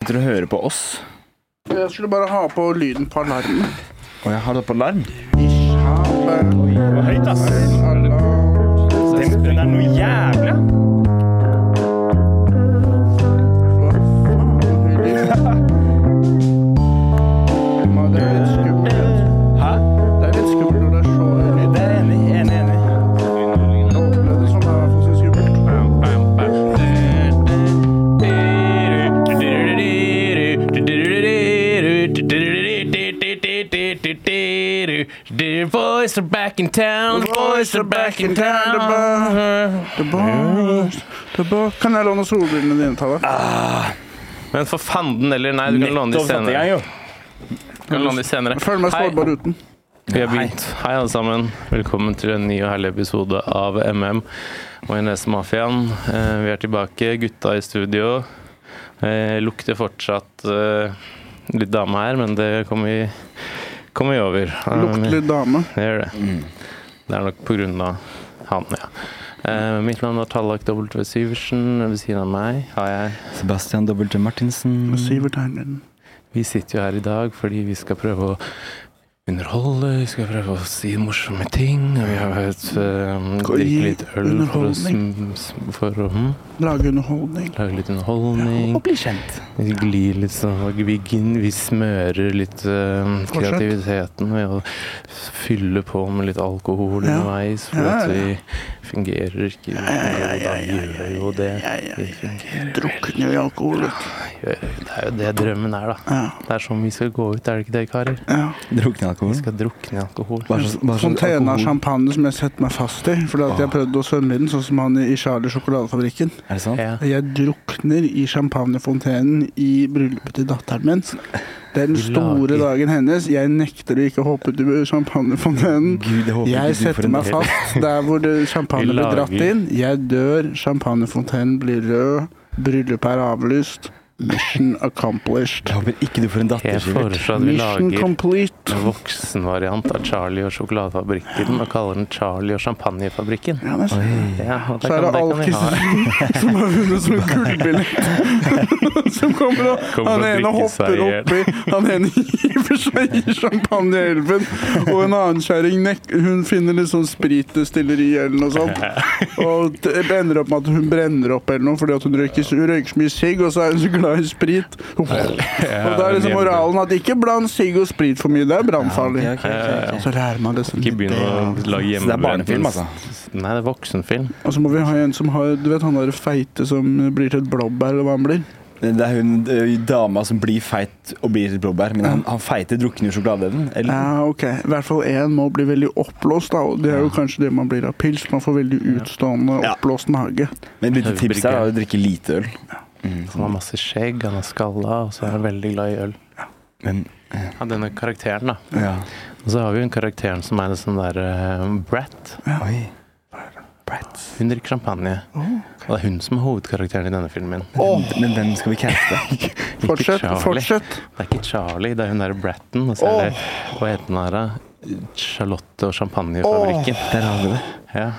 sitter og hører på oss. Jeg skulle bare ha på lyden på alarmen. Og jeg har det på larm. Høyt, ass. Den er noe jævlig. Hæ? Det er enig, enig, enig. The boys are back in town, the boys are back in town. Kan jeg låne solbrillene dine, Tale? Men for fanden eller nei, du kan låne de Nettopp satt i gang, senere. jo. Du kan låne de senere. Føler meg Hei, sårbar uten. vi har begynt. Hei, alle sammen. Velkommen til en ny og herlig episode av MM Majones-mafiaen. Eh, Vi er tilbake, gutta i studio. Eh, Lukter fortsatt eh, litt dame her, men det kommer vi, kommer vi over. Eh, Lukter litt dame. Det gjør det. Det er nok på grunn av han, ja. Eh, mitt navn er Tallak W. Syversen. Ved siden av meg har jeg Sebastian W. Martinsen. Sivert Heinliden. Vi sitter jo her i dag fordi vi skal prøve å underholde, vi skal prøve å si morsomme ting. og Vi har et eh, Gå i drikke litt øl for å, underholdning. sm- s- for å hm, Lage underholdning. lage litt underholdning. Og bli kjent. Vi glir litt sånn og vi, gin- vi smører litt eh, Fortsett. kreativiteten ved å fylle på med litt alkohol Ja. underveis, for Ja, at ja, vi fungerer ikke ja, ja, Da gjør jo det. Jeg, jeg, Vi fungerer drukner i alkohol. vet du. gjør jo- Det er jo det drømmen er, da. Ja, Det er sånn vi skal gå ut, er det ikke det, karer? ja. Drukne i Vi alkohol. skal drukne i alkohol. Hva slags- hva slags Fontene av alkohol- champagne som jeg setter meg fast i. Fordi at jeg prøvde å svømme i den, sånn som han i Charlie sjokoladefabrikken. Er det sant? Ja. Jeg drukner i champagnefontenen i bryllupet til datteren min. Det er den Vi store lager- dagen hennes. Jeg nekter å ikke hoppe ut i champagnefontenen. Gud, jeg håper Jeg ikke du får setter en meg fast der hvor det- champagne Vi blir dratt lager- inn. Jeg dør, champagnefontenen blir rød, bryllupet er avlyst. Mission accomplished. Jeg håper ikke du får en datter, Jeg Sivert. foreslår at vi Mission lager complete. en voksenvariant av Charlie og sjokoladefabrikken, og kaller den Charlie og champagnefabrikken. Ja, men så Ja, og så er det sånn- kan- kan vi Alkis ha. som har vunnet som en gullbillett. Som kommer og Kommer Han og ene drikker seg hopper ihjel. oppi, han ene hiver seg i champagneelven, og en annen kjerring nek- hun finner litt sånn spritdestilleri eller noe sånt. Og det ender opp med at hun brenner opp eller noe fordi at hun røyker, hun røyker så mye sigg, og så er hun så glad i sprit. Og da er liksom moralen at ikke bland sigg og sprit for mye, det er brannfarlig. Ja, ok, ok, ok. Så lærer man det sånn. Ikke begynn å Så lage det er hjemmebrent. barnefilm, altså? Nei, det er voksenfilm. Og så må vi ha en som har Du vet han der feite som blir til et blåbær, eller hva han blir? Det det er hun ø, dama som blir feit og blir et blåbær, men han, han feite drukner i sjokoladeevnen. Eller? Ja, ok. I hvert fall én må bli veldig oppblåst, da. Og det er jo kanskje det man blir av pils. Man får veldig utstående, Ja. oppblåst mage. Men et lite tips her er å drikke lite øl. Han har masse skjegg, han er skalla, og så er han veldig glad i øl. Men Ja, denne karakteren, da. ja. Og så har vi jo en karakteren som er en sånn der eh, brat. Oi. Hun drikker champagne. Og det er hun som er hovedkarakteren i denne filmen. Men hvem skal vi caste? Ikke Mm. Fortsett, Charlie. fortsett. Det er ikke Charlie, det er hun der Bratten. Og så er det hva heter den her, da? Charlotte og champagnefabrikken. Der har vi det. Ja.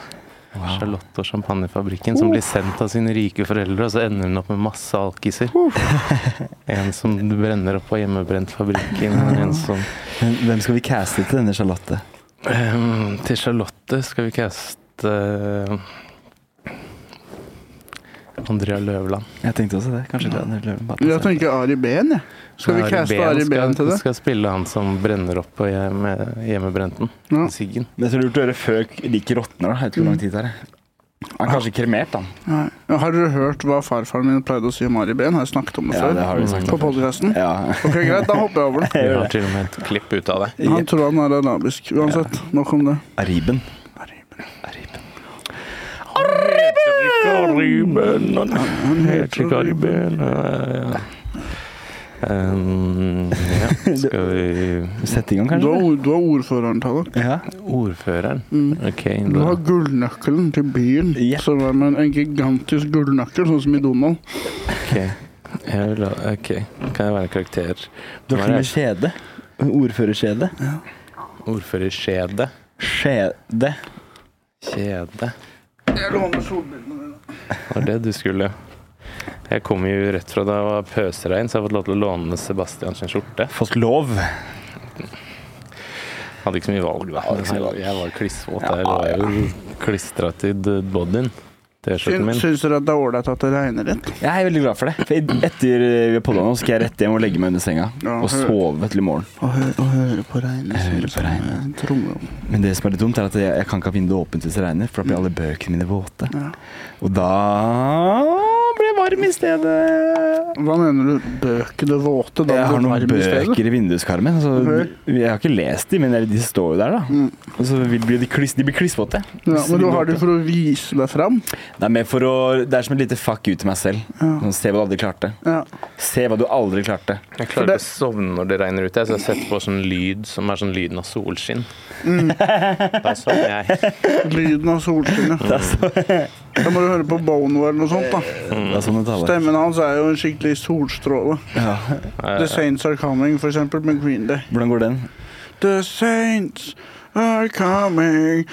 Charlotte og champagnefabrikken som blir sendt av sine rike foreldre, og så ender hun opp med masse alkiser. En som brenner opp av hjemmebrentfabrikken, og en som Men hvem skal vi caste til denne Charlotte? Ehm, til Charlotte skal vi caste eh, Andrea Løvland. Jeg tenkte også det. Kanskje det er Løven Batten. Jeg tenker Ari Behn, jeg. Skal vi Ari caste Behn Ari Behn til det? Skal spille han som brenner opp på hjemme, hjemmebrenten. Ja. Siggen. Men jeg tror det er lurt å gjøre før like råtner. da. Jeg vet ikke hvor Mm. lang tid det er. Han er kanskje kremert, han. Nei. Har dere hørt hva farfaren min pleide å si om Ari Behn? Har jeg snakket om det Ja, før? det har vi sagt På om. podkasten? Ja. Ok, greit, da hopper jeg over det. Vi har til og med et klipp ut av det. Han tror han er arabisk. Uansett, nok om det. Ariben. Han heter Ari Behn. Ehm, ja, skal vi Sett i gang, Du kanskje? har, ord- du har ordføreren, Mm. Tallak. Ja. Ordføreren. Ok, Du da. har gullnøkkelen til byen, Ja. som er med en gigantisk gullnøkkel, sånn som i Donald. ok. Jeg vil ha, ok, kan jeg være karakter? Du har til og med skjede. Ordførerskjede. Ordførerskjede. Skjede. Kjede. Jeg låner solbrillene dine. Det var det du skulle. Jeg kom jo rett fra da det var pøsregn, så jeg har fått lov til å låne Sebastian sin skjorte. Fått lov. Hadde ikke så mye valg, da. Hadde ikke så mye valg. Jeg var klissvåt. Ja, Jeg var jo klistra til d- bodyen. T-skjorten min. Syns dere at det er ålreit at det regner litt? Jeg er veldig glad for det. For i- etter eh, vi har podda nå, skal jeg rett hjem og legge meg under senga Ja. og sove til i morgen. Å, hø å høre på regnet sånn, eh, Jeg hører synes på jeg er regnet. Tromme. Men det som er litt dumt, er at jeg, jeg kan ikke ha vinduet åpent hvis det regner, for da blir alle bøkene mine våte. Ja. Og da blir jeg varm i stedet. Hva mener du? Bøkene våte? Da Jeg har blir noen varm i stedet? bøker i vinduskarmen. Så Ok. jeg har ikke lest de, men de står jo der, da. Mm. Og så vil- blir de, kliss, de blir klissvåte. Ja, Så men de du blir har det våte. for å vise deg fram? Det er mer for å Det er som et lite fuck you til meg selv. Ja. Sånn, se hva du aldri klarte. Ja. Se hva du aldri klarte. Jeg klarer ikke å sovne når det regner ute, jeg, så jeg setter på sånn lyd som er sånn lyden av solskinn. Mm. Da sovner jeg. Lyden av solskinnet. Da må du høre på Bono eller noe sånt. da Det er sånn det taler. Stemmen hans er jo en skikkelig solstråle. Ja. The Saints Are Coming, for eksempel, med Green Day. Hvordan går den? The Saints Are Coming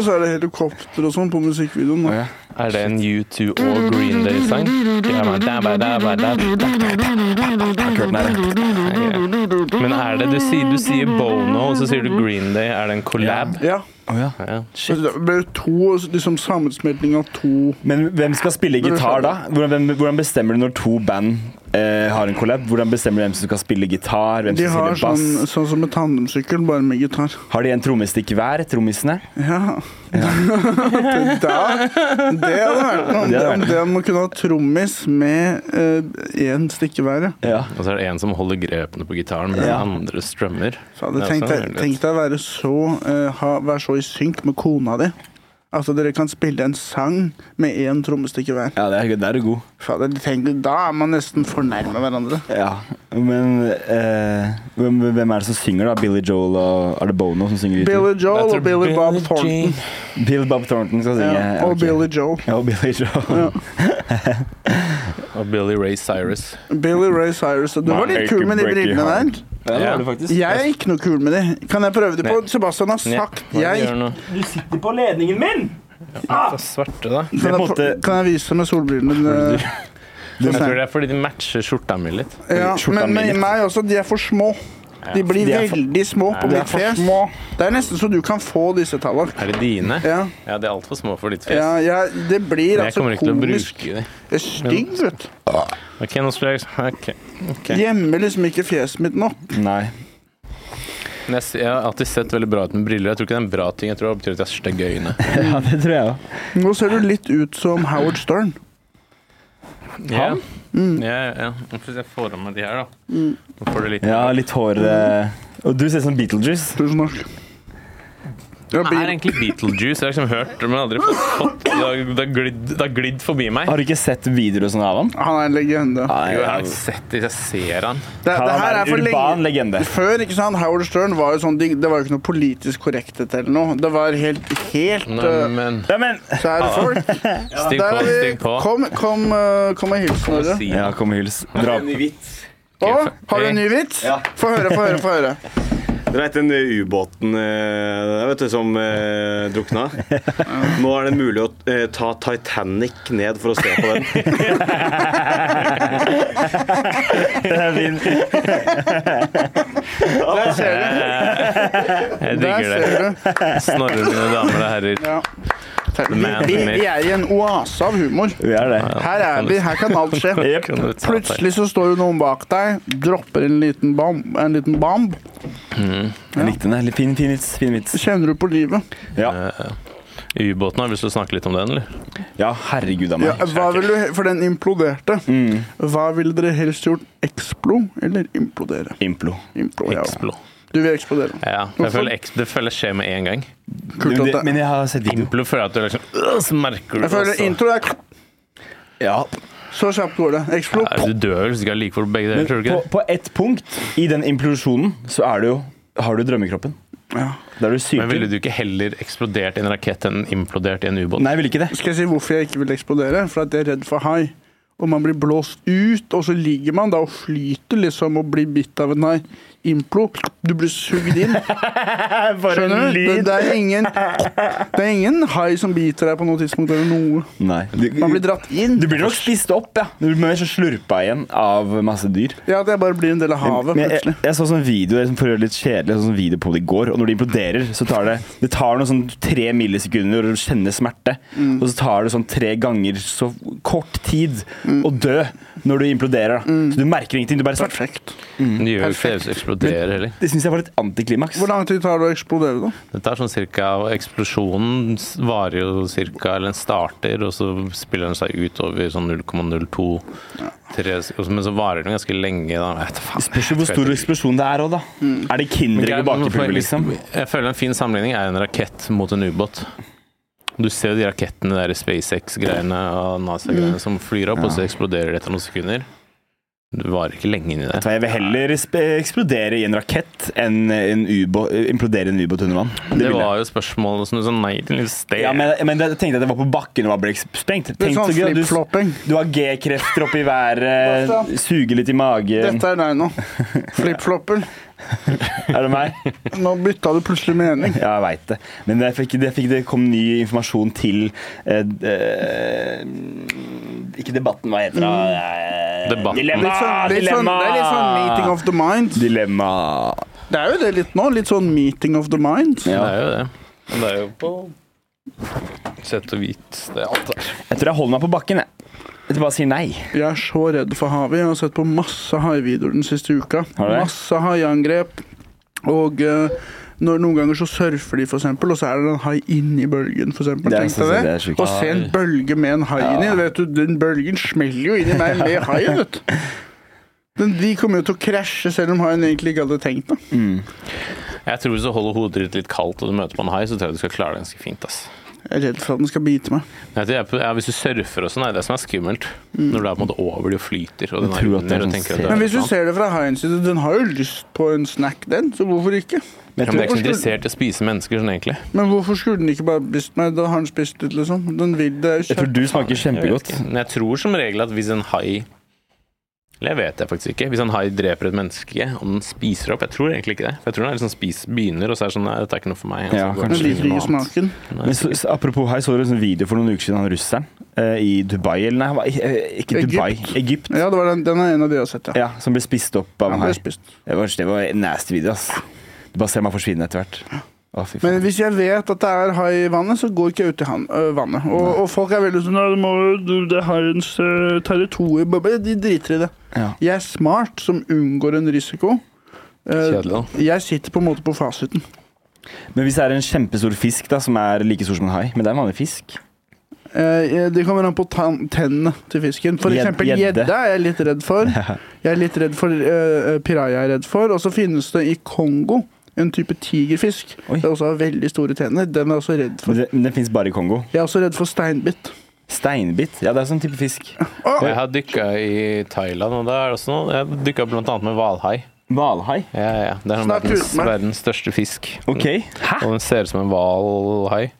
Og så er det helikopter og sånn på musikkvideoen. Å da. ja. Er det en U2 og Green Day-sang? Ja, men da, ba, da, ba, da, da, da, da. Jeg har ikke hørt den her. jeg. Men er det Du sier, du sier Bono, og så sier du Green Day. Er det en collab? Ja. Å ja. Ja. Så Det ble to liksom sammensmelting av to Men hvem skal spille gitar da? Hvordan, hvem, hvordan bestemmer du når to band eh, har en collab? Hvordan bestemmer du hvem som skal spille gitar? Hvem De som har spiller bass? sånn, sånn som en tandemsykkel, bare med gitar. Har de en trommestikk hver, trommisene? Ja. det, da, det hadde vært Det noe. Om det, hadde om vært. det man kunne ha trommis med én stikke hver. ja. Ja. Og så er det en som holder grepene på gitaren, men den Ja. andre strømmer. Fader, Ja, tenk, sånn er deg, det. tenk deg å være så, eh, ha, være så i synk med kona di. Altså, dere kan spille en sang med én trommestikke hver. Ja, det er, der er du god. Fader, tenk, da er man nesten fornærma hverandre. Ja, men eh, hvem, hvem er det som synger da? Billy Joel og Er det Bono som synger? uten? Billy Jeg Joel tror og Billy Bob Billie Thornton. Jean. Bill Bob Thornton skal synge. Ja, og ok. Billy Joel. Ja, og Billy Joel. Og Billy Ray Cyrus. Billy Ray Cyrus. Du var litt kul med de brillene der. Ja, det Ja. var det faktisk. Jeg er ikke noe kul med de. Kan jeg prøve de på? Nei. Sebastian har Nei, sagt hva er det du jeg. gjør nå? Du sitter på ledningen min! Ah! Svarte, da. Det er på Kan en jeg, få- måte- kan jeg vise deg med solbrillene dine? Jeg tror det er fordi de matcher skjorta mi litt. Ja, skjorta men mi med litt. meg også, de er for små. De blir De er for- veldig små på de er mitt fjes. Det er nesten så du kan få disse tallene. Er det dine? Ja, Ja, de er altfor små for ditt fjes. ja, ja, det blir Men jeg altså kommer ikke til å komisk. bruke de. Det er stygg, vet du. Ok, nå skulle jeg ok. Ok. Gjemmer liksom ikke fjeset mitt nok. Nei. Men jeg, s- jeg har alltid sett veldig bra ut med briller. Jeg tror ikke det er en bra ting. Jeg tror det betyr at jeg har stygge øyne. Ja, det tror jeg òg. Nå ser du litt ut som Howard Stern. Ja. Mm. Ja, ja. Nå får jeg får av meg de her, da. Nå får du litt Ja, litt hår eh, Og du ser ut som Beetlejuice. Tusen takk. Ja, Det er bil. egentlig Beetlejuice. Jeg har liksom hørt det, men aldri fått fått- Det har det har glidd, det har glidd forbi meg. Har du ikke sett videoer og sånn av han? Han er en legende. Jo, jeg har sett det. Jeg ser han. Det, det Han her er er en for urban lenge legende. før, ikke sant? Howard Stern var jo sånn Det det var jo ikke noe politisk korrekthet eller noe. Det var helt, helt uh, Neimen Ja, men Kjære folk. Stig Der på, er vi. stig på. Kom, kom, uh, kom og hils, Snorre. Si Ja, kom og hils. Dra opp. Å, har du en ny vits? Ja. Få høre, få høre. få høre Du vet den eh, ubåten eh, der, vet du, som eh, drukna? Nå er det mulig å eh, ta Titanic ned for å se på den. Der ser du. Der Jeg digger det. ser du. Snorre, mine damer og herrer. Ja. man Vi, who vi er i en oase av humor. Vi er det. Her er vi, her kan alt skje. Jep. Kan du ta deg? Plutselig så står jo noen bak deg, dropper en liten bomb. En liten bomb. Jeg likte den. Litt Fin, fin vits. Fin vits. Kjenner du på livet? Ja. Eh, Ubåten, har du lyst til å snakke litt om den, eller? ja, herregud av Ja, meg. hva vil du, for den imploderte. Mm. Hva ville dere helst gjort? Explo eller implodere? Implo. Implo, ja. Explo. Du vil eksplodere. Ja, jeg føler ex- det føler skjer med en gang. Kult Men at det- det Men jeg har sett video. Implo føler at du liksom øh, Så merker du Jeg føler også. intro er Ja. Så kjapt går det. Explo. Ja, altså, Du dør vel hvis du ikke har like fort begge deler, Men tror du ikke på, det? på ett punkt i den implosjonen så er det jo Har du drømmekroppen? Ja. Da er du Men ville syltynn. du ikke heller eksplodert i en rakett enn implodert i en ubåt? Nei, jeg vil ikke det. Skal jeg si hvorfor jeg ikke vil eksplodere? For at jeg er redd for hai. Og man blir blåst ut, og så ligger man da og flyter liksom og blir bitt av en hai. implo. Du blir sugd inn. For en Skjønner du? Det, lyd! det, er ingen, det er ingen hai som biter deg på noe tidspunkt eller noe. Nei. Du, Man blir dratt inn. du blir nok spist opp, ja. Du blir mer så slurpa igjen av masse dyr. Ja, at jeg bare blir en del av havet Men jeg, plutselig. jeg så sånn video det er sånn for å gjøre det litt kjedelig, jeg så sånn video på det i går, og når det imploderer, så tar det Det tar noen sånn tre millisekunder å kjenne smerte, Mm. og så tar det sånn tre ganger så kort tid Mm. å dø når du imploderer. Da. Så du merker ingenting. Du bare sånn, Perfekt. Det gjør jo ikke Perfekt. det eksploderer heller. Det syns jeg var litt antiklimaks. Hvor lang tid tar det å eksplodere, da? Dette er sånn cirka, og Eksplosjonen s- varer jo cirka, eller den starter, og så spiller den seg ut over sånn 0,02 tre sek- og så- Men så varer den ganske lenge. Da. Jeg vet da faen. Det spørs jo hvor stor eksplosjon det er òg, da. Mm. Er det Kinderegg og bakepulver, liksom? Jeg føler en fin sammenligning er en rakett mot en ubåt. Du ser jo de rakettene, de der SpaceX-greiene og NASA-greiene som flyr opp, og så eksploderer det etter noen sekunder. Du varer ikke lenge inni Så det. Jeg vil heller sp- eksplodere i en rakett enn en ubå- implodere i en ubåt under vann. Det vil jeg. var jo spørsmålet som du sa nei til. litt sted. Ja, men, men jeg tenkte at det var på bakken og bare ble sprengt. Det er Tenk sånn så gøy, du, flip-flopping. Du har G-krefter oppi været, Basta. suger litt i magen. Dette er deg nå. Flip-flopper. Er det meg? Nå bytta du plutselig mening. Ja, jeg veit det. Men jeg fikk, jeg fikk, det kom ny informasjon til eh, eh, Ikke debatten, hva heter det? Eh, Debatten. Dilemma! Litt Litt sånn, dilemma! det er litt sånn meeting of the mind. dilemma. Det er jo det litt nå. Litt sånn meeting of the mind. Ja. Det er jo det. Men det er jo på sett og vis det er alt der. eh, Jeg tror jeg holder meg på bakken. Jeg, jeg tror bare sier nei. Jeg er så redd for havet. Jeg har sett på masse haivideoer den siste uka. Har du det? Masse haiangrep. Og eh, når, noen ganger så surfer de, for eksempel, og så er det en hai inni bølgen, for eksempel. Det er- Tenk synes deg jeg det. det er sjukt. Å se en bølge med en hai inni. Vet du, den bølgen smeller jo inni meg med haien, vet du. Den, de kommer jo til å krasje, selv om haien egentlig ikke hadde tenkt det. Jeg tror hvis du holder hodet ditt litt kaldt og du møter på en hai, så tror jeg du skal klare det ganske fint. ass. Jeg er redd for at den skal bite meg. Jeg tror jeg, er på- ja, hvis du surfer og sånn, er det det som er skummelt. Når du er på en måte over, du flyter, og den tror er at det er under og sånn tenker at det er Men hvis du sånn. ser det fra haiens side, den har jo lyst på en snack, den, så hvorfor ikke? Men Ja, jeg men jeg er tror, ikke så interessert i å spise mennesker sånn, egentlig. Men hvorfor skulle den ikke bare spist meg? Da har den spist ut, liksom. Den vil det. er jo jeg tror du smaker Jeg vet kjempegodt. ikke. Men jeg tror som regel at hvis en hai Eller jeg vet det faktisk ikke. Hvis en hai dreper et menneske, om den spiser opp Jeg tror egentlig ikke det. For jeg tror den er liksom spis, begynner, og så er det sånn Nei, dette er ikke noe for meg. og så Ja, kanskje. Den går den og liker finner ikke noe annet. smaken. Men så, så apropos her, så du en sånn video for noen uker siden, han russeren eh, i Dubai Eller nei, han var, eh, ikke Dubai, Egypt. Ja, det var den, den er en av de jeg har sett, ja. Ja, Som ble spist opp av en Den ble hai. spist. Det var, det var en nasty video, ass. Du bare ser meg forsvinne etter hvert. Å, fy Men faen. hvis jeg vet at det er hai i vannet, så går ikke jeg ut i han, ø, vannet. Og, og folk er veldig sånn «Nei, det, må, du- det er haiens ø, territorium. Bare- De driter i det. Ja. Jeg er smart som unngår en risiko. Eh, Kjedelig, da. jeg sitter på en måte på fasiten. Men hvis det er en kjempestor fisk da, som er like stor som en hai Men det er en vanlig fisk. Eh, det kommer an på tan- tennene til fisken. For Gjed- eksempel gjedde. gjedde er jeg litt redd for. Jeg er litt redd for uh, piraja jeg er redd for. Og så finnes det i Kongo en type tigerfisk. Oi. Den også har veldig store tenner. Den er jeg også redd Men for. det, men den fins bare i Kongo. Jeg er også redd for steinbitt. Steinbit. Ja, det er sånn type fisk. Jeg har dykka i Thailand, og da er det også noe. Jeg dykka bl.a. med hvalhai. Hvalhai. Ja, ja, ja. Det er Snakk verdens, uten meg. verdens største fisk. OK. Hæ? Og den ser ut som en hvalhai.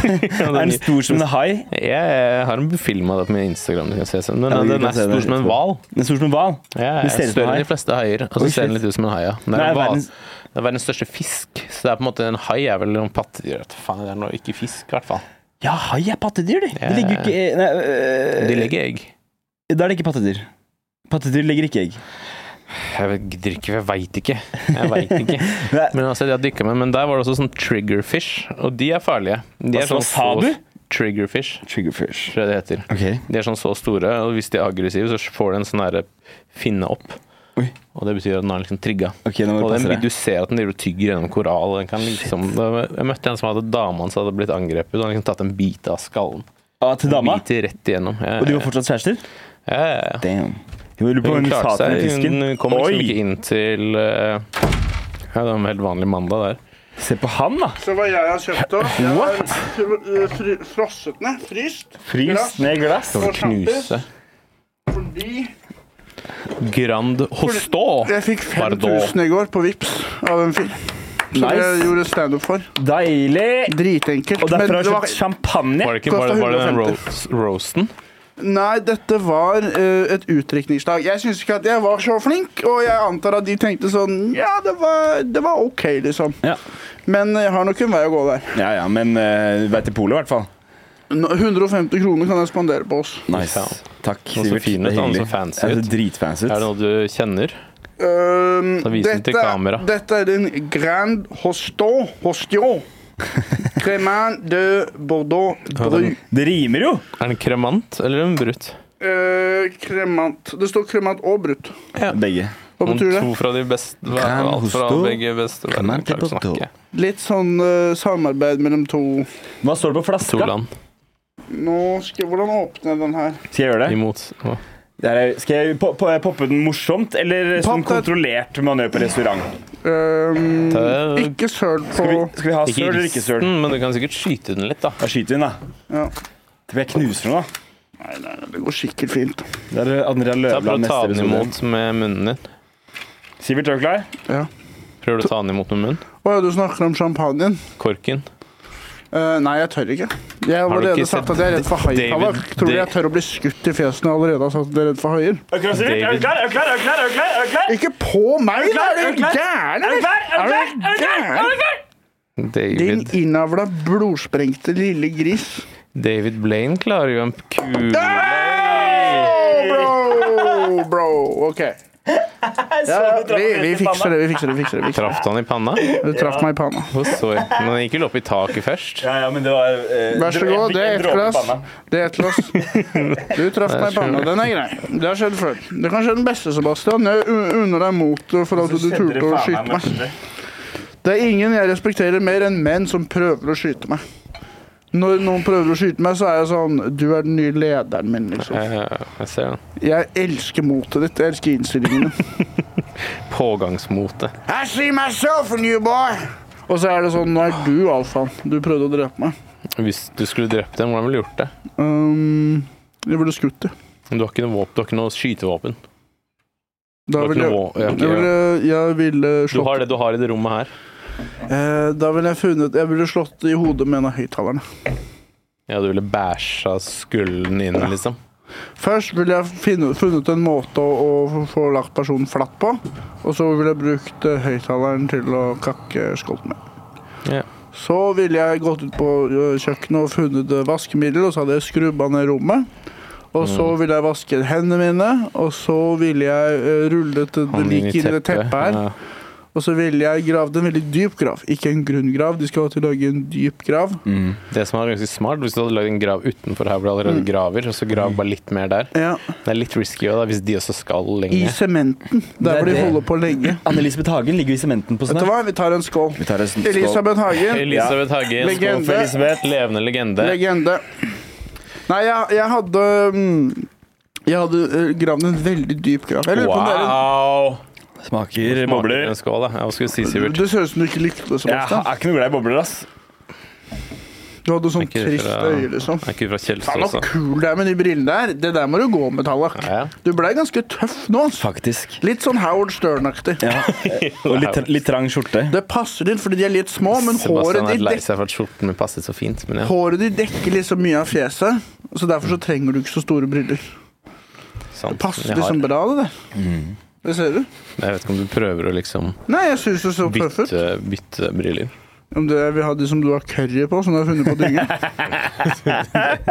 Er den stor som en hai? Jeg har en film av det på min Instagram. Du kan se selv. Men Ja, vi den kan er se stor det som en etterpå. hval. Den er stor som en hval? Ja, Den ser ut som en større hai. enn de fleste haier. Og så Oi, ser shit. den litt ut som en hai, ja. Det er, Nei, en hval. verdens- det er verdens største fisk. Så det er på en måte en hai er vel noen pattedyr. Vet du Faen, det er noe ikke fisk, i hvert fall. Ja, hai er pattedyr, de. De legger jo ikke nei, øh, De legger egg. Da er det ikke pattedyr. Pattedyr legger ikke egg. Jeg vet- gidder ikke, for jeg veit ikke. Jeg vet ikke. Nei. Men altså, de har dykket med, men der var det også sånn triggerfish, og de er farlige. De Hva er sånn sa så- du? Triggerfish, Triggerfish. tror jeg det heter. Ok. De er sånn så store, og hvis de er aggressive, så får de en sånn derre finne opp. Oi. Og det betyr at den er liksom trigga. Ok, nå må du Og den, passe vil- du deg. ser at den driver og tygger gjennom korall. og Den kan liksom, da, jeg møtte en som hadde dama hans hadde blitt angrepet. Og han liksom tatt en bit av skallen. Ah, til dama? Biter rett igjennom. Ja, Og de var ja, fortsatt kjærester? ja, ja, ja. Damn. Jeg lurer på Hun om hun klarte sa til den seg. fisken Hun kom liksom Oi! ikke inn til eh, ja, Det var en helt vanlig mandag der. Se på han, da! Se hva jeg har kjøpt òg. What? Frosset ned. Fryst. Frys Glass. ned glass. Skal vi knuse Fordi Grand Hostå! jeg fikk Pardon. 5000 i går på Vips av en fyr. Som Nice. jeg gjorde standup for. Deilig! Dritenkelt. Og derfor men har det jeg var- kjøpt champagne. Var det ikke var det, var det den Kostet roast, roasten? Nei, dette var eh, et utdrikningslag. Jeg syns ikke at jeg var så flink, og jeg antar at de tenkte sånn Ja, det var, det var OK, liksom. Ja, Men jeg har nok en vei å gå der. ja, ja men uh, vei til polet, i hvert fall. Nå- 150 kroner kan jeg spandere på oss. Nice. Ja. Takk, så Sivert. fin ut, det er da, han hyggelig. så fancy Ja, det ut. er dritfancy Er det ut. noe du kjenner? Ehm, Så vis den til kamera. dette er den Grand Hosto Hostio. Cremant de Bordeaux Ja, Bru. den- Det rimer jo! Er det en kremant eller en brutt? Eh, kremant. Det står kremant og brutt. Ja. Begge. Hva Om betyr det? To fra de beste Kan Alt fra hosto, begge beste kan verdener. man til Klarer ikke å borto. snakke. Litt sånn eh, samarbeid mellom to Hva står det på To flaska? land Nå skal Hvordan åpner jeg den her? Skal jeg gjøre det? imot. Å, det er, skal jeg po po poppe den morsomt, eller sånn Popp det. kontrollert manøver på restaurant? Ehm, Ta- ikke søl på Skal vi, skal vi ha søl Ikke eller ikke søl? hilsen, men du kan sikkert skyte den litt, da. Da skyter vi den, da. ja. Tror jeg knuser den, da. Nei, nei, nei, det går sikkert fint. Det er eh, Andrea Ta, prøv Løvland å ta neste den episode. imot med munnen din. Sivert, er du klar? Ja. Prøver du å ta den imot med munnen? Å ja, du snakker om champagnen? Korken. Eh, nei, jeg tør ikke. Jeg har du allerede ikke sagt sett at jeg er redd for David- haitavak. Tror du jeg David- tør å bli skutt i fjeset når jeg allerede har sagt at jeg er redd for haier? Er du klar, Sivert? Er du David. klar? Er du klar? Er du klar? Er du klar? Er du klar? Ikke på meg! Er du klar? Er da Er du du klar? gæren, Er du eller? klar? Er du klar? Er du klar? Er du klar? Din David, innavla, blodsprengte lille gris. David Blaine klarer jo en kul Oh, bro, bro. OK. Ja, ja, vi, vi fikser det, vi fikser det. vi fikser det. vi fikser Traff han i panna? det. Du traff meg i panna. Og så Men den gikk jo opp i taket først. Ja, ja, men det var eh, Vær så dro- en- god, det er en ett dråpe i glass. panna. Det er ett glass. Du traff meg i panna. Den er grei. Det har skjedd før. Det kan skje den beste, Sebastian. Jeg u- unner deg motet for at Så du skjedde det turte å faen skyte meg meg. med- Det er ingen jeg respekterer mer enn menn som prøver å skyte meg. Når noen prøver å skyte meg, så er jeg sånn Du er den nye lederen min, liksom. Eh, Jeg ser den. Jeg elsker motet ditt. Jeg elsker innstillingene. Pågangsmote. I see myself in you, boy! Og så er det sånn Nå er du alfaen. Du prøvde å drepe meg. Hvis du skulle drept dem, hvordan ville du gjort det? Um, jeg ville skutt deg. Du har ikke noe, våpen, du har ikke noe skytevåpen. Du Da har ikke ville noe jeg, jeg vå- ja, ok, ja. ville, jeg ville Du slått har det du har i det rommet her. Eh, da ville jeg funnet Jeg ville slått i hodet med en av høyttalerne. Ja, du ville bæsja skulden inn, liksom. Først ville jeg finne, funnet en måte å, å få lagt personen flatt på. Og så ville jeg brukt eh, høyttaleren til å kakke skolten med. Ja. Så ville jeg gått ut på eh, kjøkkenet og funnet eh, vaskemiddel, og så hadde jeg skrubba ned rommet. Og så Mm. ville jeg vasket hendene mine, og så ville jeg eh, rullet det Han lik inn i det teppet her. Ja. Og så ville jeg gravd en veldig dyp grav, ikke en grunn grav. De skal til å lage en dyp grav. Det som er ganske smart, hvis du hadde lagd en grav utenfor her hvor du allerede graver, og så grav bare litt mer der. Mm. Ja, Det er litt risky også, da, hvis de også skal I lenger. sementen, Det der er hvor de det. holder på lenge. Anne-Elisabeth Hagen ligger i sementen på Vet du sånn. hva, vi tar en skål. Vi tar en skål. Elisabeth Hagen, Elisabeth Hagen, skål for Legende. Elisabeth. Levende legende. legende. Nei, jeg, jeg hadde mm, Jeg hadde eh, gravd en veldig dyp grav. Jeg lurer på om det er en- Wow! Smaker Smaker en Skål, da. Jeg skulle si Sivert. Det ser ut som du ikke likte det, Jeg Sebastian. er ikke noe glad i bobler, ass. Du hadde sånn Ikke trist fra- øye, liksom. Er ikke du fra Faen, Kjelsås, så da? kul du er med de brillene der. Det der må du gå med, Tallak. Ja, ja. Du blei ganske tøff nå. ass. Faktisk. Litt sånn Howard Stern-aktig. Ja. Og litt, litt trang skjorte. Det passer inn fordi de er litt små, men håret Sebastian er ditt, lei dek seg for at skjorten min passet så fint, men ja. håret ditt dekker liksom mye av fjeset. Så derfor så trenger du ikke så store briller. Sant. Passer Jeg Mm. har- liksom bra, det der. Det ser du. Jeg vet ikke om du prøver å liksom Nei, jeg syns det så tøff ut. bytte, bytte briller. Om det vil ha de som du har curry på, som du har funnet på dynga.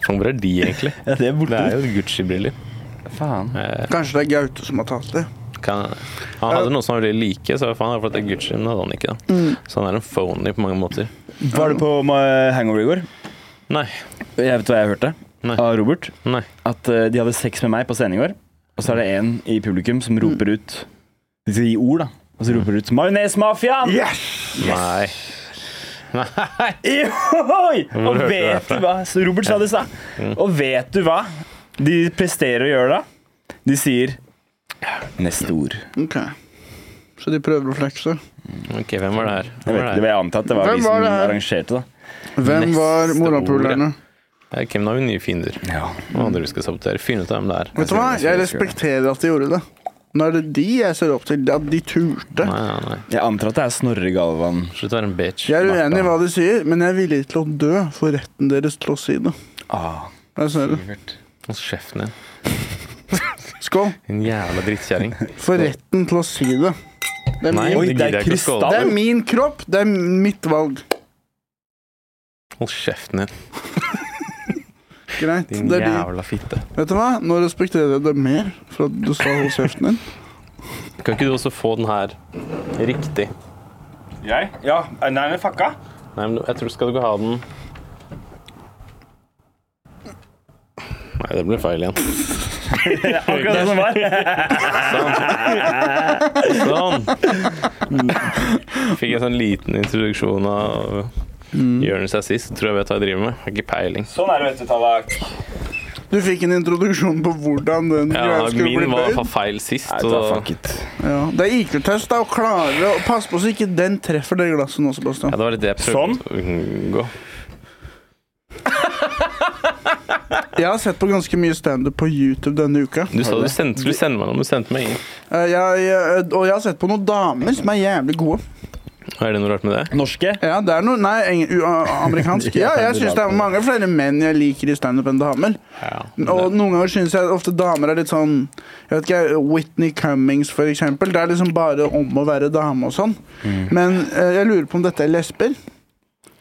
Faen, hvor er de egentlig? Ja, det er Det borte. er jo Gucci-briller. Faen. Eh, Kanskje det er Gaute som har tatt det. kan- Han hadde noen som var veldig like, så faen, det var fordi det er Gucci, men det hadde han ikke. Da. Mm. Så han er en phony på mange måter. Var du på eh, Hangover i går? Nei. Jeg vet hva jeg hørte Nei. av Robert. Nei. At eh, de hadde sex med meg på scenen i går. Og så er det en i publikum som roper ut De skal gi ord, da. Og Mm. så roper de ut 'Majonesmafiaen'! Yes! Nei. Nei. Ihoi! Hvor Og hørte du det vet fra? du hva? Så Robert sa det i stad. Mm. Og vet du hva de presterer å gjøre da? De sier Neste ord. Ok. Så de prøver å flekse. Ok, hvem var det her? Jeg vet Hvem var ikke, det det her? var jeg antatt. Det var Hvem de var som det her? arrangerte, da. Hvem Neste var morapulerne? Eh, Hvem har vi nye fiender? Ja. Noen andre vi skal sabotere. Finn ut av hvem det er. Vet du hva? Jeg respekterer at de gjorde det. Nå er det de jeg ser opp til. At de turte. Nei, nei, nei. Jeg antar at det er Snorre Galvan. Slutt å være en bitch. Jeg er uenig i hva de sier, men jeg er villig til å dø for retten deres til å si det. Ah, Jeg ser det. Sivert. Hos sjefen din. Skål. Din jævla drittkjerring. For retten til å si det. Det er, Nei, min, Oi, det det gidder er jeg ikke å skåle. det er krystall. min kropp. Det er mitt valg. Hold kjeften din, Greit. din Det er de. jævla fitte. Vet du hva? Nå respekterer jeg deg mer for at du sa hos kjeften din. Kan ikke du også få den her riktig? Jeg? Ja. Nei, men fucka. Nei, men jeg tror skal du ikke ha den Nei, det ble feil igjen. Akkurat det som var. Sånn! Fikk en sånn liten introduksjon av Jørnis assist. Tror jeg vet hva jeg driver med. Har ikke peiling. Sånn er det, vet du, Tallak. Du fikk en introduksjon på hvordan den Ja, greia skulle bli min var i hvert bøyd. fall feil sist. Nei, ta Og fuck it. Ja. Det er IQ-test, da. Og klare å passe på så ikke den treffer det glasset nå, ja, Sebastian. det var litt det jeg prøvde Sånn. å unngå. Jeg har sett på ganske mye standup på YouTube denne uka. Du sa du sendte, skulle sende meg noe, men du sendte meg ingen. Eh, Jeg, jeg- og jeg har sett på noen damer som er jævlig gode. Er det noe rart med det? Norske? Ja, det er noe Nei, eng- u- a- amerikansk. Ja, jeg syns det er mange flere menn jeg liker i standup enn damer. Og noen ganger syns jeg ofte damer er litt sånn Jeg vet ikke, Whitney Cummings, for eksempel. Det er liksom bare om å være dame og sånn. Mm. Men eh, jeg lurer på om dette er lesber.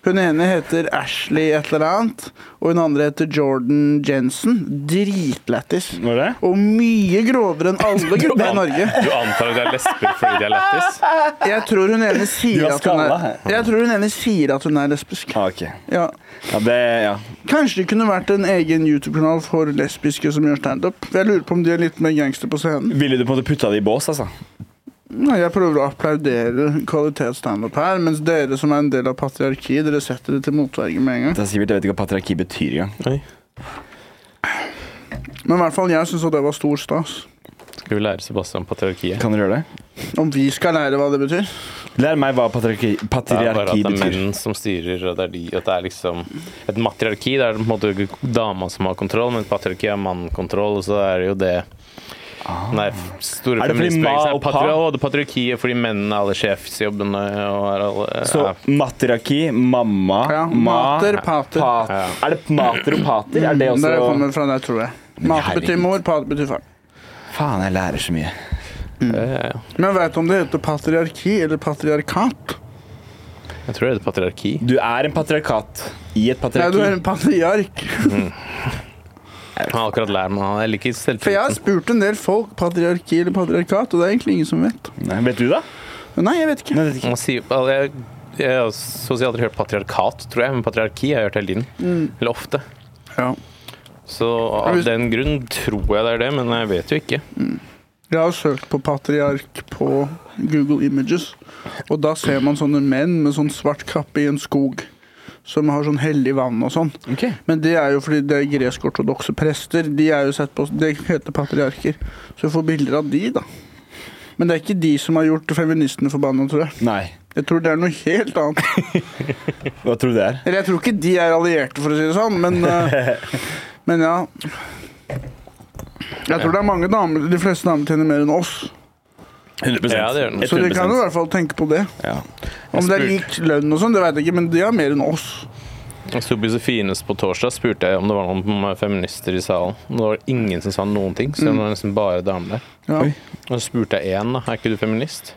Hun ene heter Ashley et eller annet, og hun andre heter Jordan Jensen. Dritlættis. Var det? Og mye grovere enn alle gubber i Norge. Du antar at jeg er lesber fordi de er lættis? Jeg tror hun ene Du sier har at hun er skalla. Jeg tror hun ene sier at hun er lesbisk. Ah, ok. Ja. Ja, det Ja. Kanskje det kunne vært en egen YouTube-kanal for lesbiske som gjør standup. Jeg lurer på om de er litt mer gangster på scenen. Ville du på en måte putta det i bås, altså? Nei, Jeg prøver å applaudere kvalitetsstandup her, mens dere som er en del av patriarki, dere setter det til motverge med en gang. Det er Sivert, jeg vet ikke hva patriarki betyr engang. Oi. Men i hvert fall jeg syns det var stor stas. Skal vi lære Sebastian patriarkiet? Kan dere gjøre det? Om vi skal lære hva det betyr? Lær meg hva patriarki, Det er bare patriarki at det er betyr. menn som styrer, og det er de At det er liksom et matriarki. Det er på en måte ikke dama som har kontroll, men et patriarki er mannkontroll, og så er det jo det Nei, f- store Ah. Er det fordi ma feministbevegelser er og pa? patria- og det patriarkiet fordi mennene har alle sjefsjobbene og er alle Så ja. matriarki, mamma, Ja, ma mater, pater. Mm, pat- Ja. Er det mater og pater? Er det også Det kommer fra deg, tror jeg. Mat betyr mor, pat betyr far. Faen, jeg lærer så mye. Ja, ja, ja. Men veit du om det heter patriarki eller patriarkat? Jeg tror det er et patriarki. Du er en patriarkat i et Nei, du patriarki. er en patriark. Jeg har akkurat lært meg det. Jeg liker For jeg har selvtilliten. spurt en del folk patriarki eller patriarkat, og det er egentlig ingen som vet. Nei, vet du, da? Nei, jeg vet ikke. Nei, vet ikke. Man sier- altså, Jeg jeg har så å si aldri hørt patriarkat, tror jeg, men patriarki har jeg hørt hele tiden. Mm. Eller ofte. Ja. Så av hvis- den grunn tror jeg det er det, men jeg vet jo ikke. Jeg har søkt på patriark på Google Images, og da ser man sånne menn med sånn svart kappe i en skog. Som har sånn hellig vann og sånn. Ok. Men det er jo fordi det er gresk-ortodokse prester. De er jo sett på, det heter patriarker. Så vi får bilder av de, da. Men det er ikke de som har gjort feministene forbanna, tror jeg. Nei. Jeg tror det er noe helt annet. Hva tror du det er? Eller jeg tror ikke de er allierte, for å si det sånn, men, eh, men ja. Jeg tror det er mange damer De fleste damer tjener mer enn oss. 100 Ja, det gjør den. Så de kan jo i hvert fall tenke på det. Ja. Om det er spurte- lik lønn og sånn, det veit jeg ikke, men de har mer enn oss. Jeg sto på Josefines på torsdag spurte jeg om det var noen feminister i salen. Og Det var ingen som sa noen ting, så det Mm. var nesten bare damer der. Ja. Oi. Og så spurte jeg én, da. Er ikke du feminist?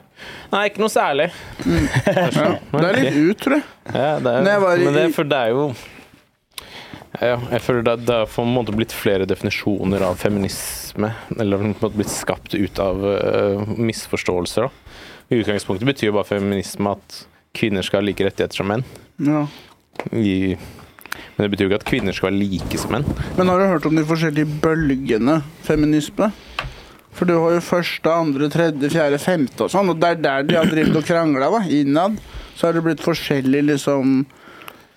Nei, ikke noe særlig. Ja. Det er sånn. litt ut, tror jeg. Ja, det er, Når jeg var i- men det, er- for det er jo ja, jeg føler det, det har på en måte blitt flere definisjoner av feminisme. Eller på en måte blitt skapt ut av øh, misforståelser. Da. I utgangspunktet betyr jo bare feminisme at kvinner skal ha like rettigheter som menn. Ja. I, men det betyr jo ikke at kvinner skal være like som menn. Men har du hørt om de forskjellige bølgene feminisme? For du har jo første, andre, tredje, fjerde, femte og sånn, og det er der de har drevet og krangla, da. Innad. Så har det blitt forskjellige, liksom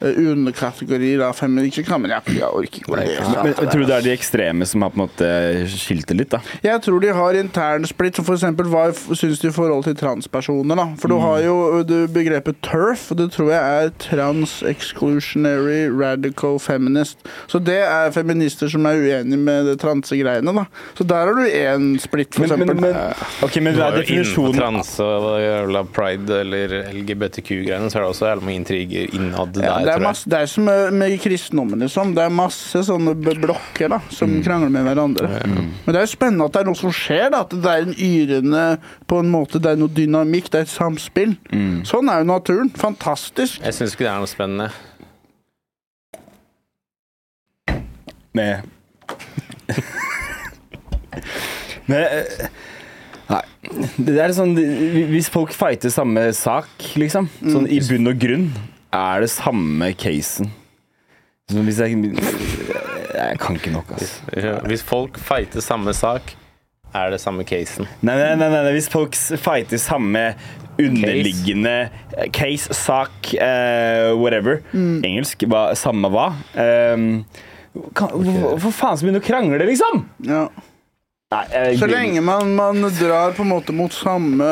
eh, underkategorier av feminisme. Ikke kan men jeg, jeg orker ikke å lese Men jeg tror det er de ekstreme som har på en måte skilt det litt, da. Jeg tror de har intern splitt, som for eksempel hva f- syns de i forhold til transpersoner, da. For du Mm. har jo ø, det begrepet TERF, og det tror jeg er trans-exclusionary radical feminist. Så det er feminister som er uenige med det transegreiene, da. Så der har du én splitt, for Men, men, eksempel. men, ok, men Du det har er jo innenfor definisjonen transe og jævla pride eller LGBTQ-greiene, så er det også jævla mye intriger innad ja, der. det, er tror jeg. masse, det er som med- med kristendommen, liksom. Det er masse sånne b- blokker da, som Mm. krangler med hverandre. Men det er jo spennende at det er noe som skjer. da, At det er en yrende på en måte, Det er noe dynamikk, det er et samspill. Sånn er jo naturen. Fantastisk. Jeg syns ikke det er noe spennende. Med Men eh, Nei. Det er sånn Hvis folk fighter samme sak, liksom, sånn i bunn og grunn, er det samme casen. Sånn hvis jeg Jeg kan ikke nok, altså. Hvis folk fighter samme sak, er det samme casen. Nei, nei, nei, nei, nei. hvis folk s- fighter samme underliggende eh, case, sak, eh, whatever Engelsk, hva, samme hva um, kan, hvor, Hvorfor faen skal vi begynne å krangle, liksom? Ja. Nei, jeg, Så lenge man, man drar på en måte mot samme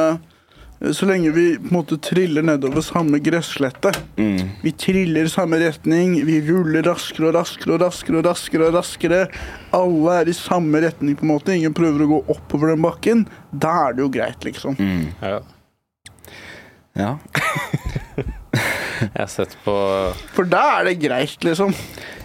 Så lenge vi på en måte triller nedover samme gresslette. Mm. Vi triller i samme retning, vi ruller raskere og raskere og raskere. og raskere og raskere Alle er i samme retning, på en måte. Ingen prøver å gå oppover den bakken. Da er det jo greit, liksom. Mm. Ja. ja. Jeg har sett på For da er det greit, liksom.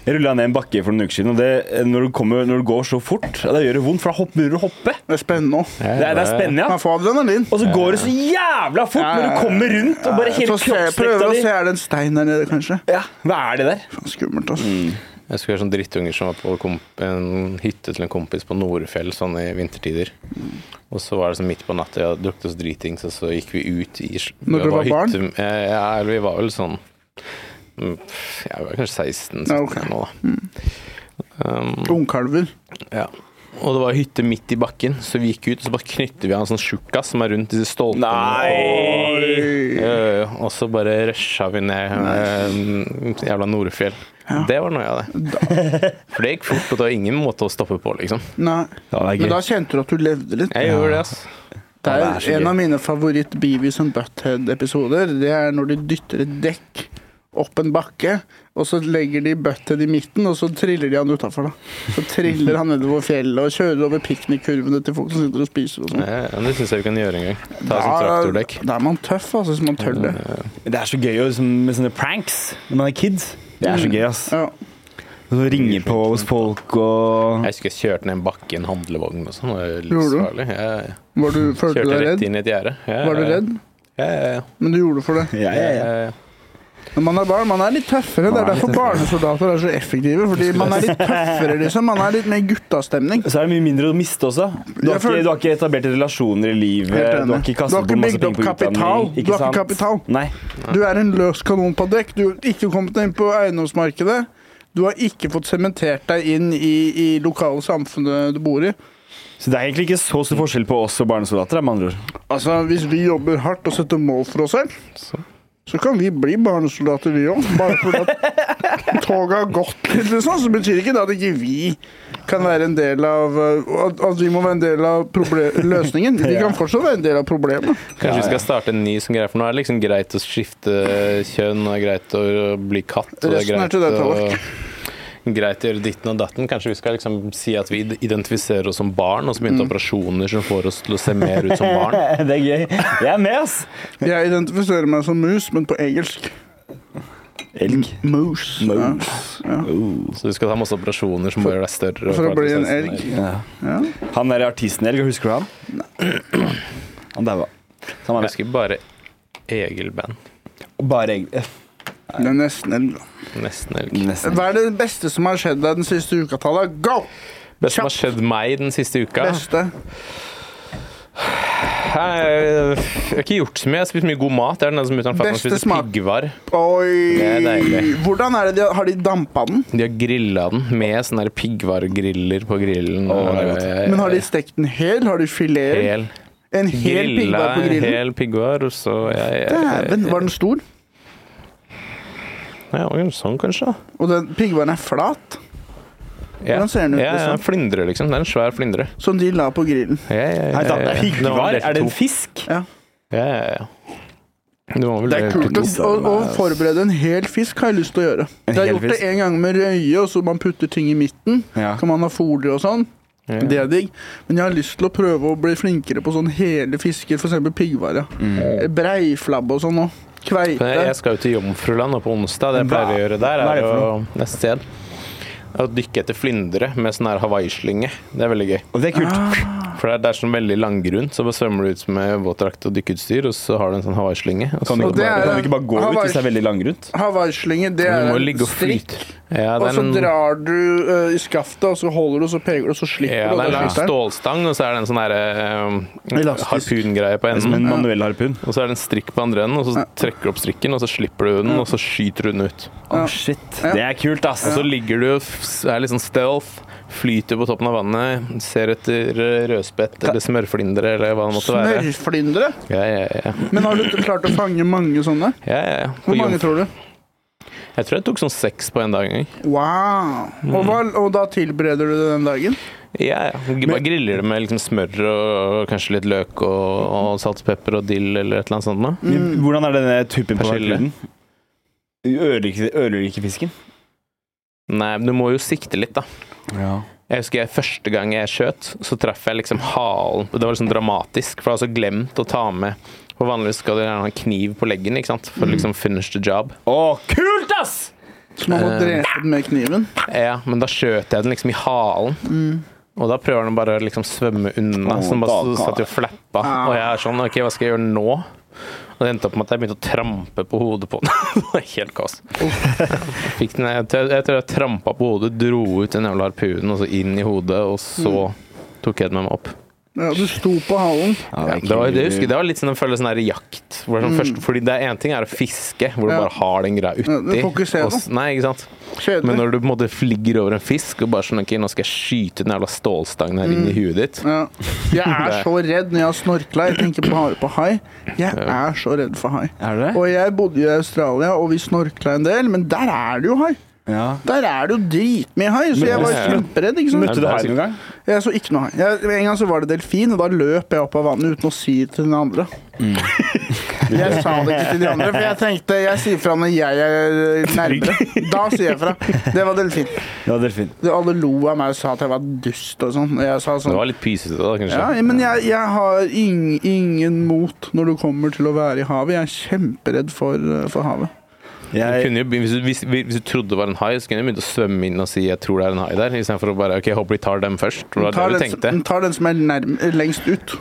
Jeg rulla ned en bakke for noen uker siden, og det, når, du kommer, når du går så fort, ja, det gjør det vondt, for da hopp- begynner du å hoppe. Det er spennende òg. Det er, det er spennende, ja. Man får adrenalin. Og så går det så jævla fort når du kommer rundt, og bare Få hele se, prøver kroppsvekta å di se, er det en stein der nede, kanskje? ja, Mm. Hva er det der? Faen, skummelt, altså. Jeg husker sånne drittunger som var på komp en hytte til en kompis på Norefjell sånn i vintertider. Og så var det sånn midt på natta, jeg drukket oss dritings, og så gikk vi ut i Når dere var barn? hytte- Eh, Ja, eller vi var vel sånn mm, Jeg var kanskje 16-17 Ja, ok. nå, da. Um, Ungkalver. Ja. Og det var hytte midt i bakken, så vi gikk ut og så bare knytter vi av en sånn tjukkas som er rundt disse stolpene. Nei! Ja, ja, ja. Og så bare rusha vi ned eh, jævla Nordfjell. Det var noe av det. For det gikk fort, og det var ingen måte å stoppe på, liksom. Nei. Ja, det er gøy. Men da kjente du at du levde litt. Jeg gjorde det, altså. Det Ja, det er er så en gøy. av mine favoritt Beavis and Butthead-episoder. Det er når de dytter et dekk opp en bakke, og så legger de Butthead i midten, og så triller de han utafor. Så triller han nedover fjellet og kjører over piknikkurvene til folk som sitter og spiser. og sånn. Eh, Det syns jeg vi kan gjøre en gang. Ta som Da, traktordekk. da er man tøff, altså, hvis man tør det. Det er så gøy å liksom, med sånne pranks når man er kid. Det er så gøy, ass. Ja. Og så ringe på hos folk og Jeg husker jeg kjørte ned en bakke i en handlevogn og sånn. Det var Gjorde du? livsfarlig. Jeg Var du, følte du kjørte deg rett redd? inn i et gjerde. Ja, Var du ja, ja. redd? Ja, ja, ja. Men du gjorde det for det. ja, ja, ja. Ja, ja, ja. Når man er barn, man er litt tøffere. Det er derfor barnesoldater er så effektive. Fordi man er litt tøffere, liksom. Man er litt mer guttastemning. Så er det mye mindre å miste også. Du har, Jeg føler- ikke, du har ikke etablert relasjoner i Helt livet. enig. Du har ikke Du har kastet ikke på masse bygd penger opp på kapital. utdanning. Du har ikke sant? kapital. Nei. Du er en løs kanon på dekk. Du har ikke kommet inn på eiendomsmarkedet. Du har ikke fått sementert deg inn i, i lokale samfunnet du bor i. Så det er egentlig ikke så stor forskjell på oss og barnesoldater, da, med andre ord. Altså, Hvis vi jobber hardt og setter mål for oss selv, så kan vi bli barnesoldater, vi òg. Bare fordi at toget har gått litt, liksom. Så betyr ikke det at ikke vi kan være en del av uh, At, at vi må være en del av proble- løsningen. Vi kan fortsatt være en del av problemet. Kanskje vi skal starte en ny sånn greie, for nå er det liksom greit å skifte kjønn, og det er greit å bli katt, og det er Resten er greit til deg, å greit å gjøre ditten og datten. Kanskje vi skal liksom si at vi id- identifiserer oss som barn, og så Mm. begynte operasjoner som får oss til å se mer ut som barn. Det er gøy. Jeg er med, ass. Jeg identifiserer meg som mus, men på engelsk. Elg. Moose. Ja. Så du skal ta masse operasjoner som gjør deg større. og For å bare bli en se ut som elg. Ja. Han der artisten Elg, husker du han? Han daua. Så Han var Jeg husker bare Egil-band. bare Elg. Eh, Det er nesten en Nesten elg. Nesten. Hva er det beste som har skjedd deg den siste uka, Talla? Go! Det som har skjedd meg den siste uka Beste. Jeg har ikke gjort så mye. Jeg har spist mye god mat. Det er den som utenfor fatter'n Beste spiser smak. piggvar. Det er Oi! deilig. Hvordan er det de Har de dampa den? De har grilla den med sånne der piggvargriller på grillen. Åh, det er godt. eh, Men har de stekt den hel? Har de filet? hel, En hel grilla piggvar på en grillen? hel piggvar, og så jeg, jeg, Dæven, var den stor? ja, og Sånn, kanskje. Og den piggvaren er flat, Ja. Hvordan ser den ut, Ja, ja, liksom? flyndre, liksom. Det er en svær flyndre. som de la på grillen. Ja, ja, ja, Nei, da, det er ja. Den var piggvar. delt i Er det to. en fisk? Ja. Ja, ja, ja. Det, var vel Det er delt i kult to. å, å, å forberede en hel fisk, har jeg lyst til å gjøre. Jeg har hel gjort det fisk? en gang med røye, og så man putter ting i midten. Ja. Kan man ha folie og sånn. Ja. Det er digg. Men jeg har lyst til å prøve å bli flinkere på sånn hele fisker, f.eks. piggvare. Breiflabbe og sånn òg. Kveite. Men Mm. jeg- jeg skal jo til Jomfruland nå på onsdag. Hva- Det jeg pleier å gjøre der, hva er er det for å neste sted. Å dykke etter flyndre med sånn her hawaiislynge. Det er veldig gøy. Og det er kult. For det er, det er sånn veldig langgrunn, så bare svømmer du ut med våtdrakt og dykkeutstyr, og så har du en sånn hawaiislynge. og Kan så du, Og ikke det bare, er- kan du ikke bare gå ut hvis det er veldig langgrunt? Hawaii-slynge, det Du må er jo ligge en og strikk. flyte. Ja, Og det er så en, ja, drar du eh, i skaftet, og så holder du, og så peker du, og så slipper det du. er og en da lang slipper den. stålstang, og så er det en sånn her eh, Elastisk. harpungreie på Det er Som en enden. manuell harpun. Og så er det en strikk på andre enden, og så Ja. trekker du opp strikken, og så slipper du den, og så skyter du den ut. Å, Ja. shit. Ja. Det er kult, ass. Og så ligger du og f- er litt sånn stealth, flyter på toppen av vannet, ser etter eh, rødspett eller smørflindre eller hva det måtte være. Smørflyndre? Ja, ja, ja. Men har du klart å fange mange sånne? ja, ja, ja. På Hvor mange Jomfru- tror du? Jeg tror jeg tok sånn seks på en dag en gang. Wow. Og, hva, og da tilbereder du det den dagen? Ja, ja. Bare griller det med liksom smør og kanskje litt løk og, og salt og pepper og dill eller et eller annet sånt. Da. Men Hvordan er denne tuppen på Persille. harpunen? Ødelegger ikke- ødelegger ikke fisken? Nei, men du må jo sikte litt, da. Jeg husker jeg, første gang jeg skjøt, så traff jeg liksom halen. Det var liksom dramatisk, for jeg hadde også glemt å ta med For vanligvis skal du gjerne ha en kniv på leggen ikke sant? for å liksom finish the job. Å, kult, ass! Så man må Eh. drepe den med kniven? Ja, men da skjøt jeg den liksom i halen. Og da prøver den bare å liksom svømme unna, Å, så den bare da- s- satt jo og flappa. Ah. Og jeg er sånn OK, hva skal jeg gjøre nå? Og det endte opp med at jeg begynte å trampe på hodet på den. det var helt kaos. Fikk den, jeg, tror- jeg tror jeg trampa på hodet, dro ut den jævla harpunen og så inn i hodet, og så tok jeg den med meg opp. Ja, du sto på halen. Ja, det, var, det, husker, jeg, det var litt sånn en følelse sånn her jakt. Hvor det er sånn først, fordi det er én ting er å fiske, hvor du Ja. bare har den greia Ja, du uti. fokuserer. og s- nei, ikke sant? Men Kjedelig. når du på en måte ligger over en fisk og bare sånn Ok, nå skal jeg skyte den jævla stålstangen her Mm. inn i huet ditt. Ja. Jeg er så redd når jeg har snorkla. Jeg tenker bare på hai. Jeg er så redd for hai. Er det det? Og jeg bodde i Australia, og vi snorkla en del, men der er det jo hai. Ja. Der er det jo dritmye hai, så Men- jeg var Ja, ja. kjemperedd. ikke Møtte sant? du her noen gang? Jeg så ikke noe hai. Jeg, en gang så var det delfin, og da løp jeg opp av vannet uten å si det til den andre. Mm. jeg sa det ikke til de andre, for jeg tenkte jeg sier fra når jeg er nærmere. Da sier jeg fra. Det var delfin. Ja, delfin. De Alle lo av meg og sa at jeg var dust og sånn. Og jeg sa Det sånn var litt pysete, da, kanskje. ja, men jeg, jeg har ing, ingen mot når det kommer til å være i havet. Jeg er kjemperedd for, eh, for havet. Du Jeg, kunne jo, begynt- hvis, du, hvis, hvis du trodde det var en hai, så kunne du begynt å svømme inn og si 'jeg tror det er en hai' der, istedenfor å bare 'ok, jeg håper de tar dem først'. Det var det Tar du den, som- tenkte. den tar den som er nærm, lengst ut.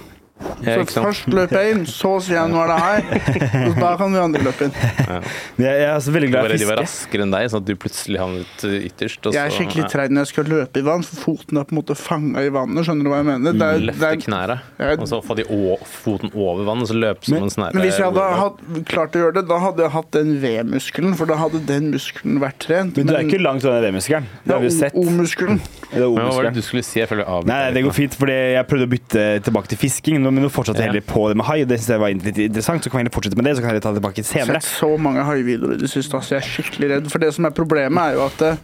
Ja, Så ikke sant? først løper jeg inn, så sier jeg 'nå er det her', og da kan vi andre løpe inn. jeg, jeg er så veldig Du var glad i redd de var fiske. raskere enn deg, sånn at du plutselig havnet eh, ytterst. Og Jeg er så- skikkelig treig når jeg skal løpe i vann, for foten er på en måte fanga i vannet. Skjønner du hva jeg mener? Det er, det Løfte er, knæra, Jeg- og så få de å, foten over vannet, og så løpe som Men- en sånn eh, snære. men hvis jeg hadde hatt, klart å gjøre det, da hadde jeg hatt den V-muskelen, for da hadde den muskelen vært trent. Men du er ikke langt unna den V-muskelen. Det har vi jo sett. O-muskelen. Det er Men Hva var O-muskelen. det du skulle si? Jeg føler jeg Nei, nei, det går avbryter. fint, fordi jeg prøvde å bytte tilbake til fisking, nå- men nå fortsatte jeg Ja. heller på det med hai. og Det synes jeg var litt interessant, så kan vi heller fortsette med det, så kan jeg ta det tilbake Jeg har senere. sett så mange haivideoer i det siste, altså. Jeg er skikkelig redd. For det som er problemet, er jo at eh,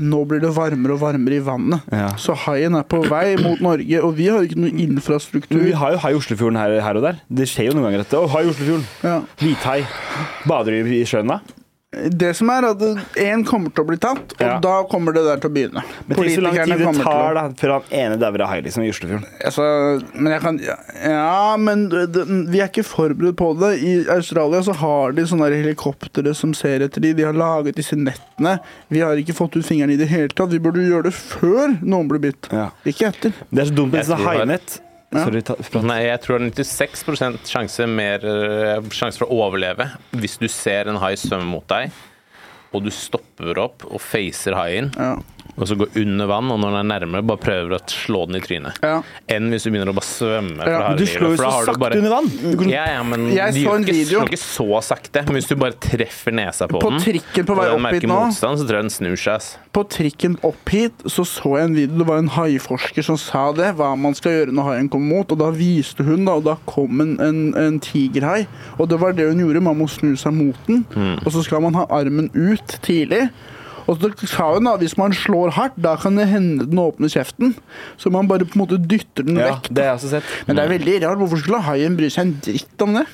nå blir det varmere og varmere i vannet. Ja. Så haien er på vei mot Norge, og vi har ikke noe Men infrastruktur. vi har jo hai i Oslofjorden her, her og der. Det skjer jo noen ganger dette. Å, hai i Oslofjorden. Ja. Hvithai. Bader du i sjøen da? Det som er at én kommer til å bli tatt, og Ja. da kommer det der til å begynne. Men tenk så lang tid det å- tar da, før han ene dauer av hai liksom, i Oslofjorden. Altså, men jeg kan Ja, men det- det- vi er ikke forberedt på det. I Australia så har de sånne der helikoptre som ser etter de. De har laget disse nettene. Vi har ikke fått ut fingeren i det hele tatt. Vi burde gjøre det før noen blir bitt. Ja. Ikke etter. Det er så dumt med Jeg sånn tror det er- hainett. Ja. Sorry, ta, prat. Nei, jeg tror det er 96 sjanse, mer, eh, sjanse for å overleve hvis du ser en hai svømme mot deg, og du stopper opp og facer haien, Ja. og så går under vann, og når den er nærmere, bare prøver å slå den i trynet. Ja. Enn hvis du begynner å bare svømme. Ja, for men harde Du livet, slår jo for da så har du sakte bare- under vann. Du kan- Ja, ja, men Jeg de så gjør en ikke, video. slår ikke så sakte. Men hvis du bare treffer nesa på, På den, trikken på vei og den opp hit merker nå. motstand, så tror jeg den snur seg. ass. På trikken opp hit så så jeg en video. Det var en haiforsker som sa det. Hva man skal gjøre når haien kommer mot. Og da viste hun, da, og da kom en, en, en tigerhai. Og det var det hun gjorde. Man må snu seg mot den. Mm. Og så skal man ha armen ut tidlig. Og så sa hun da, hvis man slår hardt, da kan det hende den åpner kjeften. Så man bare på en måte dytter den Ja, vekk. det har jeg også sett. Men det er veldig rart. Hvorfor skulle haien bry seg en dritt om det?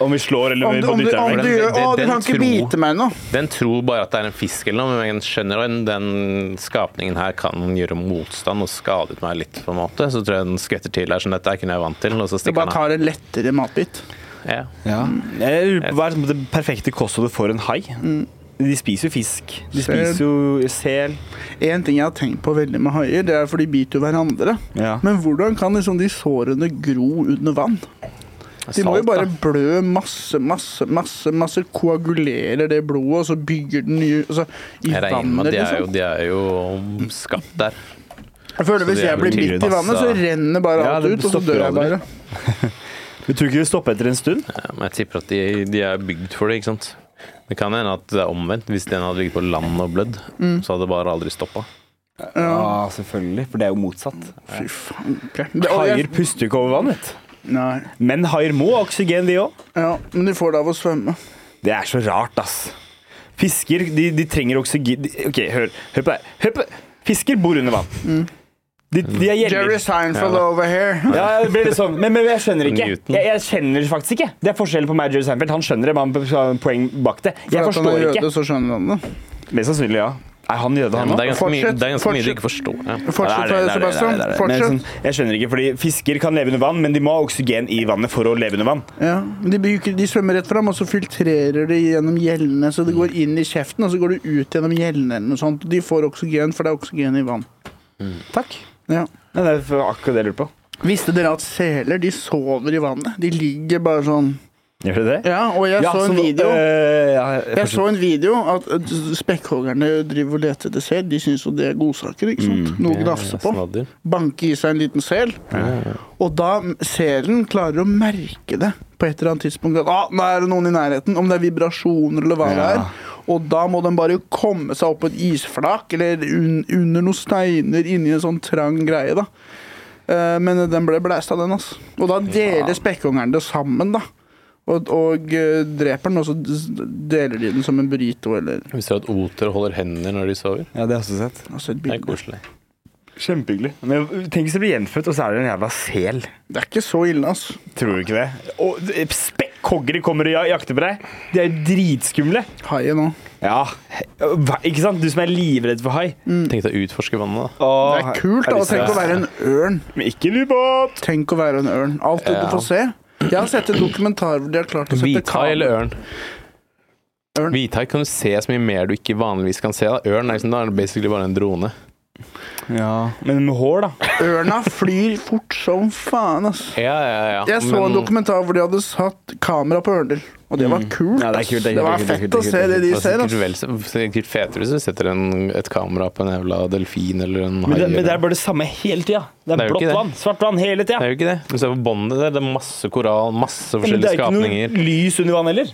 Om vi slår eller Om om du, vi om du, dytter om den du vekk. gjør Å, du Den- den kan ikke tro- bite meg nå. Den tror bare at det er en fisk eller noe, men den skjønner at den skapningen her kan gjøre motstand og skadet meg litt, på en måte. Så tror jeg den skvetter til her, sånn dette er ikke noe jeg er vant til, og så Du stikker bare han av. tar en lettere matbit. Ja. Ja. Mm. Jeg Mm. lurer på Hva er liksom det perfekte kostholdet for en hai? De spiser jo fisk. De Sel. spiser jo sel. En ting jeg har tenkt på veldig med haier, det er for de biter jo hverandre. Ja. Men hvordan kan liksom de sårene gro under vann? De må jo bare blø masse, masse, masse, masse koagulerer det blodet, og så bygger den nye altså, I Jeg regner vannet, med at de er jo, liksom. de er jo skapt der. Jeg føler så Hvis de er jeg blir vel bitt i tilpasset- vannet, så renner bare Ja, alt det ut, og så stopper dør jeg aldri. bare. Du tror ikke det stopper etter en stund? Ja, men jeg tipper at de, de er bygd for det, ikke sant. Det kan hende at det er omvendt. Hvis den hadde ligget på land og blødd, Mm. så hadde det bare aldri stoppa. Ja. selvfølgelig. For det er jo motsatt. Fy faen. ok. Det- og Haier jeg- puster jo ikke over vann, vet du. Nei. Men haier må ha oksygen, de òg. Ja, men de får det av å svømme. Det er så rart, ass. Fisker, de, de trenger oksygen de, OK, hør, hør på det. her. Hør på Fisker bor under vann. De, de er gjeller. Jerry Seinfeld Ja. over here. Ja, det blir litt sånn. Men, men jeg skjønner ikke. Newton. Jeg, jeg skjønner faktisk ikke. Det er forskjellen på meg og Jerry Seinfeld. Han skjønner det, men han har poeng bak det. Jeg For at han forstår er jøde, ikke. så skjønner han det. Mest sannsynlig, ja. Er han jøde, Ja, han men òg? det er ganske, mye, Fortsett, det er ganske mye du fortsett. ikke forstår. Ja. Fortsett, Sebastian. Fortsett. sånn, jeg skjønner ikke, fordi Fisker kan leve under vann, men de må ha oksygen i vannet for å leve under vann. Ja, men de, bruker, de svømmer rett fram, og så filtrerer de gjennom gjellene. Så det går inn i kjeften, og så går det ut gjennom gjellene. eller noe sånt. De får oksygen, for det er oksygen i vann. Takk. Ja. Ja, det er for akkurat det jeg lurer på. Visste dere at seler de sover i vannet? De ligger bare sånn Gjør du det? Ja, og jeg så en video. øh, ja, Jeg så en video at øh, spekkhoggerne driver og leter etter sel. De syns jo det er godsaker. ikke sant? Noe å gnafse på. Snadder. Banke i seg en liten sel. Og da selen klarer å merke det på et eller annet tidspunkt. At ah, nå er det noen i nærheten, om det er vibrasjoner eller hva det Ja. er. Og da må den bare komme seg opp på et isflak eller un under noen steiner inni en sånn trang greie. da. Eh, Men den ble blæst av den, altså. Og da deler spekkungeren det sammen, da. Og, og eh, dreper den, og så d- deler de den som en burrito eller Hvis dere at oter holder hender når de sover. Ja, det har jeg også sett. altså et Det er bilde. koselig. Kjempehyggelig. Men tenk hvis du blir gjenfødt, og så er det en jævla sel. Det er ikke så ille, altså. Tror du ikke det? Og eh, spekkhoggere kommer og ja- jakter på deg. De er jo dritskumle. Haien òg. Ja, hva- ikke sant? Du som er livredd for hai. Mm. Tenk deg å utforske vannet, da. Åh, Det er kult, da. de og Tenk å seriøse? være en ørn. Men Ikke en ubåt! Tenk å være en ørn. Alt det Ja. du får se. Jeg har sett en dokumentar hvor de har klart å sette Hvithai eller ørn? Ørn. Hvithai kan du se så mye mer du ikke vanligvis kan se. Da. Ørn er, liksom, da er det basically bare en drone. Men med hår, da. Ørna flyr fort som faen, ass. Ja, ja, ja. Jeg så en dokumentar hvor de hadde satt kamera på ørner. Og det var kult. Mm. Ja, det er ass. kult, det er det var kult, det er kult, fett det er å kult, se det er det de Det var ser. sikkert, ass. vel, altså, så- sikkert fetere hvis du setter en, et kamera på en jævla delfin eller en Men hai. det, men det eller- er bare det samme hele tida. Det er, Det er jo ikke blått det. vann, svart vann hele Det tida. er jo ikke det. Du ser på båndet der, det er masse koral, masse Men det forskjellige er ikke skapninger. noe lys under vann heller.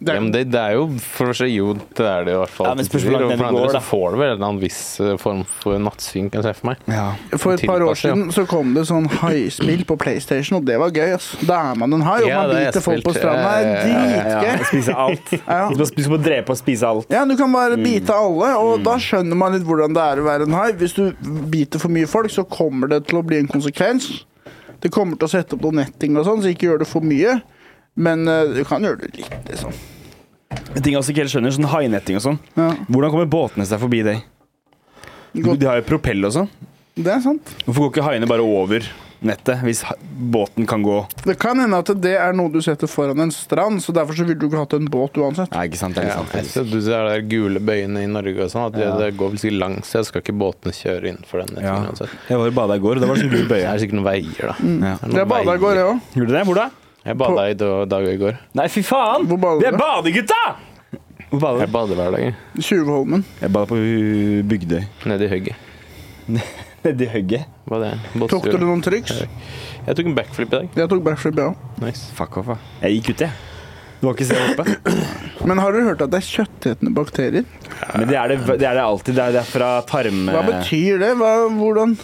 Ja, men det, det er jo for å si jo, det er det jo i hvert fall. Ja, men spørs hvor langt Og den for andre går, da. så får du vel en eller annen viss eh, form for nattsyn, kan jeg se for meg. For et par år Tilpasser, ja. siden så kom det sånn haispill på PlayStation, og det var gøy. ass. Da er man en hai, og Ja, man det har jeg biter folk på spilt. stranda. Det Ja, ja, er eh, Ja, Dritgøy. spise alt. Ja. Du skal- du skal bare drepe og spise alt. Ja, du kan bare bite alle, og da skjønner man litt hvordan det er å være en hai. Hvis du biter for mye folk, så kommer det til å bli en konsekvens. Det kommer til å sette opp noe netting og sånn, så ikke gjør det for mye. Men eh, du kan gjøre det litt, liksom. En Ting jeg også ikke helt skjønner, sånn hainetting og sånn. Ja. Hvordan kommer båtene seg forbi det? Godt. De har jo propell og sånn. Det er sant. Hvorfor går ikke haiene bare over nettet hvis ha- båten kan gå Det kan hende at det er noe du setter foran en strand, så derfor så ville du ikke hatt en båt uansett. Nei, ikke sant. Det liksom Ja, så du ser de gule bøyene i Norge og sånn, at det, det går vel sikkert langs, så skal ikke båtene kjøre innenfor den. Ja. nettingen uansett. Jeg var og bada i går, og det var sånn gul Det bøye her. er sikkert noen veier, da. Ja. Det er noen Jeg bada i går, jeg òg. Gjorde du det? Hvor da? veier. Jeg bada i dag, dag i går. Nei, fy faen! Hvor bader Vi er du? badegutta! Hvor bader Jeg bader hver dag, jeg. Tjuvholmen. Jeg bader på uh, Bygdøy. nede i hugget. Nedi hugget. Hva er det? Tok Båttur. dere noen triks? Jeg tok en backflip i dag. Jeg tok backflip, jeg òg. Nice. Fuck off, da. Jeg gikk ut, jeg. Du var ikke så oppe. Men har dere hørt at det er kjøttetende bakterier? Men det er det, det, er det alltid. Det er, det er fra tarm... Hva betyr det? Hva, hvordan?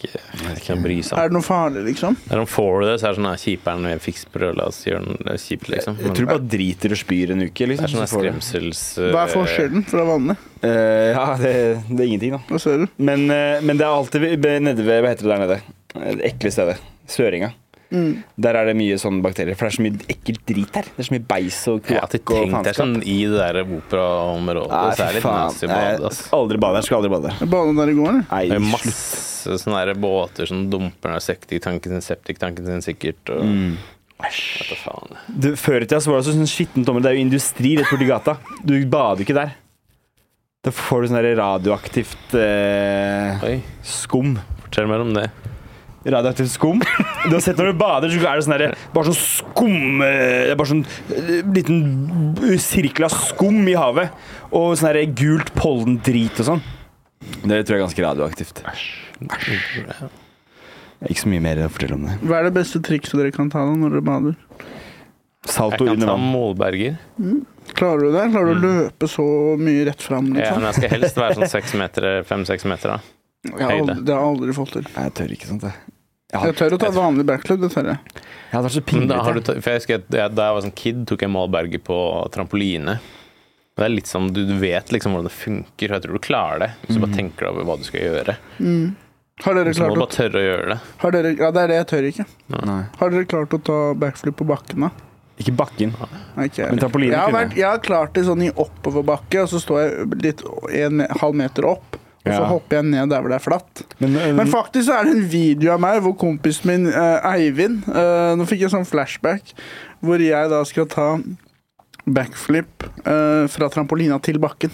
Ikke, ikke noe bry seg om. Er det noe farlig, liksom? Det er om får du det, så er det sånn her kjiperen vi fikk sprø, la oss gjøre den det er kjipt, liksom. Jeg tror du bare driter og spyr en uke. det Liksom, er sånn her så får du- skremsels... Hva er forskjellen fra vanlig? Eh, ja, det, det er ingenting, da. Hva ser du? Men, eh, men det er alltid ved- ved- nede ved Hva heter det der nede? Eh, Det ekle stedet. Søringa. Mm. Der er det mye sånne bakterier. For det er så mye ekkelt drit her. Det er så mye beis og Jeg har kloakk alltid og tenkt det faenskap. er sånn i det der operaområdet, Nei, så er fy det litt faen. nasty å bade, Jeg ass. skal aldri bade der. Skal aldri bade der. Jeg badet der i går. jeg. Nei, Det er slutt. masse sånne der båter som dumper ned septiktanken sin, septiktanken sin sikkert. Og Mm. Hva faen? Du, før i tida så var det også sånn skittent område. Det er jo industri rett borti gata. Du bader ikke der. Da får du sånn der radioaktivt eh, Oi, skum. fortell mer om det. Radioaktivt skum. Du har sett når du bader, så er det sånn der, bare sånn skum eh, Det er bare sånn eh, liten b- sirkel av skum i havet. Og sånn der gult pollendrit og sånn. Det tror jeg er ganske radioaktivt. Ikke så mye mer å fortelle om det. Hva er det beste trikset dere kan ta da når dere bader? Salto Jeg kan under ta vann. målberger. Klarer du det? Klarer du å løpe så mye rett fram? Ja, Liksom? men jeg skal helst være sånn seks meter, fem-seks meter, da. Jeg har aldri, det har jeg aldri fått til. Nei, jeg tør ikke sånt, jeg. Jeg Jeg hadde, tør å ta et vanlig backlub, det tør jeg. jeg hadde vært så Men pinlig. da har du, ta- for jeg husker at jeg, da jeg var sånn kid, tok jeg målberger på trampoline. Det er litt sånn, du, du vet liksom hvordan det funker, og jeg tror du klarer det. Hvis du bare tenker deg over hva du skal gjøre. Har dere, Så klart må du å, bare tørre å gjøre det. har dere, ja, det er det jeg tør ikke. Nei. Har dere klart å ta backflip på bakken, da? Ikke bakken. Nei, ikke jeg. Men trampoline jeg har, kunne vært, jeg har klart det sånn i oppoverbakke, og så står jeg litt en halv meter opp, og så Ja. hopper jeg ned der hvor det er flatt. Men, Men faktisk så er det en video av meg hvor kompisen min, eh, Eivind eh, Nå fikk jeg sånn flashback hvor jeg da skal ta backflip eh, fra trampolina til bakken.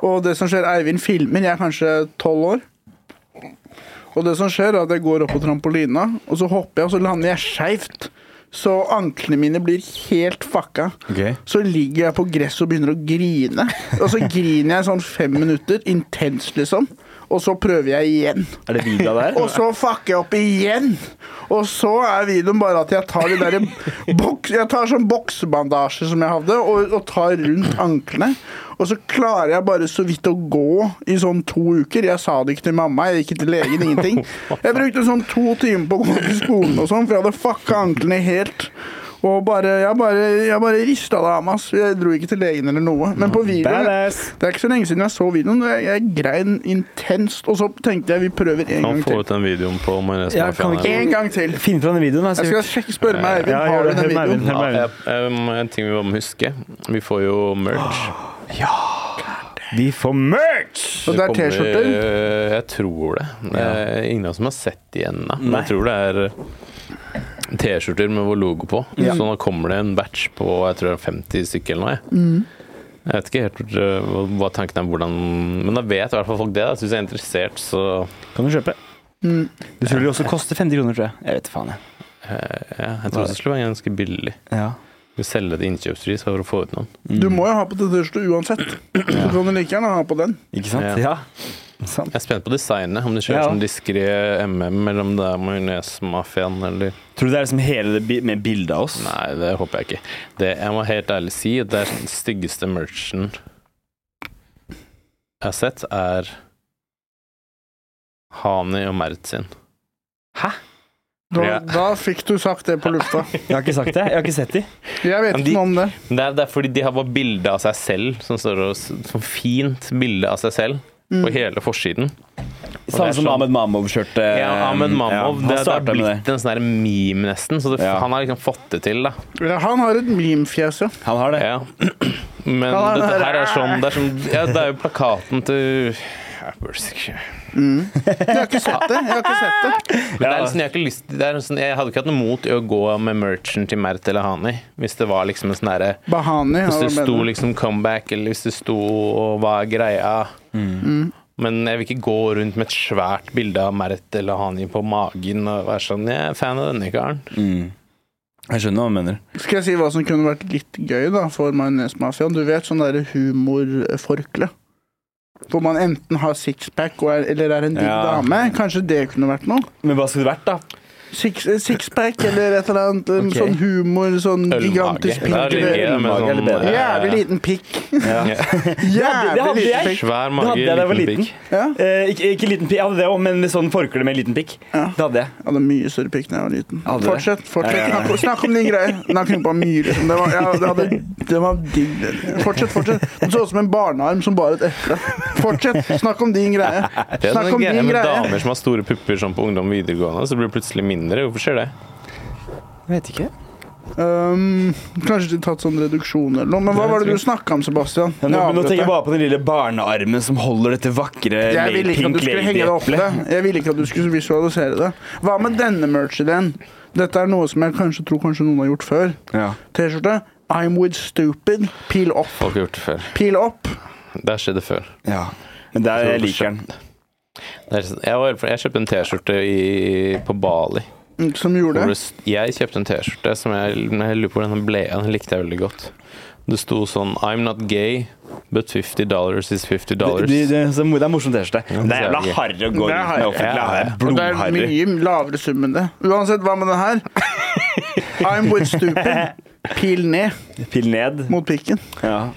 Og det som skjer, Eivind filmer, jeg er kanskje tolv år. Og det som skjer, er at jeg går opp på trampolina, og så hopper jeg, og så lander jeg skeivt. Så anklene mine blir helt fucka. Ok. Så ligger jeg på gresset og begynner å grine. Og så griner jeg sånn fem minutter, intenst liksom. Og så prøver jeg igjen. Er det video av det her? Og så fucker jeg opp igjen. Og så er videoen bare at jeg tar de der boks, Jeg tar sånn boksebandasje som jeg hadde, og, og tar rundt anklene. Og så klarer jeg bare så vidt å gå i sånn to uker. Jeg sa det ikke til mamma, jeg gikk ikke til legen, ingenting. Jeg brukte sånn to timer på å gå til skolen og sånn, for jeg hadde fucka anklene helt. Og bare, jeg bare, jeg bare rista det av meg. ass. Jeg dro ikke til legen eller noe. Men på videoen Badass! Det er ikke så lenge siden jeg så videoen. og Jeg, jeg grein intenst. Og så tenkte jeg vi prøver en Kan gang få til. ut den videoen på Majones Ja, kan vi ikke- En gang til. Finn fram den videoen. da, Jeg skal sikkert. sjekke, spørre meg, Eivind. Ja, gjør har du det. den Hør meg, videoen? Eivind. Ja, jeg, em, en ting vi bare må huske. Vi får jo merch. Vi får merch! Og det er kommer- T-skjorter. eh, Jeg tror det. Det er ingen som har sett de ennå. Men jeg tror det er eh, T-skjorter med vår logo på. Så nå kommer det en batch på jeg tror det er 50 stykker eller noe. jeg. Mm. Jeg vet ikke helt eh, hva- hva tanken er, hvordan Men da vet i hvert fall folk det. da. Hvis jeg er interessert, så Kan du kjøpe? Mm. Det skulle jo også koste 50 kroner, tror jeg. Jeg vet faen, jeg. eh, ja, Jeg tror det skulle være ganske billig. Ja. Vi selger det til innkjøpspris for å få ut noen. Mm. Du må jo ha på T-skjorte uansett. Så kan du like gjerne ha på den. Ikke sant? Ja. Ja. Sant. Jeg er spent på designet, om de kjører Ja. sånn diskré MM, eller om det er majonesmafiaen, eller Tror du det er liksom hele det bi- med bilde av oss? Nei, det håper jeg ikke. Det, jeg må helt ærlig si at det er den styggeste merchen jeg har sett, er Hani og Mert sin. Da, Ja. da fikk du sagt det på lufta. Jeg har ikke sagt det. Jeg har ikke sett de. Jeg vet Men ikke de- noe om det. Men Det er, det er fordi de har bare bilde av seg selv, som står og s- sånn fint bilde av seg selv Mm. på hele forsiden. Samme er som sånn- Ahmed Mamov-skjørte. Ja, Ahmed Mamov. det, det har blitt en sånn der meme, nesten. Så det, Ja. han har liksom fått det til, da. Ja, Han har et meme-fjes, ja. Han har det. Ja. Men Ja, den dette der- her er sånn Det er, sånn, ja, det er jo plakaten til ja, Bursk. Jeg har ikke sett det. Jeg har ikke sett det. Men det er liksom, jeg, har ikke lyst, det er liksom, jeg hadde ikke hatt noe mot i å gå med merchen til Mert eller Hani. Hvis det var liksom en sånn derre Bahani. Hvis har det vært sto bedre. liksom comeback, eller hvis det sto og hva er greia. Mm. Men jeg vil ikke gå rundt med et svært bilde av Mert eller Hani på magen og være sånn Jeg er fan av denne karen. Mm. Jeg skjønner hva han mener. Skal jeg si hva som kunne vært litt gøy da for majonesmafiaen? Du vet sånn derre humorforkle? Hvor man enten har sixpack og er- eller er en digg Ja. dame. Kanskje det kunne vært noe? Men hva skulle det vært, da? Six, eh, sixpack eller et eller annet. en Ok. Sånn humor, sånn Ølmage. gigantisk Det er pikk. litt eller- gøy da, med Ølmage er litt sånn, bedre. Jævlig eh, liten pikk. Ja. det hadde Jævlig liten jeg. pikk. Svær Det mage, hadde jeg da jeg var liten liten. pikk. Ja. Eh, ikke, ikke liten pikk, jeg hadde det òg, men med sånn forkle med liten pikk. Ja. Det hadde jeg. Jeg hadde mye større pikk da jeg var liten. Hadde du det? Fortsett. fortsett. Ja, ja, ja. Snakk, snakk om din greie. Snakk om på myr. liksom. Det var, ja, det hadde, det var digg. Fortsett, fortsett. Du så ut som en barnearm som bar et eple. Fortsett. Snakk om din greie. Det er Snakk sånn om greie din med greie. damer som har store pupper sånn på ungdom og videregående, så blir det plutselig mindre. Hvorfor skjer det? Jeg vet ikke. Um, kanskje de tatt sånn reduksjon eller noe. Men hva var det du snakka om, Sebastian? Ja, nå, Jeg nå avbrøt tenker deg. jeg bare på den lille barnearmen som holder dette vakre Jeg ville ikke at du pink skulle henge det opp lady-eplet. det. Jeg ville ikke at du skulle visualisere det. Hva med denne merch-ideen? Dette er noe som jeg kanskje tror kanskje noen har gjort før. Ja. T-skjorte. I'm with stupid. Pil opp. Folk har gjort det før. Pil opp. Det har skjedd før. ja. Men der jeg liker den. Det er sånn- Jeg, var, jeg kjøpte en T-skjorte i- på Bali. Mm, Som Hvor gjorde det st- Jeg kjøpte en T-skjorte som jeg, men jeg lurer på hvordan den ble av. Den likte jeg veldig godt. Det sto sånn I'm not gay, but 50 dollars is 50 Det, dollars. det, det, så mo- det er morsomt T-skjorte. Men det er jævla harry å gå Det er rundt harry. med offentlig. Ja, Det ja. er Det er blodharry. mye lavere sum enn det. Uansett, hva med den her? I'm with stupid. Pil ned Pil ned. mot pikken. Ja. Her,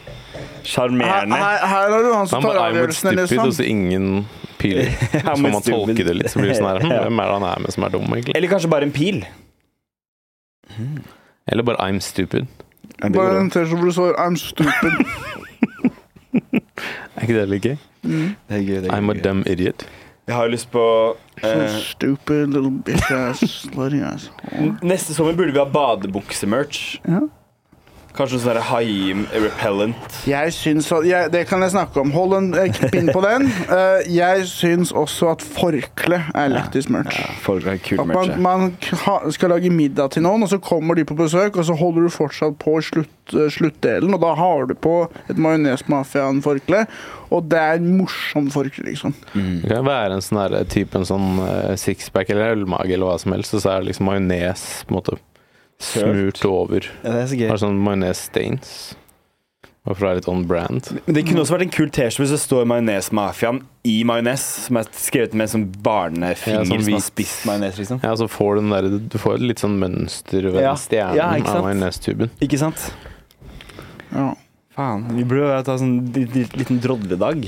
Sjarmerende. her, her har du han som Han tar bare I'm with avgjørelsene, stupid, og liksom. så ingen piler. Så I'm må with man tolke stupid. det litt, så blir det sånn her hm, Ja. Hvem er det han er med som er dum, egentlig? Eller kanskje bare en pil. Eller bare I'm stupid. Ja, det går Bare an. en T-skjorte hvor det står I'm stupid. Er ikke det litt gøy? Det er gøy, det er I'm a gøy. dumb idiot. Jeg har jo lyst på eh, So stupid little bitch ass slutty ass. n- Neste sommer burde vi ha badebuksemerch. Ja. Kanskje noe sånn der hai-repellent. Jeg syns at jeg, Det kan jeg snakke om. Hold en eh, pinn på den. Eh, jeg syns også at forkle er lættis merch. Folk har kul At man, man k- ha- skal lage middag til noen, og så kommer de på besøk, og så holder du fortsatt på slutt, eh, sluttdelen, og da har du på et majones-mafiaen-forkle, og det er morsomt forkle, liksom. Det kan være en sånn der, type en sånn eh, sixpack eller ølmage eller hva som helst, og så er det liksom majones på en måte smurt over. Ja, det er så gøy. Har sånn majones-stains. Bare for å være litt on brand. Men det kunne også vært en kul T-skjorte hvis det står Majones-mafiaen i majones, som er skrevet med en sånn barnefinger Ja, sånn som har hvit. spist majones, liksom. Ja, så får du den der Du får et litt sånn mønster ved Ja. den stjernen Ja, ikke av sant? majonestuben. Ikke sant? Ja. Faen, vi burde jo ta sånn li- li- liten drodledag.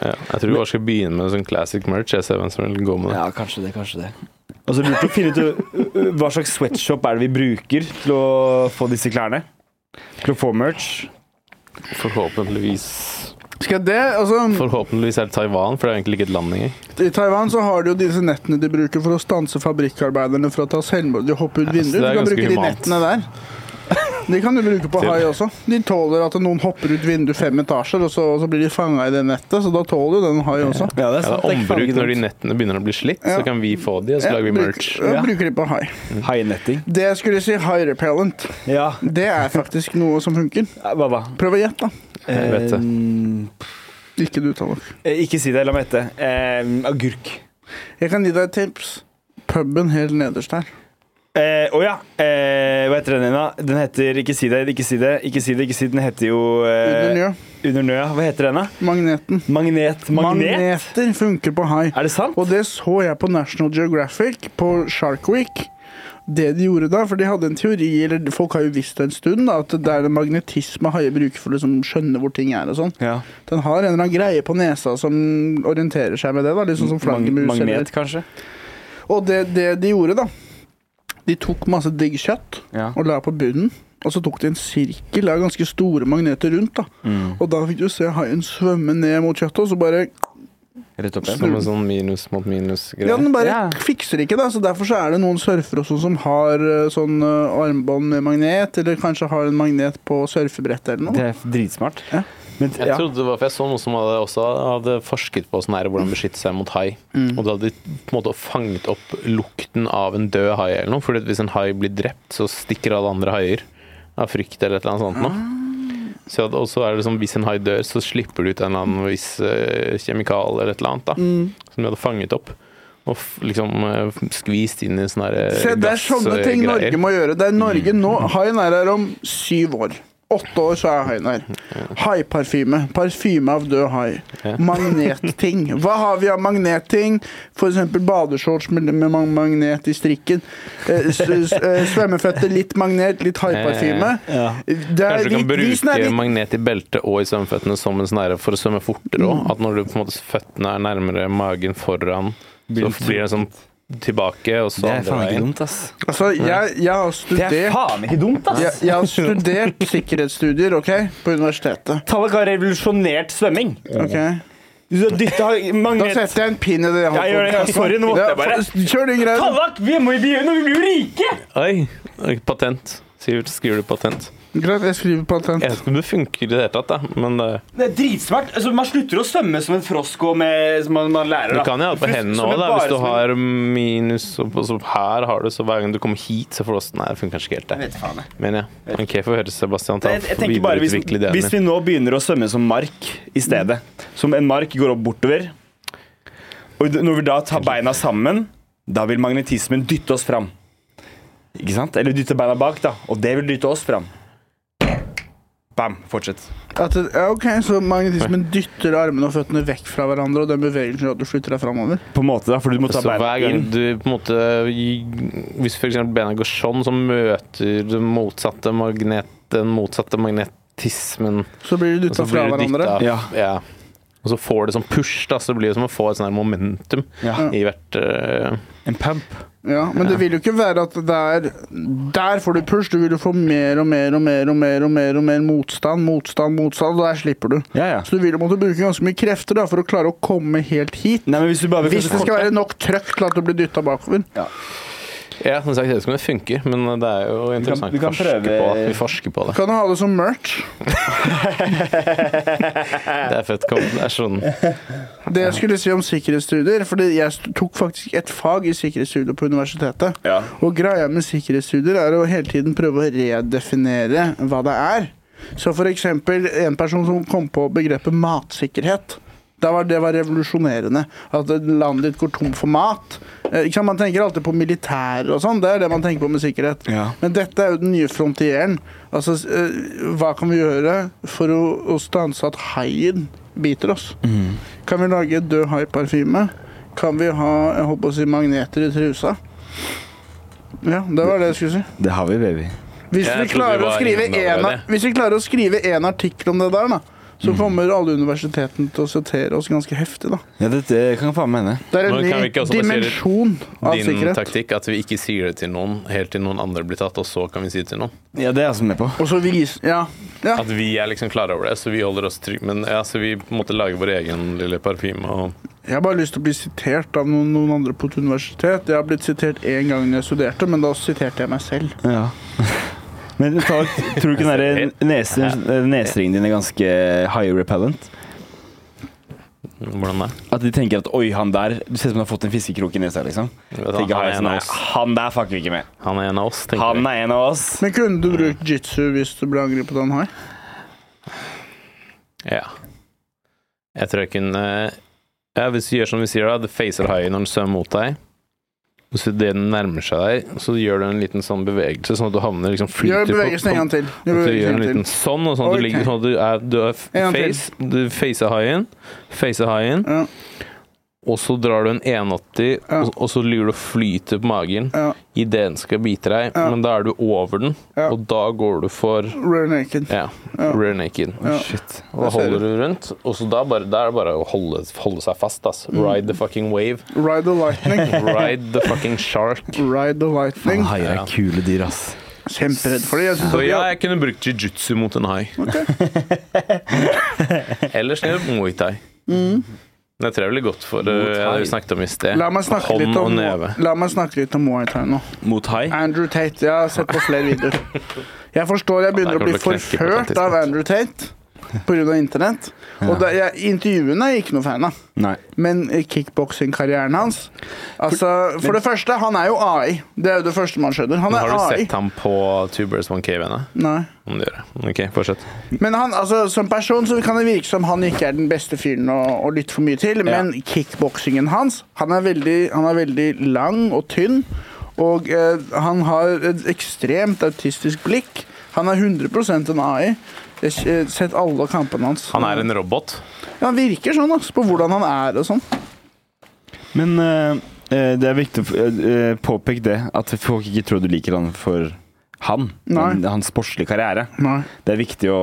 Ja, jeg tror vi bare skal begynne med sånn classic merch. Jeg ser hvem som vil gå med det. Ja, kanskje det, kanskje det. Og så lurte å finne ut ø, ø, hva slags sweatshop er det vi bruker til å få disse klærne. Til å få merch. Forhåpentligvis Skal det, altså, Forhåpentligvis er det Taiwan, for det er egentlig ikke et land engang. I Taiwan så har de jo disse nettene de bruker for å stanse fabrikkarbeiderne fra å ta selvmord. De hopper ut Ja, så det vinduet. er Du kan ganske bruke de humant. nettene der. De kan du bruke på Til- hai også. De tåler at noen hopper ut vinduet fem etasjer, og så, og så blir de fanga i det nettet, så da tåler jo den hai også. Ja, det Ja, det er ombruk når de nettene begynner å bli slitt, Ja. så kan vi få de, og så Ja, lager vi bruk- merch. Ja, Ja. bruker de på hai. Haienetting. Det jeg skulle si, hai repellent, Ja, det er faktisk noe som funker. hva da? Prøv å gjette, da. Jeg vet det. Eh, Ikke du, Tallak. ikke si det, la meg gjette. Eh, agurk. Jeg kan gi deg et tips. Puben helt nederst her. Å eh, å ja. Eh, hva heter den igjen, da? Den heter Ikke si det, ikke si det, ikke si det. ikke si det. Den heter jo Under eh, njø. Under nøya. Hva heter den, da? Magneten. Magnet. Magnet? Magneter funker på hai. Er det sant? Og det så jeg på National Geographic på Shark Week. Det de gjorde da, for de hadde en teori, eller folk har jo visst det en stund, da, at det er en magnetisme haier bruker for å liksom skjønne hvor ting er og sånn. Ja. Den har en eller annen greie på nesa som orienterer seg med det, da, liksom som flaggermus. Mag- eller- magnet, kanskje? Og det, det de gjorde, da De tok masse digg kjøtt Ja. og la på bunnen. Og så tok de en sirkel av ganske store magneter rundt. da Mm. Og da fikk du se haien svømme ned mot kjøttet, og så bare Rett opp Som en sånn minus mot minus-greie. Ja, den bare Ja. fikser ikke, da. Så derfor så er det noen surfere også som har eh, sånn eh, armbånd med magnet, eller kanskje har en magnet på surfebrettet eller noe. Det er dritsmart. Ja. Men, Jeg ja. trodde det var, for jeg så noen som hadde, også hadde forsket på sånn her, hvordan beskytte seg mot hai. Mm. Og da hadde de på en måte fanget opp lukten av en død hai eller noe. Fordi at hvis en hai blir drept, så stikker alle andre haier av frykt eller et eller annet sånt Ah. noe. Så at, og så er det liksom, hvis en hai dør, så slipper du ut en eller annen viss eh, kjemikal eller et eller annet da, Mm. som de hadde fanget opp. Og f liksom eh, skvist inn i sånne her, eh, Se, det er sånne ting gassgreier. Norge må gjøre. Det er Norge Mm. nå. Haien er her om syv år. Åtte år så er haien her. Haiparfyme. Parfyme av død hai. Ja. Magnetting. Hva har vi av magnetting? For eksempel badeshorts med, med mang- magnet i strikken. Eh, s s eh, svømmeføtter, litt magnet, litt haiparfyme. Ja. Det Eh, er- Kanskje du kan vi- vi bruke snakker- vi- magnet i beltet og i svømmeføttene som en snære for å svømme fortere òg. Mm. At når du på en måte føttene er nærmere magen foran, så Blir- blir det sånn tilbake, og så Det er andre faen ikke veien. dumt, ass. Altså, jeg, jeg har Det er studert faen ikke dumt, jeg, ass! jeg har studert sikkerhetsstudier, OK, på universitetet. Tallak har revolusjonert svømming. Ok? Du dytta Da magnet setter jeg en pin i det. jeg har Jeg gjør det, ja. på. Sorry, nå måtte jeg bare. Kjør din greie. Tallak, vi må i byen, og vi blir jo rike! Oi! Patent. Sivert skriver du patent. Greit, jeg skriver patent. Jeg vet ikke om det funker i det hele tatt, da, men eh, det, Det er dritsmart. Altså, man slutter å svømme som en frosk og med, som man, man lærer. du da. kan jo ha det på Først- hendene som en òg, bare hvis du som en- har minus og og så her har du, så hver gang du kommer hit, så får du også Nei, det funker kanskje ikke helt, Jeg det. vet faen, jeg. Men ja. Ok, få høre, Sebastian. Ta Nei, jeg, jeg tenker bare hvis, videreutvikle ideene. hvis vi nå begynner å svømme som mark i stedet Som en mark går opp bortover Og d- når vi da tar beina sammen Da vil magnetismen dytte oss fram Ikke sant? Eller dytte beina bak da Og det vil dytte oss fram Bam, fortsett At det, ja, ok, Så magnetismen dytter armene og føttene vekk fra hverandre, og den bevegelsen gjør at du flytter deg framover? På en måte da, for du må ta Så hver beina gang inn du på en måte Hvis for eksempel bena går sånn, så møter det motsatte magnet, den motsatte magnetismen. Så blir du Og så dytta fra blir du hverandre. dytta. Ja. Ja. Og så får det sånn push, da, så det blir jo som å få et sånn her momentum Ja. i hvert eh, En pump Ja, Men det vil jo ikke være at der, der får du push. Du vil jo få mer og mer og mer og mer og mer og mer motstand, motstand, motstand, og der slipper du. Ja, ja Så du vil jo måtte bruke ganske mye krefter da, for å klare å komme helt hit. Nei, men hvis du bare vil Hvis det skal være nok trøkk til at du blir dytta bakover. Ja, som sagt, jeg vet ikke om det funker, men det er jo interessant vi å kan forske prøve- på. Vi forsker på det. Kan du ha det som merch? Det er fett. Kom, det er sånn Det jeg skulle si om sikkerhetsstudier, fordi jeg st- tok faktisk et fag i sikkerhetsstudier på universitetet. Ja, Og greia med sikkerhetsstudier er å hele tiden prøve å redefinere hva det er. Så for eksempel en person som kom på begrepet matsikkerhet. Da var det var revolusjonerende. At landet ditt går tom for mat. Eh, Ikke sant? Man tenker alltid på militær og sånn. Det er det man tenker på med sikkerhet. Ja. Men dette er jo den nye frontieren. Altså, s- eh, hva kan vi gjøre for å, å stanse at haien biter oss? Mm. Kan vi lage død hai-parfyme? Kan vi ha jeg holdt på å si, magneter i trusa? Ja, det var det jeg skulle si. det har vi, baby Hvis Jeg vi, trodde klarer vi å var skrive innom en, allerede. hvis vi klarer å skrive én artikkel om det der, da, Mm. så kommer alle universitetene til å sitere oss ganske heftig. da. Ja, dette kan faen mene Det er en Men kan vi ny ikke også basere dimensjon av din sikkerhet. taktikk at vi ikke sier det til noen helt til noen andre blir tatt, og så kan vi si det til noen. Ja, det er jeg også med på Og så vis... Ja. ja. At vi er liksom klare over det, så vi holder oss trygge. Men ja, så vi på en måte lager vår egen lille parfyme og Jeg har bare lyst til å bli sitert av noen, noen andre på et universitet. Jeg har blitt sitert én gang da jeg studerte, men da siterte jeg meg selv. Ja. Men ta, tror du ikke den der nese, neseringen din er ganske high repellent? Hvordan det er. At de tenker at oi, han der Du ser ut som han har fått en fiskekrok i nesa, liksom. Tenker haien Han er en sånn, av nei, oss. han der fucker vi ikke med. Han er en av oss, tenker Han jeg. er en av oss. Men kunne du brukt jitsu hvis du ble angrepet av en hai? Ja. Jeg tror jeg kunne ja, Hvis du gjør som vi sier, da, det facer haien når den svømmer mot deg. Hvis det den nærmer seg deg, så gjør du en liten sånn bevegelse, sånn at du havner liksom flyter Gjør på- bevegelsen en gang til. Gjør At du gjør bevegelsen en en liten gang til. sånn, og sånn at Ok. du ligger sånn at du er, du er En gang til. face, du facer haien, facer haien, Ja, og så drar du en 180, Ja. og, og så ligger du og flyter på magen ja. idet den skal bite deg, Ja. men da er du over den, Ja. og da går du for Rear naked. ja, Ja. rear naked. Ja. Shit. Og da ser holder du rundt, og så da bare, da er det bare å holde, holde seg fast, ass. Mm. Ride the fucking wave. Ride the lightning. Ride the fucking shark. Ride the lightning. Haier er Ja. kule dyr, ass. Kjemperedd for det. Jeg synes Så at ja, vi- jeg kunne brukt jiu-jitsu mot en hai. Ellers nede på Muay Thai. Men Jeg tror jeg ville gått for det Muay Thai. vi snakket om i sted. Mm. La meg snakke Hånd litt og om, neve. la meg snakke litt om Muay Thai nå. Mot hai? Andrew Tate. Jeg har sett på flere videoer. Jeg forstår jeg begynner Ja, å der bli kommer det knekker på et forført tidspunkt. av Andrew Tate pga. internett. Og da, jeg, intervjuene er jeg ikke noe fan av. Nei. Men kickboksingkarrieren hans Altså, For det første, han er jo AI. Det er jo det første man skjønner. Han Men er Har du AI. sett ham på Tubers One Cave-ennå? Nei. Om du gjør det. Ok, fortsett. Men han, altså, som person så kan det virke som han ikke er den beste fyren å, å lytte for mye til, men kickboksingen hans han er, veldig, han er veldig lang og tynn, og eh, han har et ekstremt autistisk blikk. Han er 100 en AI. Jeg har eh, sett alle kampene hans. Han er en robot. Ja, han virker sånn, altså, på hvordan han er og sånn. Men eh, eh, det er viktig å eh, påpeke det, at folk ikke tror du liker han for han. Nei. Men Hans sportslige karriere. Nei. Det er viktig å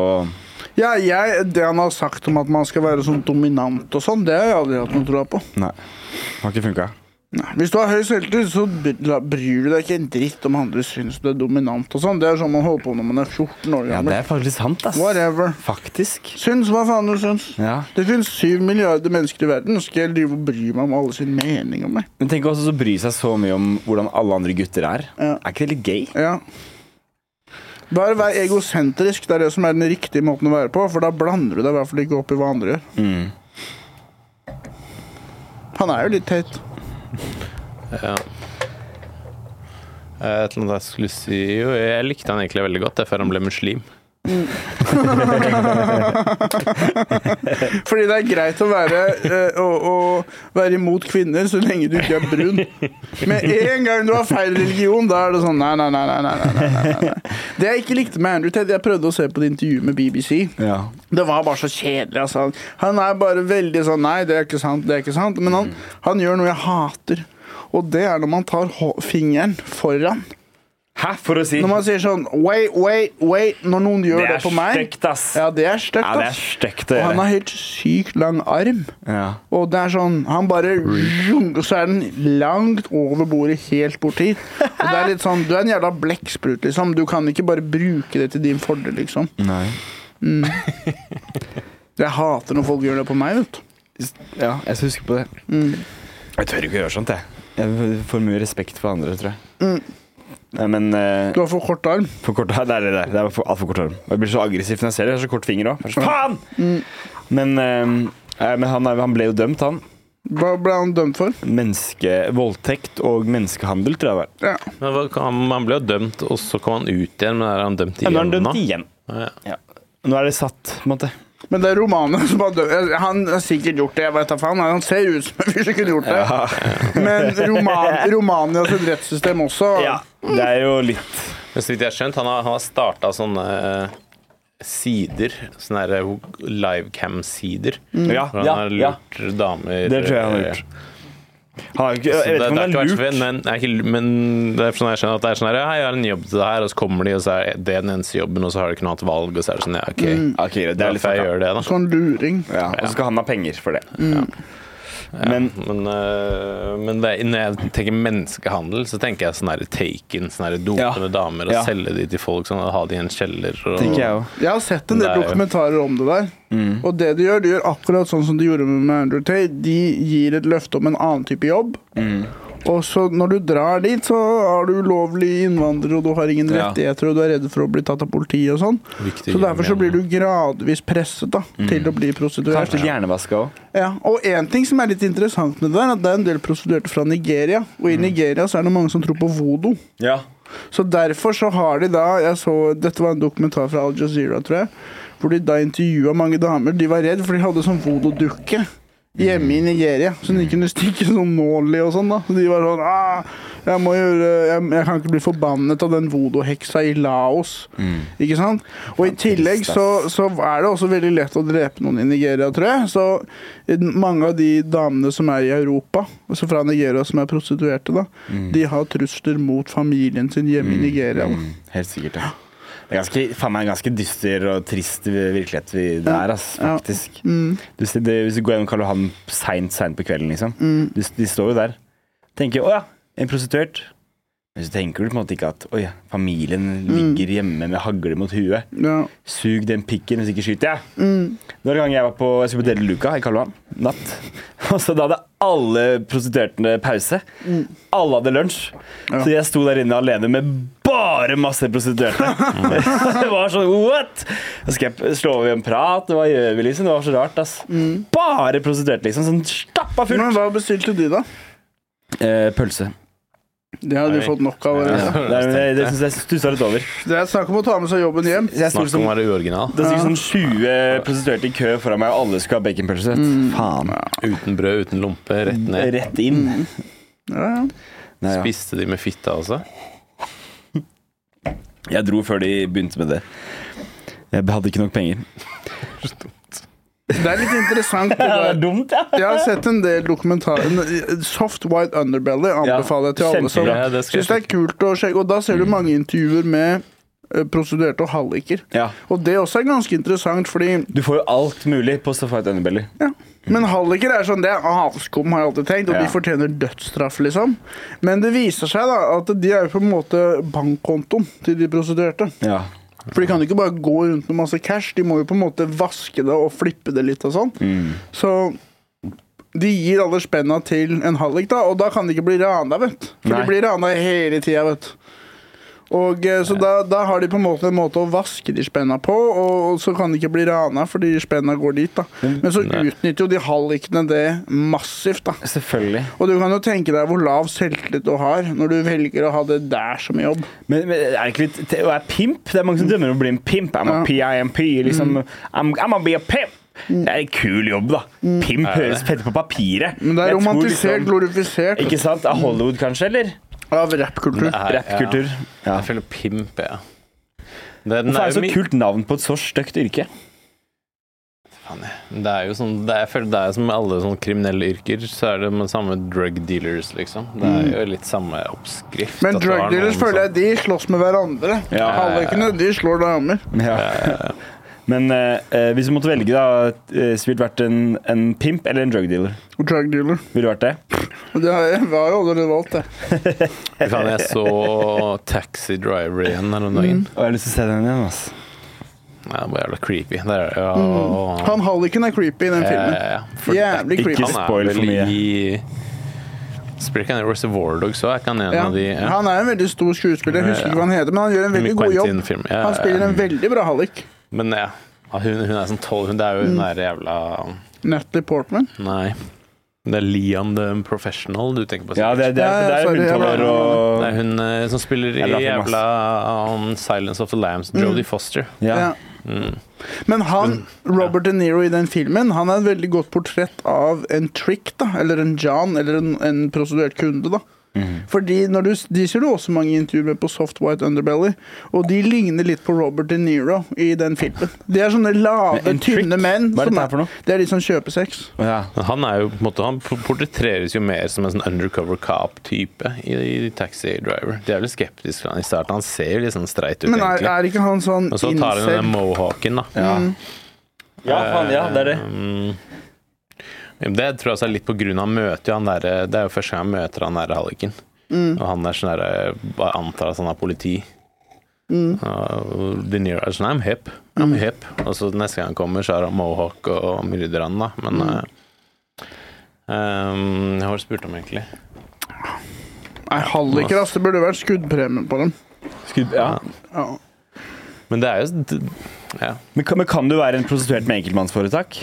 Ja, jeg, Det han har sagt om at man skal være sånn dominant og sånn, det har jeg aldri hatt noe tro på. Nei. Har ikke funka. Nei. Hvis du har høy selvtillit, så bry- la- bryr du deg ikke en dritt om andre syns du er dominant. og sånn. Det er sånn man holder på når man er 14 Ja, år gammel. det er faktisk sant, ass. Whatever. Faktisk. Syns hva faen du syns. Ja. Det finnes syv milliarder mennesker i verden. Skal jeg drive og bry meg om alle sin mening om meg? Men tenk også å bry seg så mye om hvordan alle andre gutter er. Ja. Er ikke det litt gay? Ja. Bare vær egosentrisk. Det er det som er den riktige måten å være på. For da blander du deg i hvert fall ikke opp i hva andre gjør. Mm. Han er jo litt teit. Ja. Eh, Et eller annet jeg skulle si Jo, jeg likte han egentlig veldig godt, det er før han ble muslim. Fordi det er greit å være, eh, å, å være imot kvinner så lenge du ikke er brun. Med en gang du har feil religion, da er det sånn nei, nei, nei. nei, nei, nei, nei, nei, nei. Det jeg ikke likte med Andrew Ted, jeg prøvde å se på det intervjuet med BBC. Ja. Det var bare så kjedelig. Altså. Han er bare veldig sånn Nei, det er ikke sant, det er ikke sant. Men han, han gjør noe jeg hater. Og det er når man tar hå- fingeren foran. Hæ, for å si? Når man sier sånn Wait, wait, wait. Når noen gjør det det, er på meg. stygt, ass. Ja, det er stygt, Ja, det er ass. stygt å Og han gjøre. har helt sykt lang arm. Ja. Og det er sånn Han bare Og så er den langt over bordet, helt bort hit. Og det er litt sånn Du er en jævla blekksprut, liksom. Du kan ikke bare bruke det til din fordel, liksom. Nei. Jeg hater når folk gjør det på meg, vet du. Ja, jeg skal huske på det. Mm. Jeg tør ikke å gjøre sånt, jeg. Mm. Jeg får mye respekt for andre, tror jeg. Nei, men eh, Du har for kort arm. for kort, det er det der. Det er for- altfor kort arm. Og Jeg blir så aggressiv når jeg ser det. Jeg har så kort finger òg. Faen! Men, eh, eh, men han, er- han ble jo dømt, han. Hva ble han dømt for? Menneske, voldtekt og menneskehandel, tror jeg det var. Ja. Men hva kan- Han ble jo dømt, og så kom han ut igjen, men er han dømt Ja, nå er han igjen dømt nå? igjen. Ja. Nå er det satt, på en måte. Men det er romanen som har dømt Han har sikkert gjort det, jeg vet da faen. Han ser ut som en fyr som kunne gjort det. Men roman, Romania sitt rettssystem også Ja, det er jo litt Men så vidt jeg har skjønt, han har, han har starta sånne eh, sider, sånne eh, der livecam-sider. Mm. Ja, Hvor han ja, har ja. lurt damer eh, Det tror jeg han har gjort. Han har jo ikke, Så jeg det, vet det ikke har om ikke han vært er for- lurt. men, det er ikke, men det er sånn jeg skjønner at det er sånn her, «Hei, jeg har en jobb til det her, og så kommer de, og så er det den eneste jobben, og så har de ikke noe annet valg, og så er det sånn, ja, Ok, ok, greit, det er derfor jeg fucka. gjør det, da. Sånn luring. Ja, og så skal han ha penger for det. Men Men, øh, men det, er- når jeg tenker menneskehandel, så tenker jeg sånn her taken, sånne her dopende Ja. damer, og Ja. selge de til folk, sånn, og ha de i en kjeller, og... tenker jeg òg. Jeg har sett en del Det er jo- Mm. dokumentarer om det der. Og det de gjør, de gjør akkurat sånn som de gjorde med Andrew Tate. De gir et løfte om en annen type jobb. Mm. Og så når du drar dit, så er du ulovlig innvandrer, og du har ingen Ja. rettigheter, og du er redd for å bli tatt av politiet og sånn. Viktig Så derfor så gjengen. blir du gradvis presset da, Mm. til å bli prostituert. Kanskje litt hjernevaska òg. Ja, og en ting som er litt interessant med det der, er at det er en del prostituerte fra Nigeria, og Mm. i Nigeria så er det mange som tror på voodoo. Ja. Så derfor så har de da, jeg så, dette var en dokumentar fra Al Jazeera, tror jeg, hvor de da intervjuet mange damer, de var redd, for de hadde sånn voodoo-dukke hjemme i Nigeria, så de kunne stikke sånn nålig og sånn da. Så de var sånn, ah, jeg må gjøre, jeg, jeg kan ikke bli forbannet av den voodoo-heksa i Laos. Ikke sant? Og i tillegg så, så er det også veldig lett å drepe noen i Nigeria, tror jeg. Så i den- mange av de damene som er i Europa, altså fra Nigeria som er prostituerte, da, de har trusler mot familien sin hjemme i Nigeria. Da. Mm, Helt sikkert, ja. Det er ganske, faen meg en ganske dyster og trist virkelighet vi, det er, ass, Ja. Mm. faktisk. Du ser det, hvis du går gjennom Karl Johan seint, seint på kvelden, liksom. Mm. Du, de står jo der. Tenker 'å ja, en prostituert'. Men så tenker du på en måte ikke at 'oi, familien Mm. ligger hjemme med hagle mot huet'. Ja. Sug den pikken, hvis ikke skyter jeg. Det var en gang jeg var på Jeg skulle på Dele Luca i Karl Johan. Natt. Og så da hadde alle prostituerte pause. Alle hadde lunsj. Så jeg sto der inne alene med bare masse prostituerte. det var sånn what?! Så skal jeg slå over i en prat, og hva gjør vi, liksom? Det var så rart, ass. Bare prostituerte, liksom. Sånn stappa fullt. Men hva bestilte de, da? Eh, pølse. Det hadde Oi. de fått nok av. Ja. allerede. Det, er- det, det syns jeg stussa litt over. Det er snakk om å ta med seg jobben hjem. Så jeg sto Snakk om liksom å være uoriginal, det var sikkert sånn 20 prostituerte i kø foran meg, og alle skulle ha baconpølse. Faen. uten brød, uten lompe, rett ned. Rett inn. Ja, ja. Nei, ja. Spiste de med fitta også? Jeg dro før de begynte med det. Jeg hadde ikke nok penger. Det er litt interessant. Det der. dumt, ja. Jeg har sett en del dokumentarer. En- eh, Soft White Underbelly anbefaler jeg til alle som kjempebra. Ja, det skal jeg syns det er kult å sjekke. Og da ser du mange intervjuer med eh, prostituerte og halliker. ja. Og det også er ganske interessant, fordi Du får jo alt mulig på Safari Underbelly. Ja. Men halliker er sånn, det er avskum, har jeg alltid tenkt, Ja. og de fortjener dødsstraff, liksom. Men det viser seg da at de er jo på en måte bankkontoen til de prostituerte. Ja. For de kan jo ikke bare gå rundt med masse cash, de må jo på en måte vaske det og flippe det litt og sånn. Mm. Så de gir alle spenna til en hallik, da, og da kan de ikke bli rana, vet du. For Nei. de blir rana hele tida, vet du. Og eh, Så da, da har de på en måte en måte å vaske de spenna på, og, og så kan de ikke bli rana fordi spenna går dit. da. Men så Nei. utnytter jo de hallikene det massivt, da. Selvfølgelig. Og du kan jo tenke deg hvor lav selvtillit du har når du velger å ha det der som jobb. Men, men er det ikke litt Å være pimp? Det er mange som drømmer om å bli en pimp. I'm a Mm. Ja. Mm. PIMP. Liksom, I'm, I'm gonna be a pimp! Det er en kul jobb, da. Pimp Er det høres fett på papiret. Mm. Men det er Jeg tror romantisert, liksom- glorifisert Ikke sant? Av Hollywood, kanskje? Eller? av rappkultur. Det er- Rappkultur. ja. Ja. Jeg føler pimp, jeg. Det, Hvorfor er den er jo det så mye- kult navn på et så stygt yrke? Det er jo sånn, det er, jeg føler det er som med alle sånne kriminelle yrker, så er det med samme drug dealers, liksom. Det er jo litt samme oppskrift. Men at det drug var dealers noen føler som- jeg de slåss med hverandre. Ja. Hallikene, de slår damer. Ja. Men eh, eh, hvis du måtte velge, da, eh, så ville du vært en, en pimp eller en drug dealer? Og Drug dealer. Ville du vært det? Og det har jeg, var jo allerede valgt, det. Fy faen, jeg så Taxi Driver igjen her om Mm. dagen. Og jeg har lyst til å se den igjen. ass. Det er bare jævla creepy. Det er jo Han halliken er creepy i den filmen. Eh, for- Jævlig Ikke creepy. sant. Han spoil er for vel mye. i Spiller ikke han i Reservoir Dogs òg? Er ikke han en Ja. av de ja. Han er en veldig stor skuespiller, jeg husker ikke hva han heter, men han gjør en veldig god jobb. Quentin-film. Ja, Han spiller eh, en veldig bra hallik. Men ja. Ja, Hun, hun er sånn tolv. Hun det er jo Mm. hun der jævla Natalie Portman. Nei. Det er Liam the Professional du tenker på. Ja, det, det, Ja, er, ja, det er sorry, jeg hundetolver bare- og Det er hun eh, som spiller i Jeg la for masse. jævla um, Silence of the Lambs, Mm. Jodie Foster. ja. Mm. Ja. Men han, Robert De Niro i den filmen, han er et veldig godt portrett av en trick, da. Eller en John, eller en, en prostituert kunde, da. Mm. Fordi når du, De ser du også mange intervjuer med på Soft White Underbelly, og de ligner litt på Robert De Niro i den filmen. De er sånne lave, Men en trick? tynne menn. Hva er som dette her for noe? Det er sånn de som kjøper sex. Ja. Men Han er jo på en måte Han portretteres jo mer som en sånn undercover cop-type i, i Taxi Driver. De er vel skeptiske til han i starten. Han ser jo litt sånn streit ut, Men er, egentlig. er ikke han sånn Og så tar han den incel? mohawken, da. Ja. ja, faen, ja, det er det. Um, Mm. Det tror jeg også er litt på grunn av han møter jo han derre Det er jo første gang han møter han derre halliken. Mm. Og han er sånn derre Bare antar at han er politi. Mm. Og De Niro er sånn I'm hip. I'm hip. Og så neste gang han kommer, så er han mohawk og myrder han, da. Men Mm. eh, um, Hva var det jeg spurte om, egentlig? Nei, halliker, ass. Det burde vært skuddpremie på dem. Skudd, ja. Ja. Men det er jo d- Ja. Men, kan- men kan du være en prostituert med enkeltmannsforetak?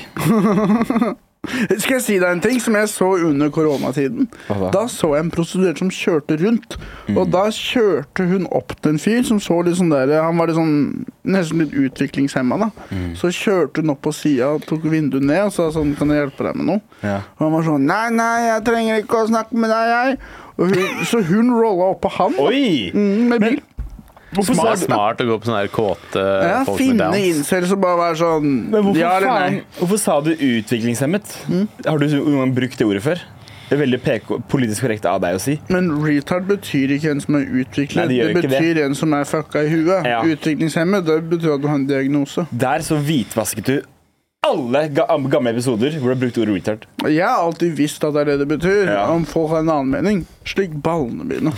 Skal jeg si deg en ting som jeg så under koronatiden? Hva da? Da så jeg en prostituert som kjørte rundt. Og da kjørte hun opp til en fyr som så litt sånn der Han var litt sånn nesten litt utviklingshemma, da. Så kjørte hun opp på sida, tok vinduet ned og sa sånn Kan jeg hjelpe deg med noe? Ja. Og han var sånn Nei, nei, jeg trenger ikke å snakke med deg, jeg. Og hun, så hun rolla opp på han da, Oi! mm, med bil. Hvorfor Smart, sa- smart å gå på sånne her kåte Ja, folk med finne downs. incels og bare være sånn Men hvorfor, Ja eller faen, nei? hvorfor sa du utviklingshemmet? Har du noen gang brukt det ordet før? Det er veldig PK, politisk korrekt av deg å si. Men retard betyr ikke en som er Nei, utviklet. det gjør det ikke det. betyr en som er fucka i huet. Ja. Utviklingshemmet det betyr at du har en diagnose. Der så hvitvasket du alle ga gamle episoder hvor du har brukt ordet retard. Jeg har alltid visst at det er det det betyr. Ja. Om folk har en annen mening. Slik ballene mine.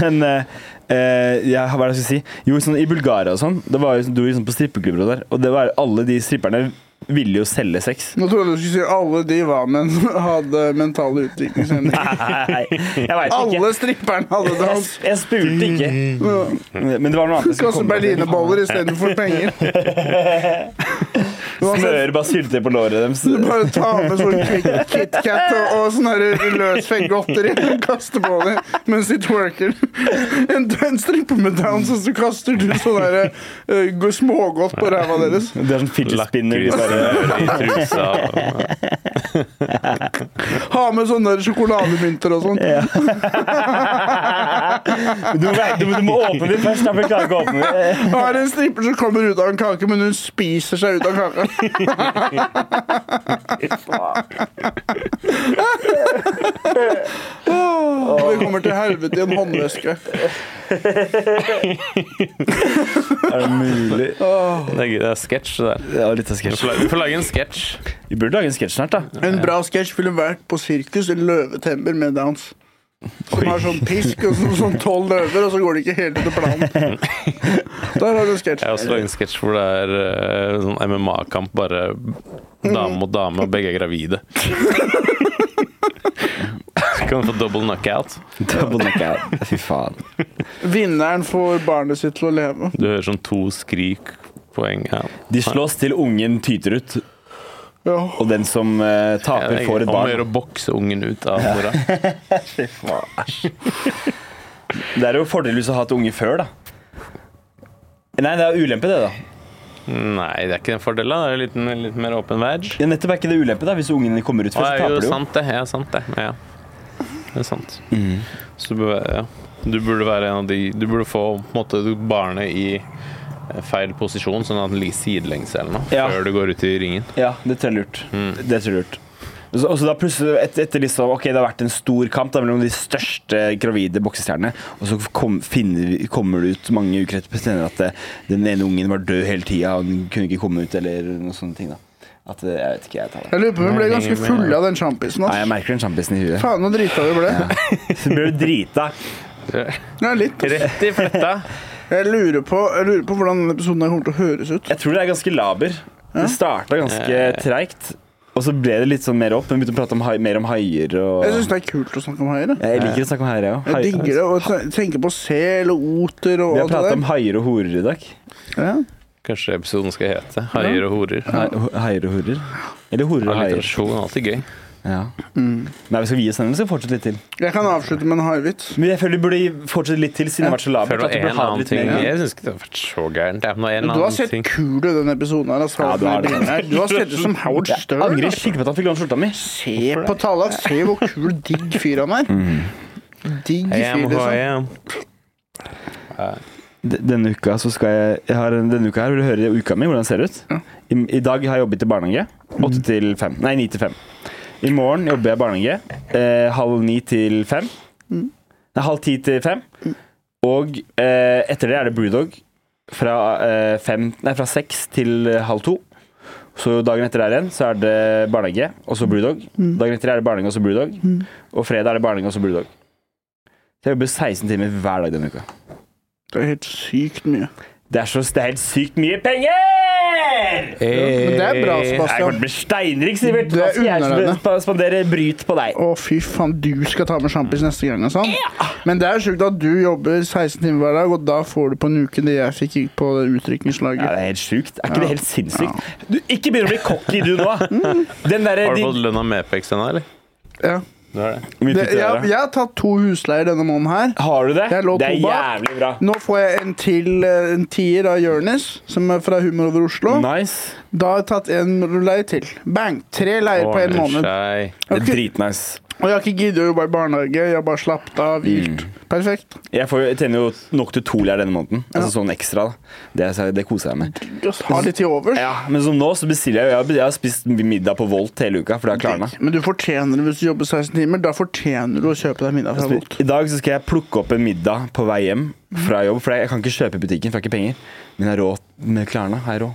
Men eh, eh, ja, hva er det jeg skulle si? Jo, sånn, i Bulgaria og sånn, det var jo, sånn- du var jo sånn på strippeklubber og der, og det var alle de stripperne ville jo selge sex. Nå trodde jeg du skulle si alle de var men hadde mentale utviklingshemninger. Nei, jeg veit ikke. Alle stripperne hadde det. Jeg, altså. jeg spurte ikke. Men det var noe annet jeg skulle Kaste komme til. berlinerboller istedenfor penger. Uansett, Smøre basyltetøy på låret deres. Du bare tar med sånn Kit- KitKat og, og sånn her løsfengt godteri og kaster på det mens de twerker. En, en strippe med downs, og så kaster du sånn her eh, smågodt på ræva deres. Det er sånn fidget spinner. de Lakris bare- i trusa. Ha med sånne der sjokolademynter og sånn. Du, må være- du, må- du må åpne den først. da, for Jeg klarer ikke å åpne den. Og Her er en stripper som kommer ut av en kake, men hun spiser seg ut av kaka. Åh, Det kommer til helvete i en håndveske. Er det mulig? Det er, gøy, det er sketsj, det der. Ja, litt av Vi sketsj. får la- Vi får lage en sketsj. Vi burde lage en sketsj snart, da. En bra sketsj ville vært på sirkus i løvetemmer med dans. Som har sånn pisk og så- sånn tolv løver, og så går det ikke helt etter planen. Der har du en sketsj. Jeg har også laget en sketsj hvor det er eh, sånn MMA-kamp, bare dame mot dame, og begge er gravide. kan få double knockout. Double knockout. Fy faen. Vinneren får barnet sitt til å leve. Du hører sånn to skrik poeng. Ja. De slåss til ungen tyter ut, Ja. og den som eh, taper, får et Om å gjøre barn. å bokse ungen ut av mora. Det er jo fordelvis å ha hatt unge før, da. Nei, det er ulempe, det, da. Nei, det er ikke en fordel. da. Det er litt, litt mer åpen veg. Ja, nettopp er ikke det ulempe, da. Hvis ungene kommer ut Ja, først, så det er taper jo de jo. sant, det. Ja, sant det. Ja. Det er sant. Så du bør, ja. du burde være en av de Du burde få på en måte, barnet i eh, feil posisjon, sånn at den ligger sidelengs eller noe, Ja. før du går ut i ringen. Ja, det tror jeg er lurt. Mm. Det tror jeg er lurt. Og så- Og så da plutselig, et, etter liksom, ok, det har vært en stor kamp da, mellom de største gravide boksestjernene, og så kom, finner, vi- kommer det ut mange uker etter senere at det, den ene ungen var død hele tida, og den kunne ikke komme ut, eller noen sånne ting. da. At det, Jeg vet ikke, jeg tar det. Jeg lurer på om vi ble ganske fulle av den sjampisen. Nei, jeg ass. merker den sjampisen i huet. Faen, så drita vi ble. Så blir du drita. Ja, litt. ass. Rett i fletta! Jeg lurer på, jeg lurer på hvordan denne episoden her kommer til å høres ut. Jeg tror det er ganske laber. Det starta ganske treigt, og så ble det litt sånn mer opp. Men vi begynte å prate om, hai- mer om haier og Jeg syns det er kult å snakke om haier. jeg. Jeg liker å snakke om haier, jeg Jeg òg. digger det. Og te- tenke på sel og oter og Vi har alt prata om det haier og horer i dag. der. Ja. Kanskje episoden skal hete 'Haier og horer'. Hei- ho- Heier og horer? Eller horer og heier? Alliterasjon er alltid gøy. Ja. Mm. Nei, vi skal vi oss den, eller skal vi fortsette litt til? Jeg kan avslutte med en haivits. Men jeg føler vi burde fortsette litt til, siden det har vært så Før labert. det at var vi en burde ha det annen litt ting mer- Jeg syns ikke det har vært så gærent. Det er noe en Du har annen sett ting. kul ut i denne episoden. her altså, Ja, du har det. Du har sett ut som Howard Jeg Stern. angrer skikkelig på at han fikk låne skjorta mi. Se på Tallak. Se hvor kul, digg fyr han er. Digg I fyr, E. am who I liksom. am. D- Denne uka så skal jeg, jeg har en, Denne uka her vil du høre uka mi, hvordan den ser ut. I, I dag har jeg jobbet i barnehage. Åtte til fem. Nei, ni til fem. I morgen jobber jeg i barnehage. Eh, halv ni til fem. Nei, halv ti til fem. Og eh, etter det er det Brewdog fra, eh, fem, nei, fra seks til eh, halv to. Så dagen etter der igjen så er det barnehage, og så Brewdog. Dagen etter er det barnehage, og så Brewdog. Og fredag er det barnehage, og så Brewdog. Så jeg jobber 16 timer hver dag denne uka. Det er helt sykt mye. Det er, så, det er helt sykt mye penger! Jeg Men det er kommer bra, til å Sebastian. bli steinrik, Sivert. Det Nå er skal jeg underholdende. sp- spandere bryt på deg. Å, fy faen, du skal ta med sjampis neste gang. Altså. Men det er sjukt at du jobber 16 timer hver dag, og da får du på en uke det jeg fikk på det Ja, det utrykningslaget. er helt sjukt. Er ikke det helt sinnssykt? Du, ikke begynn å bli cocky, du nå. Mm. Den derre Har du de- fått lønn av Mepex ennå, eller? Ja. Du har det. Hvor mye Det, fikk du der, jeg, da? jeg har tatt to husleier denne måneden her. Har du det? Jeg lå Det er to bak. jævlig bra. Nå får jeg en til, eh, en tier av Jonis, som er fra Humor over Oslo. Nice. Da har jeg tatt en leir til. Bang! Tre leier på en Ordner måned. seg. Det er Ok. dritnice. Og jeg har ikke giddet å jobbe i barnehage. Jeg har bare slappet av, hvilt. Mm. Perfekt. Jeg, får, jeg tjener jo nok til to lær denne måneden. Altså sånn ekstra. da. Det, er- det koser jeg meg med. Ha litt til overs. Ja, men som nå så bestiller jeg jo jeg, har- jeg har spist middag på Volt hele uka, for det har klarna. Men du fortjener det hvis du jobber 16 timer. Da fortjener du å kjøpe deg middag fra Volt. I dag så skal jeg plukke opp en middag på vei hjem fra jobb. For jeg kan ikke kjøpe i butikken, for jeg har ikke penger. Men jeg har råd med klærne. Har jeg råd.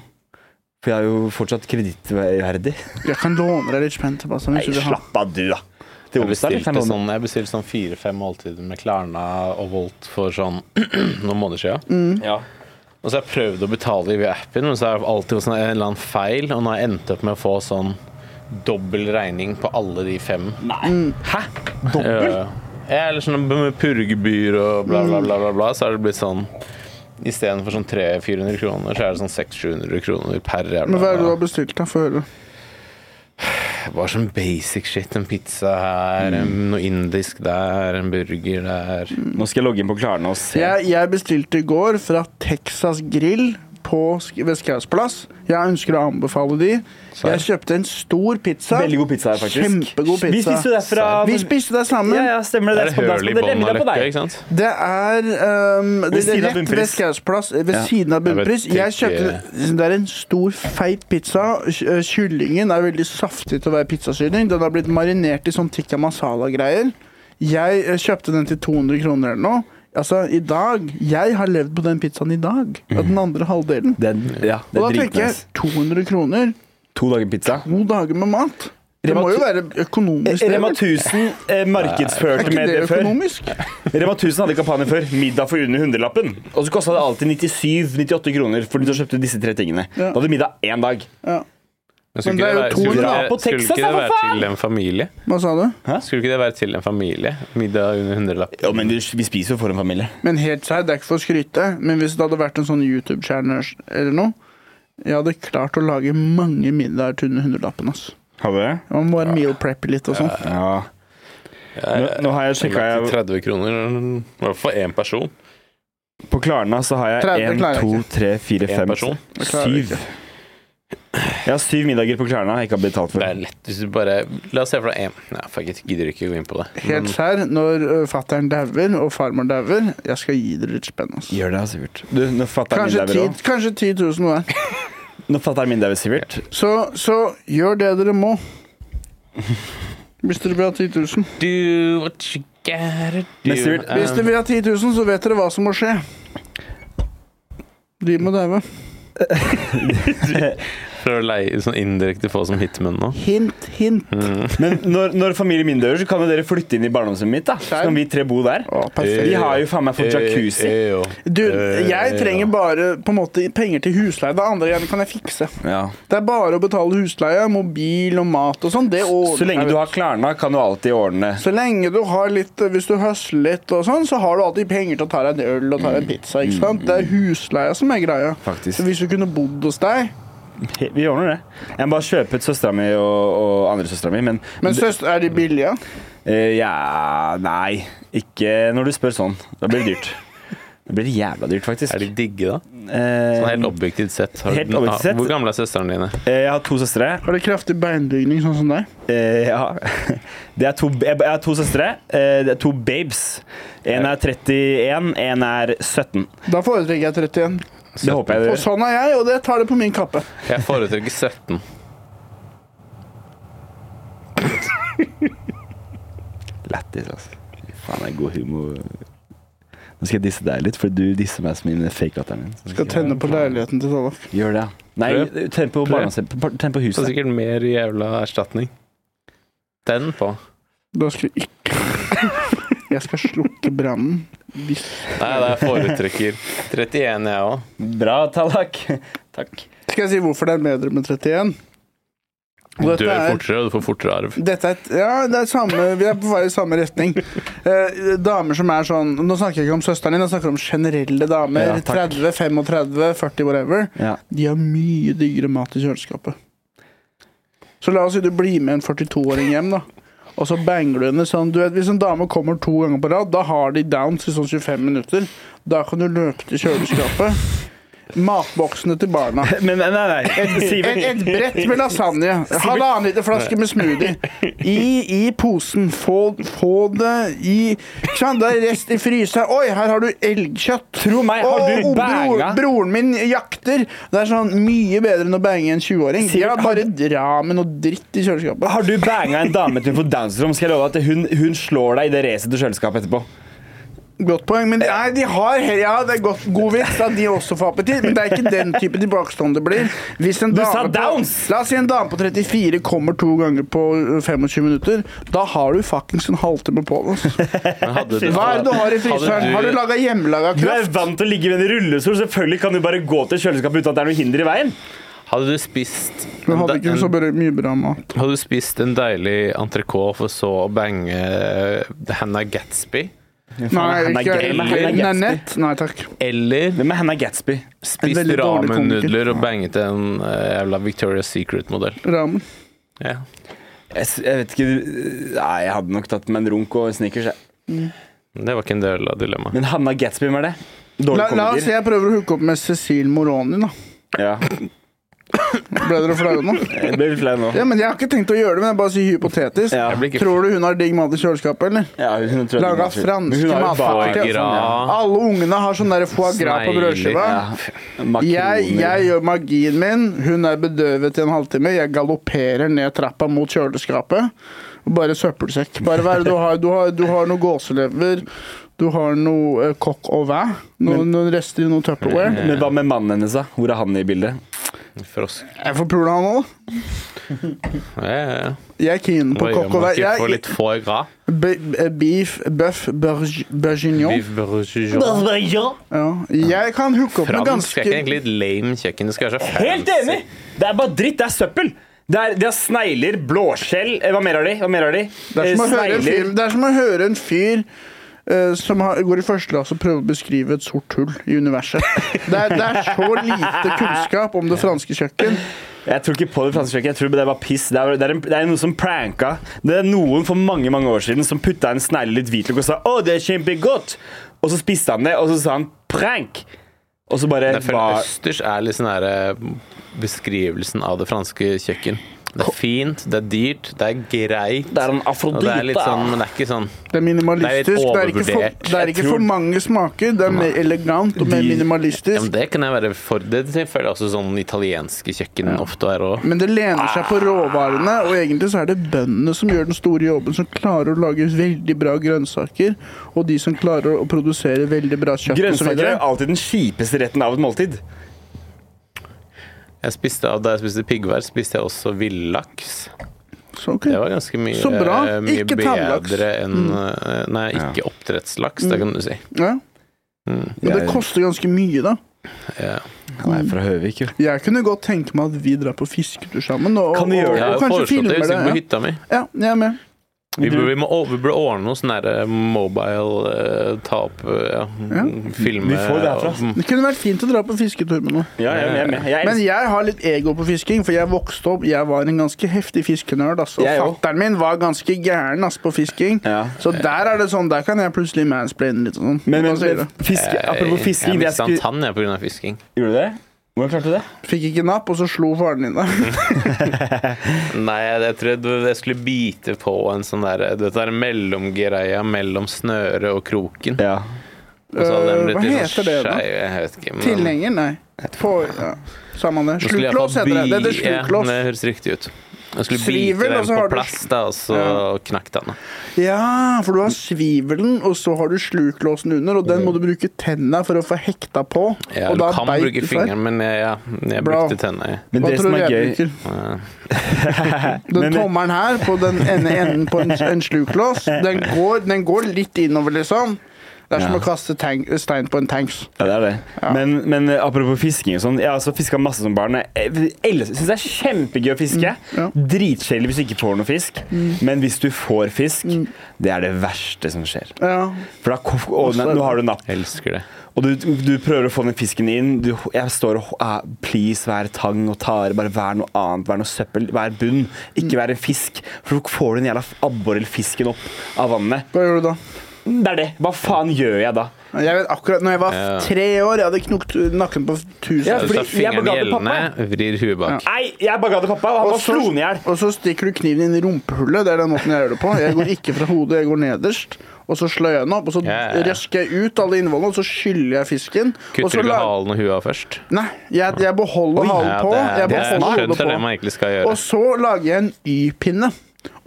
For jeg er jo fortsatt kredittverdig. Jeg kan låne deg litt spenn tilbake. Hvis du vil ha. slapp av, du, da. Til Jeg onsdag, liksom. eller? bestilte Kan jeg låne- sånn, jeg bestilte sånn fire-fem måltider med Klarna og Volt for sånn noen måneder siden. Mm. Ja. Og så har jeg prøvd å betale via appen, men så har jeg alltid fått sånn en eller annen feil. Og nå har jeg endt opp med å få sånn dobbel regning på alle de fem. Mm. Hæ? Dobbel? Ja, eller sånn med purgebyr og bla, Mm. bla, bla, bla, bla, så har det blitt sånn Istedenfor sånn 300-400 kroner, så er det sånn 600-700 kroner per Men hva er det du jævla har bestilt? da? Få høre. Bare sånn basic shit. En pizza her, Mm. en- noe indisk der, en burger der. Nå skal jeg logge inn på Klarna og se. Jeg, jeg bestilte i går fra Texas Grill på, Sk- ved Skaus plass. Jeg ønsker å anbefale de. Jeg kjøpte en stor pizza. Veldig god pizza her, faktisk. Kjempegod pizza. Vi spiste jo det fra Vi spiste det sammen. Ja, ja, stemmer Det det. er det høl i bånn av av løkka, ikke sant? Det er um, Ved det, det siden er av rett ved Bunnpris. Skaus plass. Ved Ja. siden av Jeg bunnpris. vet Jeg ikke- kjøpte liksom, Det er en stor, feit pizza. Ky- eh, Kyllingen er veldig saftig til å være pizzasyring. Den har blitt marinert i sånn tikka masala-greier. Jeg eh, kjøpte den til 200 kroner eller noe. Altså, i dag Jeg har levd på den pizzaen i dag. Av den andre halvdelen. Den, ja, Og den Mm. da er tenker jeg dritnice. 200 kroner, To dager pizza. to dager med mat. Det Rema må jo tu- være økonomisk. det, Rema vel? 1000 eh, Er markedsførte ikke med det det før. økonomisk? Rema 1000 hadde kampanje før. Middag for under hundrelappen. Og så kosta det alltid 97-98 kroner for de som kjøpte disse tre tingene. Ja. Da hadde du middag én dag. Ja. Men skulle Men det ikke er det jo være, to skulle ikke dra på det, skulle Texas, ikke det da, for være faen! til en familie? Hva sa du? Skulle ikke det være til en familie? Middag under hundrelapp. Jo, men vi vi spiser jo for en familie. Men helt sær, det er ikke for å skryte, men hvis det hadde vært en sånn YouTube-kjerne eller noe Jeg hadde klart å lage mange middager til under hundrelappen. ass. Har du det? Man må bare meal preppe litt og sånn. Ja. Nå, nå har jeg Det sjekka er til 30 kroner, i hvert fall én person. På Klarna så har jeg 30 én, klarer jeg to, tre, fire, En fem, person. Det klarer jeg syv. Jeg har syv middager på Klarna jeg ikke har betalt for. Det er lett hvis du bare La oss se for deg én Nei, fuck it, gidder ikke gå inn på det. Helt sær, når øh, fatter'n dauer og farmor dauer, jeg skal gi dere litt spenn. ass. Gjør det, altså, Sivert. Du, når fatter'n min Kanskje, dauer ti, òg. kanskje 10 000 hver. Når fatter'n min dauer, Sivert Så, så gjør det dere må. Hvis dere vil ha 10 000. Do what you gotta do. Men Sivert, Um, Hvis dere vil ha 10 000, så vet dere hva som må skje. De må daue. Prøver å leie sånn indirekte få som hitmen nå. Hint, hint. Men når, når familien min dør, så kan jo dere flytte inn i barndomshjemmet mitt. da Så kan vi tre bo der. Å, perfekt. Vi har jo faen meg fått jacuzzi. Eh, eh, jo. Du, Eh, jeg trenger ja. bare på en måte penger til husleie. Det andre igjen kan jeg fikse. Ja. Det er bare å betale husleie, mobil og mat og sånn. Det ordner Så lenge jeg, du vet har Klarna, kan du alltid ordne Så lenge du har litt eh, Hvis du høsler litt og sånn, så har du alltid penger til å ta deg en øl og ta deg en pizza. ikke sant? Det er husleia som er greia. Mm. Faktisk. Så hvis du kunne bodd hos deg Vi ordner det. Jeg må bare kjøpe ut søstera mi og, og andresøstera mi, men, Men søster, er de billige? Eh, Ja Nei. Ikke når du spør sånn. Da blir det dyrt. Det blir jævla dyrt, faktisk. Er de digge, da? Eh, Sånn helt objektivt sett. Har, Ah, Helt objektivt sett. Hvor gamle er søstrene dine? eh, jeg har to søstre. Har de kraftig beinbygning, sånn som deg? Eh, ja. Det er to, jeg jeg har to søstre. Eh, det er to babes. En er 31, en er 17. Da foretrekker jeg 31. Det håper jeg Og dere sånn er jeg, og det tar det på min kappe. Jeg foretrekker 17. Lættis, altså. Fy Faen, det er god humor. Nå skal jeg disse deg litt, for du disser meg som min fake-latteren min. Skal tenne på leiligheten til Tallaf. Gjør det, ja. Nei, Prøv. tenn på, Prøv. barndomshjem- på- tenn på Det er huset. sikkert mer jævla erstatning. Den på. Da skal jeg ikke Jeg skal slukke brannen. Hvis Nei, det er foretrekker 31, jeg òg. Bra, Tallak. Takk. Skal jeg si hvorfor det er bedre med 31? Og Du Dette dør er, fortere, og du får fortere arv. dette er, et- ja, det er samme, vi er på vei i samme retning. Eh, damer som er sånn Nå snakker jeg ikke om søsteren din, jeg snakker om generelle damer. Ja, takk. 30, 35, 40, whatever. Ja. De har mye diggere mat i kjøleskapet. Så la oss si du blir med en 42-åring hjem, da. Og så banger du henne sånn du vet, Hvis en dame kommer to ganger på rad, da har de downs i sånn 25 minutter. Da kan du løpe til kjøleskapet. Matboksene til barna. Men nei, nei. nei. Et, Sivert. et brett med lasagne. Halvannen liter flaske med smoothie. I, i posen. Få, få det i Ikke sant? Det er rest i fryseren. Oi, her har du elgkjøtt. Tro meg, har Å, du bror, banga? broren min jakter. Det er sånn mye bedre enn å bange en 20-åring. De har Sivert, bare ramen og dritt i kjøleskapet. Har du banga en dame til hun får Downs-syndrom, skal jeg love at hun, hun slår deg i det racet til kjøleskapet etterpå. Godt poeng. Men nei, de har Ja, det er godt, god vits at de også får appetitt, men det er ikke den type tilbakestand det blir. Hvis en Du dame sa på- downs! La oss si en dame på 34 kommer to ganger på ø, 25 minutter. Da har du fuckings en halvtime på deg. ass. Men hadde du- Hva er det du har i fryseren? Har du laga hjemmelaga Du er kraft? vant til å ligge ved en rullestol, selvfølgelig kan du bare gå til kjøleskapet uten at det er noe hinder i veien. Hadde du spist Hun hadde ikke en- så bare mye bra mat. Hadde du spist en deilig entrecôte for så å bange eh, Hannah Gatsby? Nei, Hannah ikke Gatsby. Nei, nett. Nei takk. Eller Hvem er Hannah Gatsby? spist veldig dårlig ramenudler og banget en eh, jævla Victoria's Secret-modell? Ramen. Ja. Jeg, s- jeg vet ikke Nei, jeg hadde nok tatt med en runk og snickers. jeg. Det var ikke en del av dilemmaet. Men Hannah Gatsby, hvem er det? Dårlig La, la oss si komiker. jeg prøver å hooke opp med Cecil Moroni, da. Ja. Ble dere flaue nå? Jeg ble litt flau nå. Ja, men Jeg har ikke tenkt å gjøre det, men jeg bare sier hypotetisk. Ja. Jeg blir ikke Tror du hun har digg mat i kjøleskapet, eller? Ja, hun, hun tror jeg- Laga franske Hun har jo bare- matpakker til foie gras. Alle ungene har sånn der foie gras på Snegler. brødskiva. Ja. Makroner. Jeg, jeg gjør magien min. Hun er bedøvet i en halvtime. Jeg galopperer ned trappa mot kjøleskapet. Og Bare søppelsekk. Bare hva er det du har? Du har, du har noe gåselever, Du har noe eh, kokk og væ. Noen, noen rester i noe Tupperware. Mm. Men hva med mannen hennes, da? Hvor er han i bildet? Frosk. Jeg får pula han òg. Ja, ja, ja. Jeg er keen på Hva gjør kokk og man væ. ikke for Jeg, litt få gras? be, eh, beef, bøff, berg- bourguignon. Beef bourguignon. Altså, Ja. Jeg kan hooke opp med Fransk ganske er ikke egentlig et lame kjøkken. Det skal være så fancy. Helt enig! Det er bare dritt. Det er søppel. Det er, de har snegler, blåskjell eh, Hva mer har de? Hva mer har de? Det er som å Eh, høre en snegler. fyr, det er som å høre en fyr eh, som har, går i første klasse og prøver å beskrive et sort hull i universet. Det er, det er så lite kunnskap om det franske kjøkken. Jeg tror ikke på det franske kjøkkenet. Jeg tror det var piss. Det er, det, er en, det er noen som pranka. Det er noen for mange mange år siden som putta en snegle i litt hvitløk og sa 'Å, det er kjempegodt'. Og så spiste han det, og så sa han 'prank'. Og så bare Jeg føler var østers er litt sånn her beskrivelsen av det franske kjøkken. Det er fint, det er dyrt, det er greit. Det er en Og det er litt afrodite. sånn, men det er ikke sånn Det er minimalistisk. Det Det er er litt ikke for, overvurdert. det er ikke Jeg tror- for mange smaker. Det er mer elegant og mer De- ja, men minimalistisk. Det kan jeg være for. Det føler jeg også sånn italienske kjøkken ofte er òg. Men det lener seg på råvarene, og egentlig så er det bøndene som gjør den store jobben, som klarer å lage veldig bra grønnsaker, og de som klarer å produsere veldig bra kjøtt osv. Grønnsaker er alltid den kjipeste retten av et måltid. Jeg spiste, av- da jeg spiste piggvær, spiste jeg også villaks. Så, ok. Det var ganske mye, Så bra. eh, mye Ikke tannlaks. Mm. bedre enn eh, Nei, ikke oppdrettslaks, det kan du si. ja. Mm. Men det Jeg- koster ganske mye, da. Ja. Han er fra Høvik, jo. Jeg kunne godt tenke meg at vi drar på fisketur sammen. Og, Kan vi gjøre og, det? Jeg har og, jo kanskje foreslått det filmer hvis det. ikke på hytta mi. Ja. ja, jeg er med. Vi burde, vi må, å, vi burde ordne noe sånn derre mobile eh, ta opp eh, ja, Mm. filme Vi får det herfra. og- Det kunne vært fint å dra på fisketur med noen. Ja, jeg, jeg, jeg, jeg, Men jeg har litt ego på fisking, for jeg vokste opp Jeg var en ganske heftig fiskenerd. ass. Og Jeg også. fatter'n min var ganske gæren ass, på fisking. Ja. Så der er det sånn, der kan jeg plutselig mansplaine litt. og Sånn. men, men, Hva sier men du? fiske, apropos fisking Jeg det jeg mista en skulle, tann jeg pga. fisking. Gjorde du det? Hvordan klarte du det? Fikk ikke napp, og så slo faren din deg. Nei, jeg, jeg tror jeg- jeg skulle bite på en sånn derre Dette er mellomgreia mellom snøret og kroken. Ja. Og så hadde den Øh, blitt hva litt heter sånn det da? skeiv. Jeg vet ikke. men- Tilhenger? Nei. På, ja. Samme det. Nå skulle jeg Sluklås heter iallfall det. Det heter bi- ja, sluklås. Det høres riktig ut. Jeg skulle Svivel, bite og den så har på du- plass, da, og så Ja. knakk den. Ja, for du har svivelen, og så har du sluklåsen under, og den må du bruke tenna for å få hekta på. Ja, og du kan beit bruke du seg. fingeren, men jeg, ja, jeg Bra. brukte tenna. jeg. Men Hva det som tror du er jeg gøy bruker? Ja. Den Men- tommelen her, på den ene enden på en, en sluklås, den går, den går litt innover, liksom. Det er som Ja. å kaste tank, stein på en tanks. Ja, det er det. Ja. Men, men eh, apropos fisking og sånn. Jeg har også fiska masse som barn. Jeg syns det er kjempegøy å fiske. Mm, ja. Mm. Dritkjedelig hvis du ikke får noe fisk. Men hvis du får fisk, det er det verste som skjer. Ja. For da kof- å, nei, nå har du napp, Elsker det. og du, du prøver å få den fisken inn. Du, jeg står og ah, Please, vær tang og tare. Bare vær noe annet. Vær noe søppel. Vær bunn. Mm. Ikke vær en fisk. For så får du den jævla abborrelfisken opp av vannet. Hva gjør du da? Det er det. Hva faen gjør jeg da? Jeg vet akkurat når jeg var Ja. tre år, jeg hadde knokt nakken på tusen. Ja, Du fordi tar jeg fingeren i bare ga til gjellene, vrir huet bak. Nei, jeg bare ga det pappa, og han Og bare så- slo den i hjel. Og så stikker du kniven inn i rumpehullet. Det er den måten jeg gjør det på. Jeg går ikke fra hodet, jeg går nederst. Og så slår jeg den opp, og så Ja, ja, ja. røsker jeg ut alle innvollene, og så skyller jeg fisken. og så Kutter du la- ikke halen og huet av først? Nei, jeg, jeg beholder halen på. det, Jeg det er beholder skjønt hodet det er det på. man egentlig Og skal gjøre. så lager jeg en Y-pinne.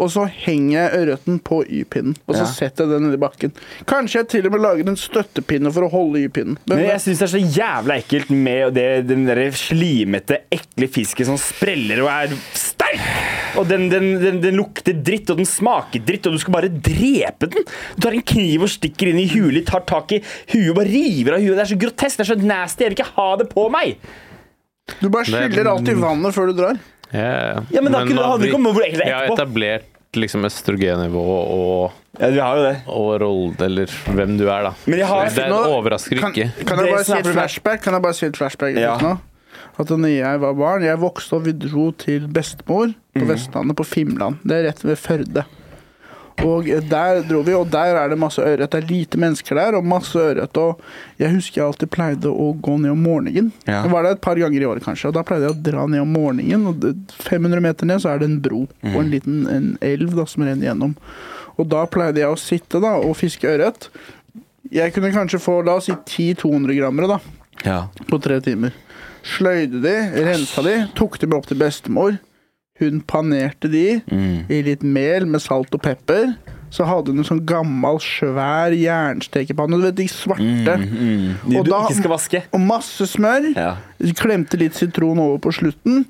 Og så henger jeg ørreten på Y-pinnen, og så Ja. setter jeg den nedi bakken. Kanskje jeg til og med lager en støttepinne for å holde Y-pinnen. Men- Men jeg syns det er så jævla ekkelt med det, den der slimete, ekle fisken som spreller og er sterk! Og den, den, den, den lukter dritt, og den smaker dritt, og du skal bare drepe den! Du tar en kniv og stikker inn i huet ditt, tar tak i huet og bare river av huet. Det er så grotesk, det er så nasty, jeg vil ikke ha det på meg! Du bare skyller alt i vannet før du drar. Ja, ja. Ja, men det er ikke- det hva handler vi- ikke om hvor ekkelt det er Jeg har etterpå. etablert liksom østrogennivå og, Ja, du har jo det. og rolle, eller hvem du er, da. Men jeg har- Så det Nå- overrasker Kan, ikke. kan jeg Det som bare si er et problemet- flashback? Kan jeg bare si et flashback Ja. nå? At da jeg var barn, jeg vokste opp, vi dro til bestemor på Mhm. Vestlandet, på Fimland. Det er rett ved Førde. Og der dro vi, og der er det masse ørret. Det er lite mennesker der, og masse ørret. Og jeg husker jeg alltid pleide å gå ned om morgenen. Ja. Jeg var der et par ganger i året, kanskje, og da pleide jeg å dra ned om morgenen. Og det- 500 meter ned så er det en bro og Mhm. en liten en elv da, som renner gjennom. Og da pleide jeg å sitte da og fiske ørret. Jeg kunne kanskje få la oss si 10-200 grammere da, Ja. på tre timer. Sløyde de, rensa de, tok de Mm. med opp til bestemor. Hun panerte de i litt mel med salt og pepper. så hadde hun en sånn gammel, svær jernstekepanne. Du vet, de svarte. Mm, De Og du da- ikke skal vaske. Og masse smør. Ja. Klemte litt sitron over på slutten.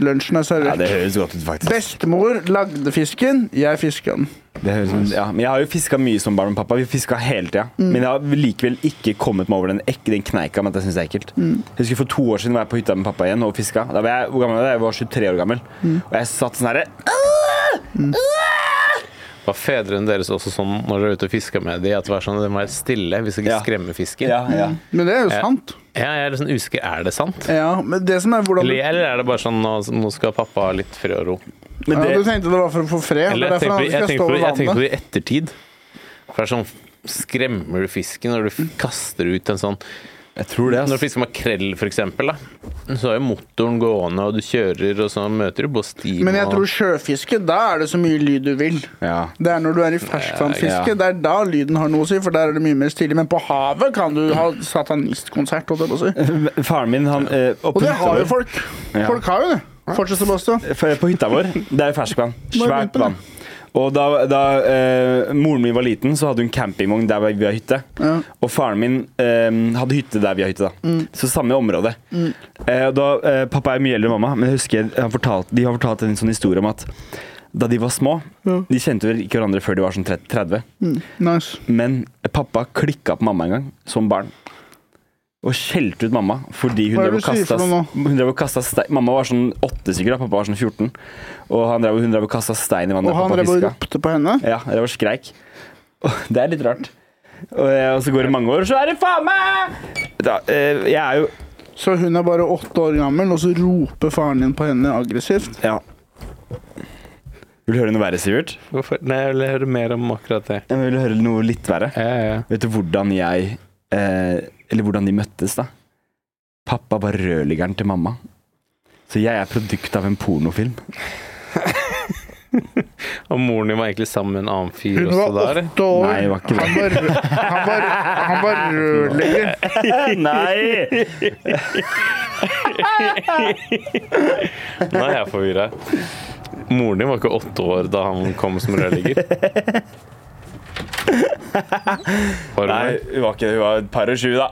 Lunsjen er ja, servert. det høres godt ut, faktisk. Bestemor lagde fisken, jeg fiska den. Det høres ut som- ja. Men jeg har jo fiska mye som barn med pappa. Vi fiska hele tida. Men jeg har likevel ikke kommet meg over den, ek den kneika med at jeg syns det er ekkelt. Jeg husker For to år siden var jeg på hytta med pappa igjen og fiska. Da var jeg, hvor gammel var jeg? jeg var 23 år gammel. Og jeg satt sånn herre Var fedrene deres også sånn når dere er ute og fisker med de, at det var sånn, det må være stille, vi skal ikke Ja. skremme fisken? ja, ja. Men det er jo Ja. sant. Ja, jeg er litt sånn usikker. Er det sant? Ja, men det som er hvordan Eller, du, eller er det bare sånn nå, nå skal pappa ha litt fred og ro? Men ja, det, du tenkte det var for å få fred? det er Eller jeg derfor tenker, på, han jeg, skal tenker stå på, ved jeg tenker på vannet. det i ettertid. For det er sånn Skremmer du fisken når du f- kaster ut en sånn jeg tror det. Når du Altså. fisker makrell, for eksempel, da, så er jo motoren gående, og du kjører, og så møter du på stim Men jeg og tror sjøfiske, da er det så mye lyd du vil. Ja. Det er når du er i ferskvannsfiske. Ja. Det er da lyden har noe å si, for der er det mye mer stille. Men på havet kan du ha satanistkonsert, holdt jeg på å si. Faren min, han eh, opp- Og det har jo folk. Ja. Folk har jo det. Fortsett, Sebastian. For på hytta vår, det er jo ferskvann. Må jeg Svært begynne på det? vann. Og da, da eh, moren min var liten, så hadde hun campingvogn der vi har hytte. Ja. Mm. Og faren min eh, hadde hytte der vi har hytte, da. Så samme område. Eh, og da, eh, pappa er mye eldre enn mamma, men jeg husker han fortalt, de har fortalt en sånn historie om at da de var små De kjente vel ikke hverandre før de var sånn 30, 30. Nice. Men pappa klikka på mamma en gang, som barn. Og skjelte ut mamma fordi hun Hva er drev det og du sier kasta for noe hun drev og kasta stein Mamma var sånn åtte stykker, da. pappa var sånn 14. Og han drev, hun drev og kasta stein i vannet. Og han pappa drev og fiska. ropte på henne. Ja, det var skreik. Og Det er litt rart. Og, eh, og så går det mange år, og så er det faen meg da, eh, Jeg er jo Så hun er bare åtte år gammel, og så roper faren din på henne aggressivt. Ja. Vil du høre noe verre, Sivert? Hvorfor? Nei, jeg vil høre mer om akkurat det. Jeg vil høre noe litt verre. Ja, ja, ja. Vet du hvordan jeg eh, Eller hvordan de møttes, da? Pappa var rødliggeren til mamma. Så jeg er produkt av en pornofilm. Og moren din var egentlig sammen med en annen fyr Hun også var der? åtte år. Nei, det var ikke det. Han var, rø- han var, han var rørlegger. Nei! Nei, jeg er forvirra. Moren din var ikke åtte år da han kom som rørlegger. Var hun Nei, det? hun var ikke det. Hun var et par og sju, da.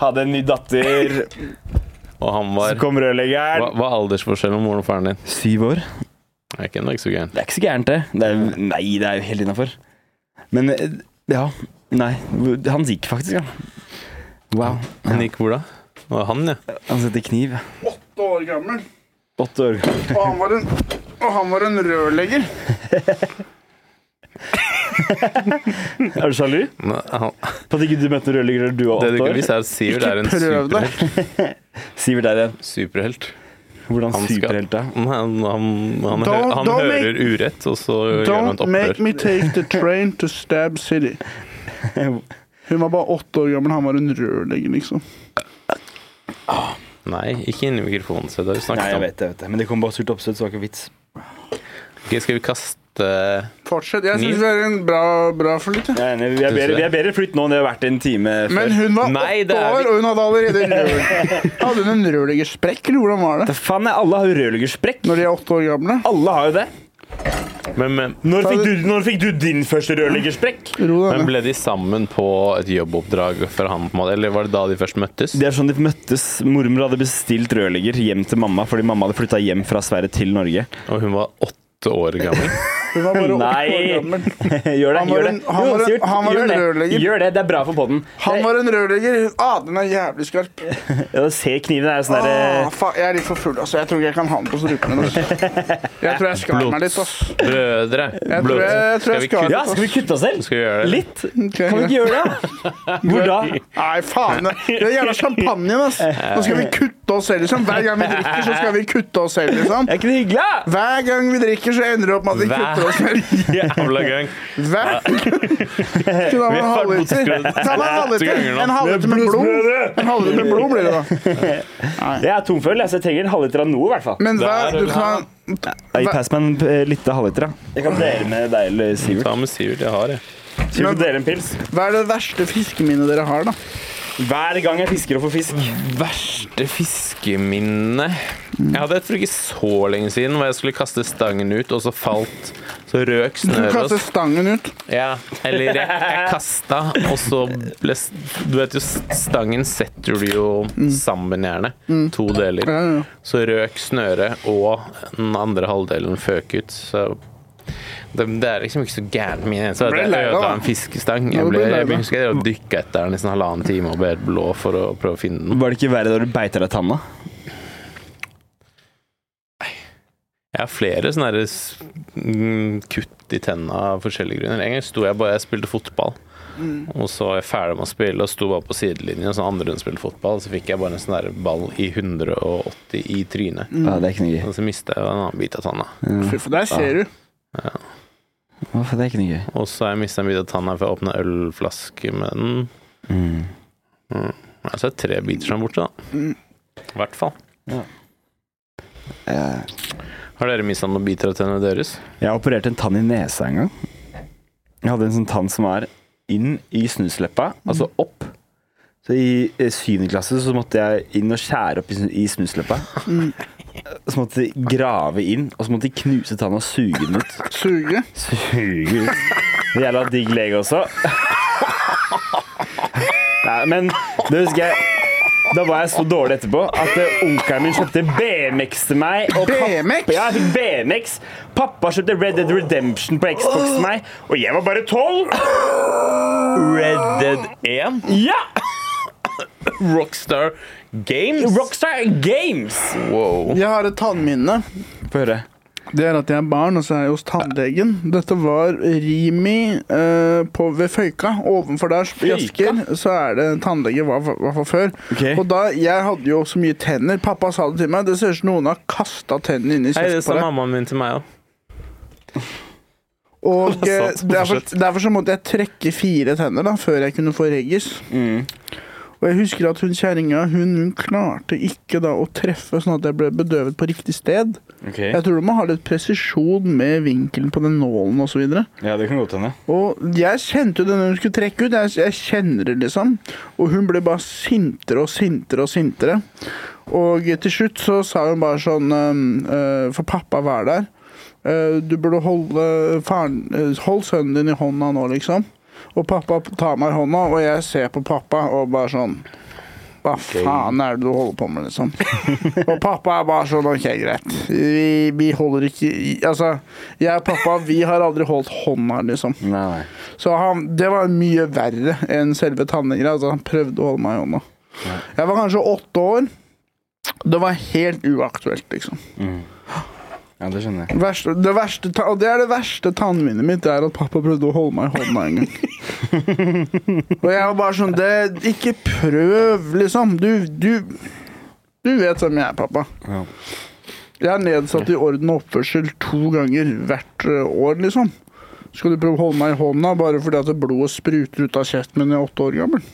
Hadde en ny datter. Og han Så var kom Hva rødleggeren. hva er aldersforskjellen mellom moren og faren din? Syv år. Det er ikke nok så gærent. Det er ikke så gærent, det. det er, nei, det er jo helt innafor. Men eh, ja. Nei, han gikk faktisk, ja. Wow. Han gikk hvor da? Det var han, ja. Han setter kniv. Åtte år gammel. Åtte år gammel. Og han var en, og han var en rørlegger. Er du sjalu? Men han- På at ikke du møtte en rødlegger da du var Det du åtte ikke år? visste, er at Sivert er en Ikke prøv det. superhelt. Sivert er en superhelt. Hvordan Han skal- superhelt, da? Han, han, han, hø- Don't- han don't hører urett, og så gjør han et Don't make opprør. me take the train to Stab City. Hun var bare åtte år gammel, han var en rørlegger, liksom. Nei, ikke inni mikrofonen. Så det har vi Nei, snakket jeg om. vet det, jeg vet det. Men det kom bare surt oppstøt, så det var ikke vits. Ok, skal vi kaste Fortsett. Jeg syns Min- vi er en bra, bra for litt. jeg. Jeg er enig. Vi er bedre, vi er bedre flytt nå enn det har vært en time før. Men hun var Nei, det åtte er vi- år, og hun hadde allerede rør... Hadde hun en rørleggersprekk, eller hvordan var det? Da faen er alle har jo rødleggersprekk. Når de er åtte år gamle? Alle har jo det. Men, men, Når fikk du, når fikk du din første rødleggersprekk? Ro deg men ned. ble de sammen på et jobboppdrag for han, på en måte? Eller var det da de først møttes? Det er sånn de møttes. Mormor hadde bestilt rødlegger hjem til mamma fordi mamma hadde flytta hjem fra Sverige til Norge. Og hun var åtte år gammel. Hun var bare åtte år Nei. gammel. gjør det, Han var gjør det. en- han var en- Sivert, han var gjør en det. rørlegger. Gjør det, det er bra for podden. Han var en rørlegger. Ah, den er jævlig skarp. Ja, se kniven er jo sånn Ah, eh, derre faen, jeg er litt for full, altså. Jeg tror ikke jeg kan ha den på strupen. Altså. Jeg tror jeg skar meg litt, ass. Brødre. jeg Blod. jeg tror jeg Skal skal- vi kutte- Ja, skal vi kutte oss selv? Skal vi gjøre det? Litt? Kan vi ikke gjøre det? da? Hvor da? Nei, faen. Det er jævla champagnen, ass. Nå skal vi kutte oss selv, liksom. Hver gang vi drikker, så skal vi kutte oss selv, liksom. Er ikke det hyggelig? da? Hver gang vi drikker, så ender det opp med at vi Hver- kutter oss selv. Jævla gang. Hver Skulle ha med en halvliter. Ta med en halvliter. ganger nå. En halvliter med blod. En halvliter med blod blir det, da. Jeg er tom for øl, altså. jeg, så jeg trenger en halvliter av noe, i hvert fall. Men hver, du kan Gi pass meg en eh, liten halvliter, da. Jeg kan dele med deg eller Sivert. Ta med Sivert. Jeg har, jeg. Skal vi dele en pils? Hva er det verste fiskeminnet dere har, da? Hver gang jeg fisker og får fisk. Verste fiskeminne Jeg hadde et for ikke så lenge siden hvor jeg skulle kaste stangen ut, og så falt Så røk Du kaster snøret. stangen ut. Ja, eller jeg, jeg kasta, og så ble s- Du vet jo, stangen setter du jo sammen, gjerne. To deler. Mm. Ja, ja. Så røk snøret, og den andre halvdelen føk ut. Så det, det er liksom ikke så gærent min eneste. Ble Jeg lei deg, ødela da. en fiskestang. Ja, Jeg, du ble, ble lei jeg deg. husker jeg dykka etter den i sånn halvannen time og ble helt blå for å prøve å finne den. Var det ikke verre da du beiter deg tanna? Jeg har flere sånne her s- mm, kutt i tenna av forskjellige grunner. En gang sto jeg bare jeg spilte fotball, og så var jeg ferdig med å spille og sto bare på sidelinjen, og så andre rundt spilte fotball, så fikk jeg bare en sånn der ball i 180 i trynet. Ja, det er ikke noe gøy. Og så mista jeg en annen bit av tanna. Fy faen, der ser du. Åh, det er ikke noe gøy. Og så har jeg mista en bit av tanna for jeg åpna ølflaske med den. Mm. Altså det er tre biter som er borte, da. I hvert fall. Eh, Har dere mista noen biter av tennene deres? Jeg opererte en tann i nesa en gang. Jeg hadde en sånn tann som var inn i snusleppa, altså opp. Så i eh, syvende klasse så måtte jeg inn og skjære opp i snu- i snusleppa. Så måtte de grave inn, og så måtte de knuse tanna og suge den ut. Suge. Suge ut. Det Jævla digg lege også. Nei, men det husker jeg Da var jeg så dårlig etterpå at eh, onkelen min kjøpte BMX til meg. Og pappa- BMX? Ja, jeg fikk BMX. Pappa kjøpte Red Dead Redemption på Xbox til meg, og jeg var bare tolv! Red Dead 1, Ja! Rockstar Games. Rockstar Games! Wow. Jeg har et tannminne. Få høre. Det er at jeg er barn, og så er jeg hos tannlegen. Dette var Rimi eh, på, ved Føyka. Ovenfor der, i Asker, så er det tannlege, i hva- hvert fall før. Ok. Og da, Jeg hadde jo så mye tenner. Pappa sa det til meg. Det ser ut som noen har kasta tennene inn i Hei, det kjeften sa på deg. mammaen min til meg òg. Og Det er eh, sant, derfor, fortsett. derfor så måtte jeg trekke fire tenner da, før jeg kunne få reggis. Og jeg husker at hun kjerringa hun, hun klarte ikke da å treffe sånn at jeg ble bedøvet på riktig sted. Jeg tror du må ha litt presisjon med vinkelen på den nålen osv. Ja, det kan godt hende. Og jeg kjente jo det når hun skulle trekke ut. Jeg, jeg kjenner det, liksom. Og hun ble bare sintere og sintere og sintere. Og til slutt så sa hun bare sånn ehm, eh, For pappa var der. eh, du burde holde faren eh, Hold sønnen din i hånda nå, liksom. Og pappa tar meg i hånda, og jeg ser på pappa og bare sånn Hva faen er det du holder på med, liksom? Og pappa er bare sånn OK, greit. Vi, vi holder ikke i- Altså, jeg og pappa, vi har aldri holdt hånda, liksom. Nei, nei. Så han, det var mye verre enn selve tannleggen. Altså, han prøvde å holde meg i hånda. Jeg var kanskje åtte år. Det var helt uaktuelt, liksom. Ja, det skjønner jeg. Verste, det, verste, ta- og det er det verste tannminnet mitt, det er at pappa prøvde å holde meg i hånda en gang. og jeg var bare sånn det, Ikke prøv, liksom. Du, du, du vet hvem jeg er, pappa. Ja. Jeg er nedsatt i orden og oppførsel to ganger hvert eh, år, liksom. Skal du prøve å holde meg i hånda bare fordi at blodet spruter ut av kjeften min når jeg er åtte år gammel?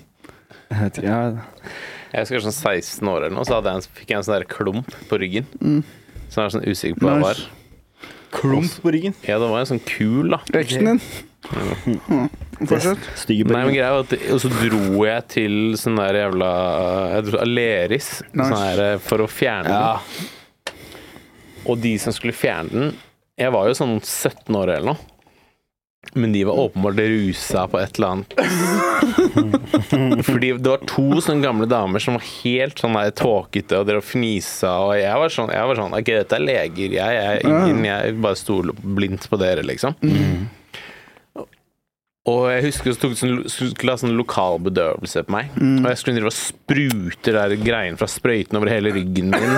Jeg vet ikke, ja. Jeg husker sånn 16 år eller noe, så hadde jeg en, fikk jeg en sånn der klump på ryggen. Så jeg var sånn usikker på hva det var. Nice. Klump på ryggen. Ja, det var en sånn kul, da. Veksten din? Ja. Fortsett. Stygge på Nei, men ryggen. greia var at Og så dro jeg til sånn der jævla eh, Jeg dro til Aleris sånn der, for å fjerne den. Og de som skulle fjerne den Jeg var jo sånn 17 år eller noe. Men de var åpenbart rusa på et eller annet. Fordi det var to sånne gamle damer som var helt sånn der tåkete og drev og fnisa, og jeg var sånn, jeg var sånn Ok, dette er leger, jeg, jeg er ingen, jeg bare stoler blindt på dere, liksom. Og jeg husker så tok det sånn, skulle ha sånn lokal bedøvelse på meg. Og jeg skulle drive og sprute der greien fra sprøyten over hele ryggen min.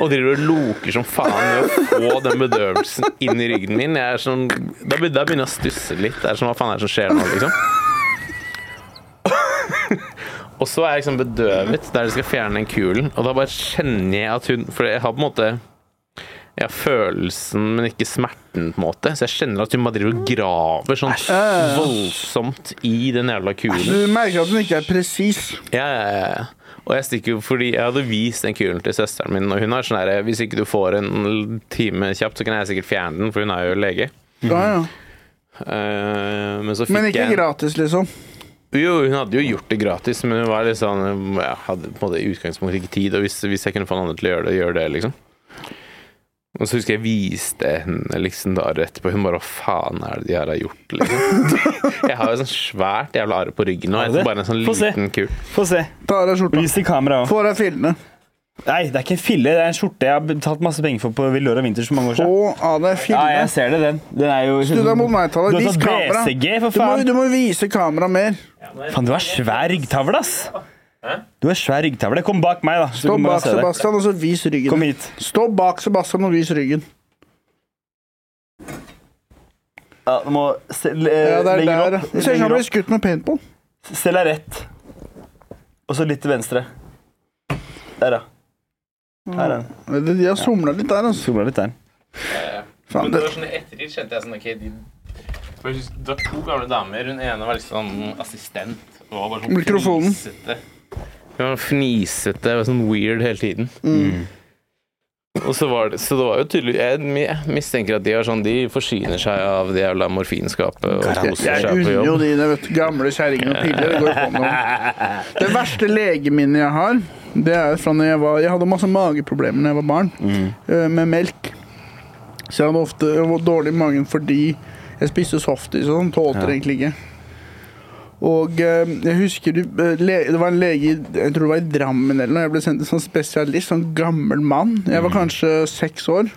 Og driver og loker som faen med å få den bedøvelsen inn i ryggen min. Jeg er sånn, da, be- da begynner jeg å stusse litt. Det er sånn, Hva faen er det som skjer nå, liksom? Og så er jeg liksom bedøvet der de skal fjerne den kulen, og da bare kjenner jeg at hun For jeg har på en måte jeg har følelsen, men ikke smerten, på en måte. Så jeg kjenner at hun bare driver og graver sånn voldsomt i den jævla kulen. Du merker at den ikke er presis. Ja, ja, ja, ja. Og jeg stikker jo fordi jeg hadde vist den kulen til søsteren min, og hun har sånn herre Hvis ikke du får en time kjapt, så kan jeg sikkert fjerne den, for hun er jo lege. Ja, ja. Eh, men så fikk Men ikke jeg gratis, liksom. Jo, hun hadde jo gjort det gratis, men hun var litt sånn Jeg hadde på en måte i utgangspunktet ikke tid, og hvis, hvis jeg kunne få noen andre til å gjøre det, gjør det, liksom. Og så husker jeg viste henne liksom dager etterpå. Hun bare 'hva faen er det de her har gjort', liksom. Jeg har jo sånn svært jævla arr på ryggen nå. Har du etter det? Bare en sånn Få se. liten kul. Få se. Ta av deg skjorta. Vis til kameraet også. Få av deg fillene. Nei, det er ikke en fille, det er en skjorte jeg har betalt masse penger for på Villora Vinters for mange år Få siden. av Ja, deg jeg fillene. ser det, den. Den er jo Du, da må meg ta Du deg. har Vis tatt kamera. BCG, for Du må, faen. du må vise kamera mer. Faen, du har svær ryggtavle, ass. Du har svær ryggtavle. Kom bak meg, da. så Stå kan man bak se det. Sebastian, og så vis Kom ryggen. hit. Stå bak Sebastian og vis ryggen. Ja, du må se, Ja, det er lenger der. Eh, opp. Det ser ut som han blir skutt med paintball. Stell deg rett. Og så litt til venstre. Der, ja. Her er den. De de har somla litt der, altså. Zoomer litt der. Faen, det, sånn ettertid kjente jeg sånn OK, de Det var to gamle damer. Hun ene var liksom assistent. Og var bare sånn Mikrofonen. Hun var fnisete og sånn weird hele tiden. Mm. Og så var det Så det var jo tydelig Jeg mi- mistenker at de er sånn De forsyner seg av det jævla morfinskapet og jeg koser jeg seg på unner jo jobb. de det, vet du. Gamle kjerringer og piller. Det går ikke an å Det verste legeminnet jeg har, det er fra når jeg var Jeg hadde masse mageproblemer da jeg var barn, eh, med melk. Så jeg hadde ofte jeg var dårlig i magen fordi jeg spiste softis og sånn. Tålte det egentlig ikke. Og eh, jeg husker det, eh, le, det var en lege i- jeg tror det var i Drammen eller noe. Jeg ble sendt til sånn spesialist, sånn gammel mann. Jeg var kanskje seks år.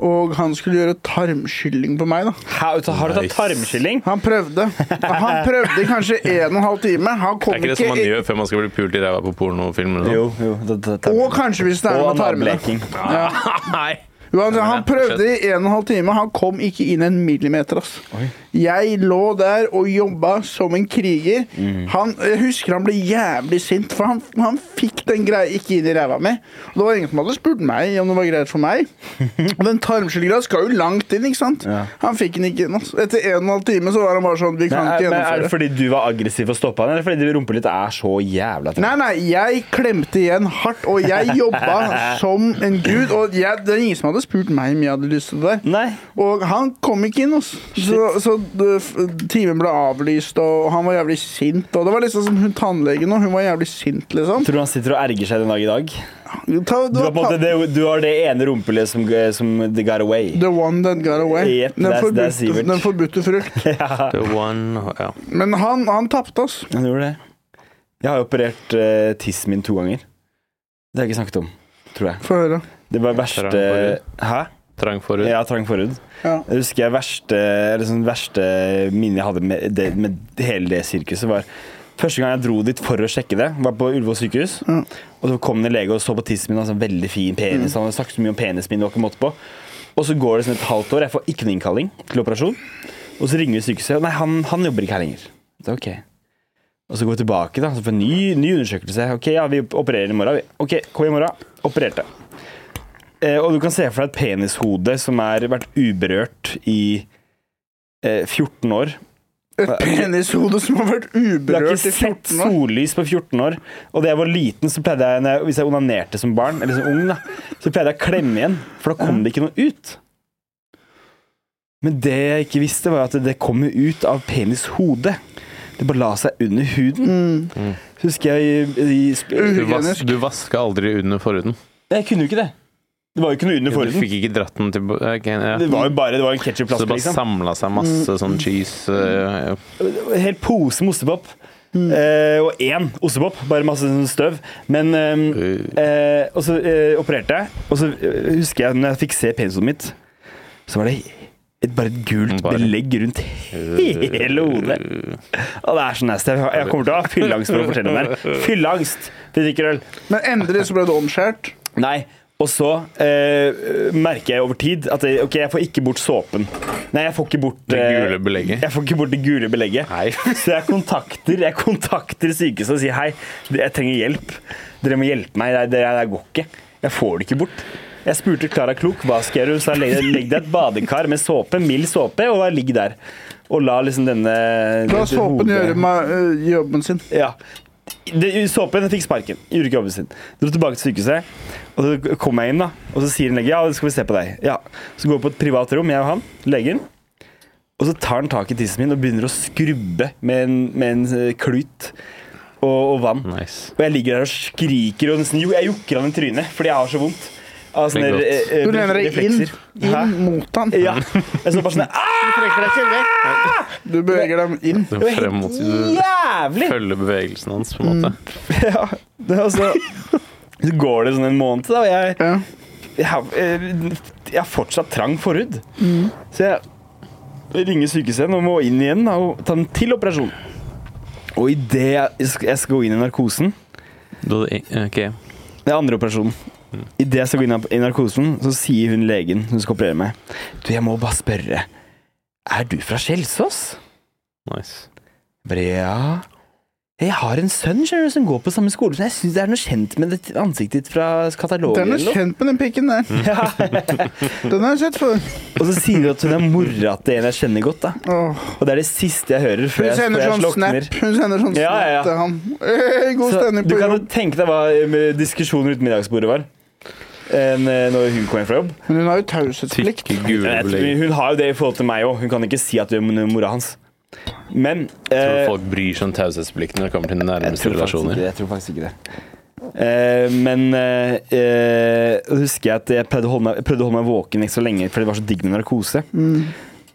Og han skulle gjøre tarmskylling på meg, da. Har du tatt tarmskylling? Han prøvde. Han prøvde i kanskje en og en halv time. Han kom Er ikke det som man gjør før man skal bli pult i ræva på pornofilmer? Jo, jo. da- da- da- Og kanskje hvis det er Og noe med tarmene. analbleking. sånn? Nei. Uansett, han prøvde i en og en halv time. Han kom ikke inn en millimeter. Ass. Jeg lå der og jobba som en kriger. Mm. Han, jeg husker han ble jævlig sint, for han, han fikk den greia ikke inn i ræva mi. Og det var ingen som hadde spurt meg om det var greit for meg. Og den tarmskyllinga skal jo langt inn, ikke sant? Ja. Han fikk den ikke inn. ass. Etter en og en halv time så var han bare sånn Vi kan Men, ikke men er det gjennomføre. fordi du var aggressiv og stoppa han, eller fordi rumpa litt er så jævla trang? Nei, nei, jeg klemte igjen hardt, og jeg jobba som en gud. Og jeg, det er ingen som hadde spurt meg om jeg hadde lyst til det. der. Nei. Og han kom ikke inn, altså. Så, så det- f- timen ble avlyst, og han var jævlig sint. Og det var liksom som hun tannlegen nå, hun var jævlig sint, liksom. Tror du han sitter og erger seg den dag i dag? Ta, Du det har, på en var måte, det, du har det ene rumpehullet som, som they got away. The one that got away. Yep, Den that's- that's forbudte, Sivert. den forbudte frukt. The one Ja. Men han, han tapte, altså. Han gjorde det. Jeg har jo operert eh, tissen min to ganger. Det har jeg ikke snakket om, tror jeg. Få høre. Det var verste Trang forhud. Hæ? Trang forhud. Ja, trang forhud. Ja. Jeg husker jeg verste, eller sånn verste minnet jeg hadde med, det, med hele det sirkuset, var Første gang jeg dro dit for å sjekke det, var på Ullevål sykehus. Mm. Og så kom det en lege og så på tissen min, og sånn veldig fin penis. Han hadde snakket så mye om penis min, det var ikke måte på. Og så går det sånn et halvt år, jeg får ikke noen innkalling til operasjon. Og så ringer vi sykehuset. Nei, han, han jobber ikke her lenger. Det er ok. Og så går vi tilbake, da, så får vi en ny, ny undersøkelse. Ok, ja, vi opererer i morgen. vi. Ok, kom i morgen. Opererte. Eh, og du kan se for deg et penishode som har vært uberørt i eh, 14 år. Et penishode som har vært Du har uberørt ikke i sett 14 år. sollys på 14 år. Og da jeg var liten, så pleide jeg, når jeg- hvis jeg onanerte som barn, eller som ung, da, så pleide jeg å klemme igjen, for da kom det ikke noe ut. Men det jeg ikke visste, var at det kom jo ut av penishodet. Det bare la seg under huden. Mm. Husker jeg i, i, Uh. sp- Du, vas Hygienisk. du vaska aldri under forhuden. Jeg kunne jo ikke det. Det var jo ikke noe under Du forhuden. fikk ikke dratt den til eh, ok, ja. Det var jo bare det var en Så det ketsjupflaske, bare liksom. samla seg masse sånn cheese eh, Helt pose med ostepop. Eh, og én ostepop, bare masse sånn støv. Men ehm, eh, Og så eh, opererte jeg, og så eh, husker jeg når jeg fikk se penisumet mitt, så var det et, bare et gult Bare. belegg rundt hele hodet. Og det er så nasty. Jeg, jeg kommer til å ha fylleangst for å fortelle om det her. Fylleangst! for jeg drikker øl. Men endelig så ble det omskjært. Nei. Og så eh, merker jeg over tid at jeg, ok, jeg får ikke bort såpen. Nei, jeg får ikke bort Det eh, gule belegget. Jeg får ikke bort det gule belegget. Nei. Så jeg kontakter, jeg kontakter sykehuset og sier hei, jeg trenger hjelp. Dere må hjelpe meg. Det, det, det går ikke. Jeg får det ikke bort. Jeg spurte Klara Klok hva skal jeg gjøre. Hun sa legg deg- legg deg i et badekar med såpe, mild såpe, og bare ligg der. Og la liksom denne La dette såpen hodet- gjøre ma- øh, jobben sin. ja. Det, såpen fikk sparken. Gjorde ikke jobben sin. Dro tilbake til sykehuset, og så kom jeg inn, da. Og så sier en lege ja, skal vi se på deg. Ja. Så går vi på et privat rom, jeg og han, legen. Og så tar han tak i tissen min og begynner å skrubbe med en, med en eh, klut og, og vann. Nice. Og jeg ligger der og skriker og nesten jo, jeg jukker han i trynet fordi jeg har så vondt. av sånne Det er eh, eh, Du lener deg inn, reflekser. Hæ? inn mot han. Ja. Jeg så bare sånn ah, Du trekker deg ikke vekk. Du beveger dem inn. Det var Frem mot helt du jævlig! følger bevegelsen hans, på en måte. Ja, det, og så, så går det sånn en måned, da, og jeg, Ja. jeg, har, eh, jeg har fortsatt trang forhud. Så jeg ringer sykehuset og må inn igjen da, og ta en til operasjon. Og idet jeg, sk- jeg skal gå inn i narkosen Du hadde i- ok. Det er andre operasjonen. Idet jeg skal gå inn i narkosen, så sier hun legen hun skal operere meg Du, jeg må bare spørre. Er du fra Kjelsås? Nice. Jeg Bare, ja. Jeg har en sønn skjønner du, som går på samme skole, så jeg syns det er noe kjent med det ansiktet ditt fra katalogen. Den er eller noe.» kjent med den pikken der. Den har jeg sett før. Og så sier hun at hun er mora til en jeg kjenner godt. da Åh. Og det er det siste jeg hører før Hun jeg, før sender jeg sånn slokner. snap Hun sender sånn Ja, ja, ja. snap til han. Hey, god Så stemning du på kan jobb. jo tenke deg hva eh, med diskusjoner rundt middagsbordet var en, eh, når hun kom hjem fra jobb. Men hun har jo Tykke, taushetsplikt. gule Jeg belegg. tror- Hun har jo det i forhold til meg òg. Hun kan ikke si at hun er mora hans. Men Tror eh, folk bryr seg om taushetsplikten når det kommer til jeg nærmeste tror faktisk ikke relasjoner. det, jeg tror faktisk ikke det. Eh, men eh, eh, husker jeg at jeg prøvde å holde meg, jeg prøvde å holde meg våken ikke så lenge, for det var så digg med narkose. Mm.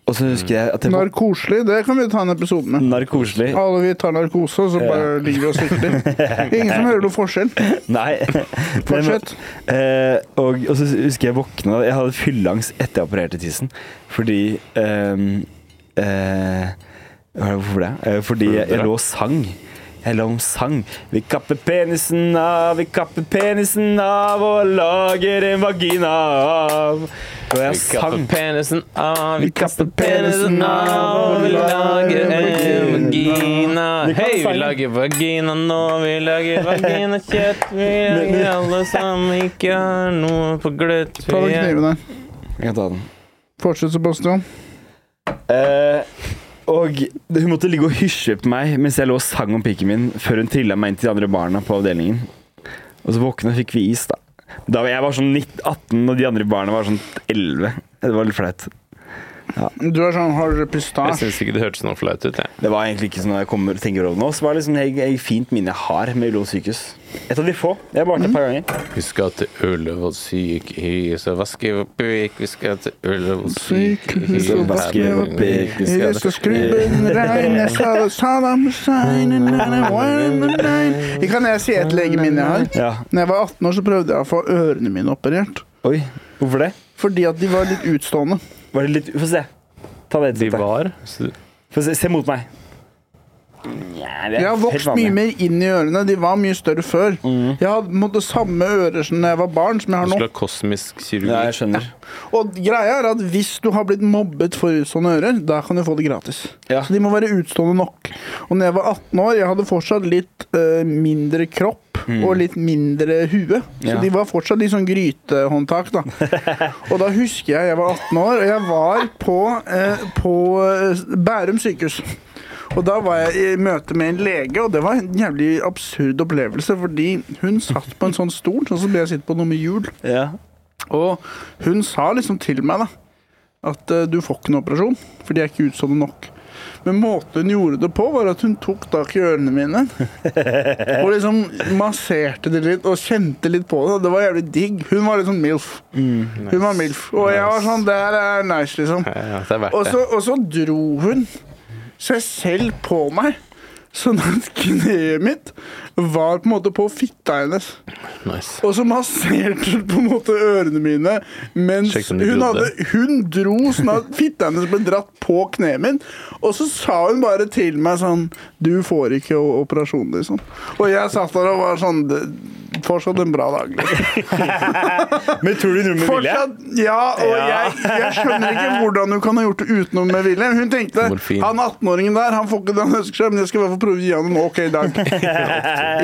Og så husker jeg at jeg var Narkoselig, det kan vi ta en episode Mm. med. narkoselig. Alle vi tar narkose, og så bare ligger vi og sikter. Ingen som hører noe forskjell. Nei. Fortsett. Men, eh, og, og så husker jeg våkna Jeg hadde fylleangst etter jeg opererte tissen. Fordi ehm, eh, hva er det- Hvorfor det? Eh, fordi jeg, jeg lå og sang. Jeg lå og sang. Vi kapper penisen av, vi kapper penisen av og lager en vagina av. Og jeg Vi kapper sang. penisen av, Vi kapper penisen av, og vi lager en vagina. Du kan Hei, vi sangen. lager vagina nå, vi lager vaginakjøtt. Vi lager alle sammen, ikke har noe på gløtt. Ta den kniven der. Jeg kan ta den. Fortsett, Sebastian. Eh, og hun måtte ligge og hysje på meg mens jeg lå og sang om pikken min, før hun trilla meg inn til de andre barna på avdelingen. Og så våkna fikk vi is, da. Da var jeg var sånn 19, 18, og de andre barna var sånn 11. Det var litt flaut. Du er sånn har dere Jeg pistasje. syns ikke det hørtes noe flaut ut. Jeg. Det var egentlig ikke sånn når jeg kommer og tenker over det nå. Så var det liksom et et fint minne jeg har med Ullevål sykehus. Et av de få. Jeg har vært der et par ganger. Vi skal til Ullevål sykehus og vaske opp pik. Vi skal til Ullevål Sykehus sykehus og vaske Mm. opp pik. Vi I skal- disse skrubben regner seg og Saddam Hussein and I want to die. Kan jeg si et legeminne jeg har? Ja. Når jeg var 18 år, så prøvde jeg å få ørene mine operert. Oi, hvorfor det? Fordi at de var litt utstående. Var det litt Få se. Ta det De headsetet. var så- Få se, se mot meg. Nja, det er Jeg har helt vokst mye vanlig. Mm. mer inn i ørene. De var mye større før. Jeg hadde måtte, samme ører som da jeg var barn, som jeg Du har skulle nå. ha kosmisk Ja, kirurgi. jeg skjønner. Og greia er at hvis du har blitt mobbet for sånne ører, da kan du få det gratis. Ja. Så de må være utstående nok. Og når jeg var 18 år, jeg hadde fortsatt litt eh, mindre kropp og litt mindre hue. Så Mm. Ja. de var fortsatt litt sånn grytehåndtak, da. og da husker jeg jeg var 18 år, og jeg var på, eh, på eh, Bærum sykehus. Og da var jeg i møte med en lege, og det var en jævlig absurd opplevelse, fordi hun satt på en sånn stol, sånn som jeg sitter på noe med hjul. Ja. Og hun sa liksom til meg da at eh, du får ikke noen operasjon, for de er ikke utstående nok. Men måten hun gjorde det på, var at hun tok tak i ørene mine og liksom masserte det litt og kjente litt på det. og Det var jævlig digg. Hun var litt sånn MILF. Hun var MILF. Og jeg var sånn Det her er nice, liksom. Ja, ja, det er verdt Og det. så, og så dro hun seg selv på meg, sånn at kneet mitt var på en måte på fitta hennes. Nice. Og så masserte hun på en måte ørene mine mens Sjekk om de hun, glodde. hadde, hun dro sånn at fitta hennes ble dratt på kneet min. Og så sa hun bare til meg sånn Du får ikke o- operasjon, liksom. Og jeg satt der og var sånn «Det- Fortsatt en bra dag. Liksom. Men tror du nordmenn ville? Fortsatt, ja, og Ja. jeg, jeg skjønner ikke hvordan hun kan ha gjort det utenom med vilje. Hun tenkte Morfin. han 18-åringen der han får ikke det han ønsker seg, men jeg skal i hvert fall prøve å gi han en ok dag.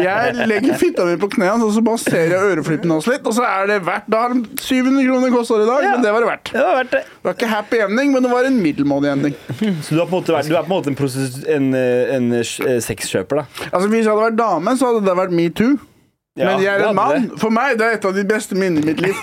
Jeg legger fitta mi på kneet hans, og så baserer jeg øreflippen hans litt, og så er det verdt. Da har den 700 kroner kosta i dag, men det var det verdt. Det var verdt det. Det var ikke happy ending, men det var en middelmådig ending. Så du, har på en måte vært, du er på en måte en, prostitu- en, eh, en, eh, sexkjøper, da? Altså Hvis jeg hadde vært dame, så hadde det vært metoo. men jeg er du hadde en mann. det. For meg det er et av de beste minnene i mitt liv.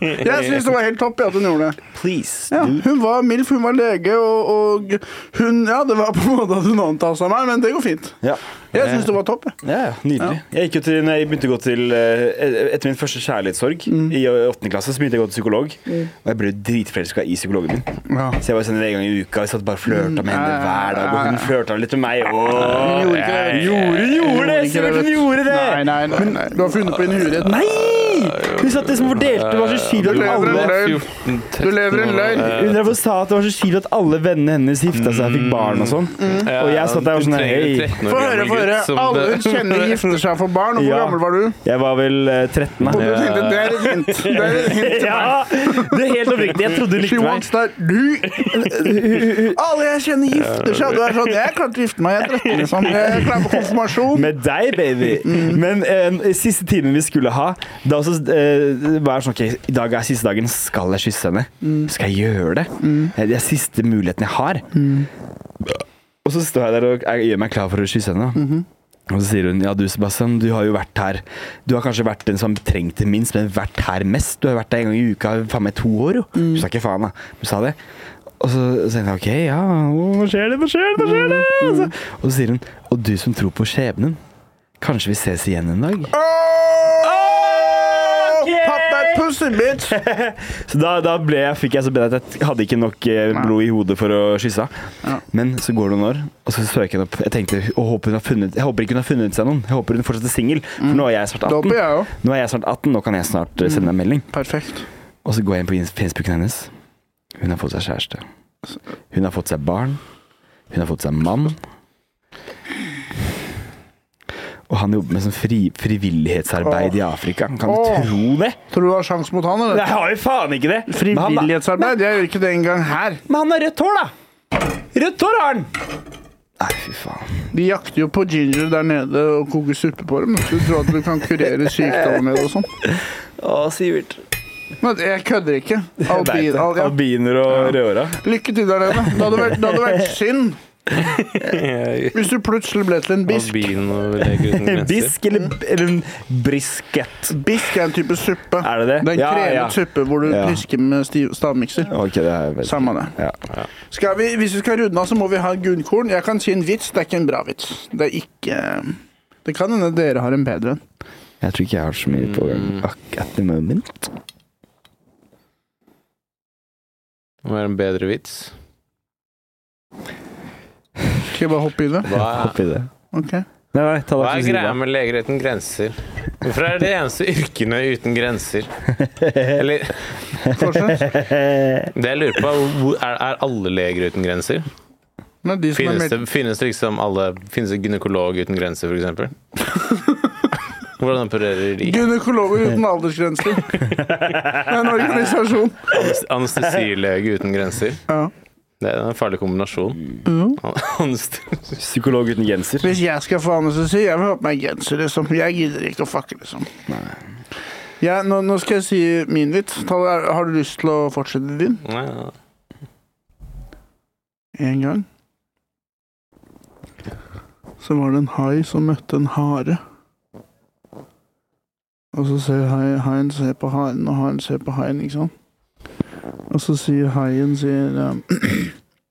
jeg syns det var helt topp ja, at hun gjorde det. Please, Ja, dude. hun var MILF, hun var lege, og, og hun Ja, det var på en måte at hun anta seg meg, men det går fint. Ja. Jeg syns det var topp. jeg. Ja, nydelig. Jeg, gikk jo til, når jeg begynte å gå til eh, Etter min første kjærlighetssorg i åttende klasse, så begynte jeg å gå til psykolog. Og jeg ble dritforelska i psykologen min. Ja. Så jeg var sånn en gang i uka og satt bare og flørta med henne hver dag. Og Mm. Ah, hun flørta litt med meg. Hun Og gjorde ikke det. gjorde, gjorde det! Ikke Sivert, hun vet- gjorde det! Nei, nei, nei, nei. Du har funnet på en hurighet. Nei! Hun satt liksom og delte det var så Du kjipt at lever en alle løgn. 14, Du lever en løgn. hun drev og sa at det var så kjipt at alle vennene hennes gifta seg og fikk barn og sånn. Mm. Og jeg satt der og sånn Hei. Få høre, få høre. Alle hun kjenner gifter seg for barn. Og hvor Ja. gammel var du? Jeg var vel eh, 13, da. Og du tenkte, det er et hint. Det er et hint til meg. Ja! Det er helt oppriktig. Jeg trodde hun She likte meg. wants that du Alle jeg kjenner gifter seg. og Du er sånn Jeg klarte å gifte meg, jeg er 13, liksom. Jeg er klar for konfirmasjon. Med deg, baby! Mm. Men eh, siste timen vi skulle ha, da også, eh, var jeg sånn OK, i dag er siste dagen. Skal jeg kysse henne? Mm. Skal jeg gjøre det? Eh, Det er siste muligheten jeg har. Mm. Og så står jeg der og jeg gjør meg klar for å kysse henne. Mm-hmm. Og så sier hun ja, du Sebastian, du har jo vært her. Du har kanskje vært den som har trengt det minst, men vært her mest. Du har vært der en gang i uka faen meg to år, jo. Mm. Hun sa ikke faen, da. Hun sa det. Og så så tenkte jeg OK, ja, hva skjer det, hva skjer det, hva skjer det? Mm. Og så, og så sier hun og du som tror på skjebnen, kanskje vi ses igjen en dag? Ah! Oh! Ok! Pop that pussy, bitch! Så da, da ble jeg, fikk jeg så bedre at jeg hadde ikke nok eh, blod i hodet for å kysse Ja. henne. Men så går det noen år, og så søker jeg henne opp. Jeg tenkte, å, håper hun har funnet, jeg håper ikke hun har funnet seg noen. Jeg håper hun fortsatt er singel, for nå er jeg snart Mm. Da 18. håper jeg òg. Nå er jeg snart 18, nå kan jeg snart eh, sende deg en melding. Perfekt. Og så går jeg inn på ins- Facebooken hennes. Hun har fått seg kjæreste. Hun har fått seg barn. Hun har fått seg mann. Og han jobber med sånn fri, frivillighetsarbeid i Afrika. Kan du Åh. tro det? Tror du du har sjans mot han, Jeg eller? har jo faen ikke det! Men han da- Frivillighetsarbeid? Jeg gjør ikke det engang her. Men han har rødt hår, da! Rødt hår har han! Nei, fy faen. De jakter jo på ginger der nede og koker suppe på dem. Du tror at du kan kurere sykdommer med det og sånn. Å, Sivert. Men jeg kødder ikke. Albin, al, ja. Albiner og rødhåra. Lykke til der nede. Det hadde vært, det hadde vært synd hvis du plutselig ble til en bisk. En bisk eller, eller en brisket? Bisk er en type suppe. Er det det? Det er en Ja, kremet ja. suppe hvor du Ja. pisker med stiv, stavmikser. Ok, det er vel Samme det. Ja. Skal vi, hvis vi skal runde av, så må vi ha gunnkorn. Jeg kan si en vits. Det er ikke en bra vits. Det er ikke Det kan hende dere har en bedre en. Jeg tror ikke jeg har så mye på gang Mm. Ak- at the moment. Det var en bedre vits. Skal jeg bare hoppe i det? Hva er, Oppi det. Ok. Nei, nei, ta hva deg til er greia siden. med leger uten grenser? Hvorfor er det de eneste yrkene uten grenser? Eller Fortsett. det jeg lurer på, er hvor- er, er alle leger uten grenser? Nei, de som er Finnes meldt det, finnes det liksom alle Finnes det gynekolog uten grenser, for eksempel? Hvordan opererer de? Gynekologer uten aldersgrenser. Det er liksom- en organisasjon. Anestesilege uten grenser? Ja. Det er en farlig kombinasjon. Anestesi- Psykolog uten genser. Hvis jeg skal få anestesi, jeg vil ha på meg genser, liksom. Jeg gidder ikke å fucke, liksom. Ja, nå, nå skal jeg si min vits. Ta, har du lyst til å fortsette din? Nei, ja. En gang så var det en hai som møtte en hare. Og så ser hai, haien ser på haren, og haren ser på haien, ikke sant? Og så sier haien sier um,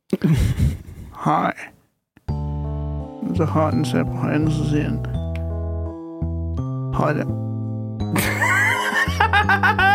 Hei. Så haren ser på haien, og så sier han Hare.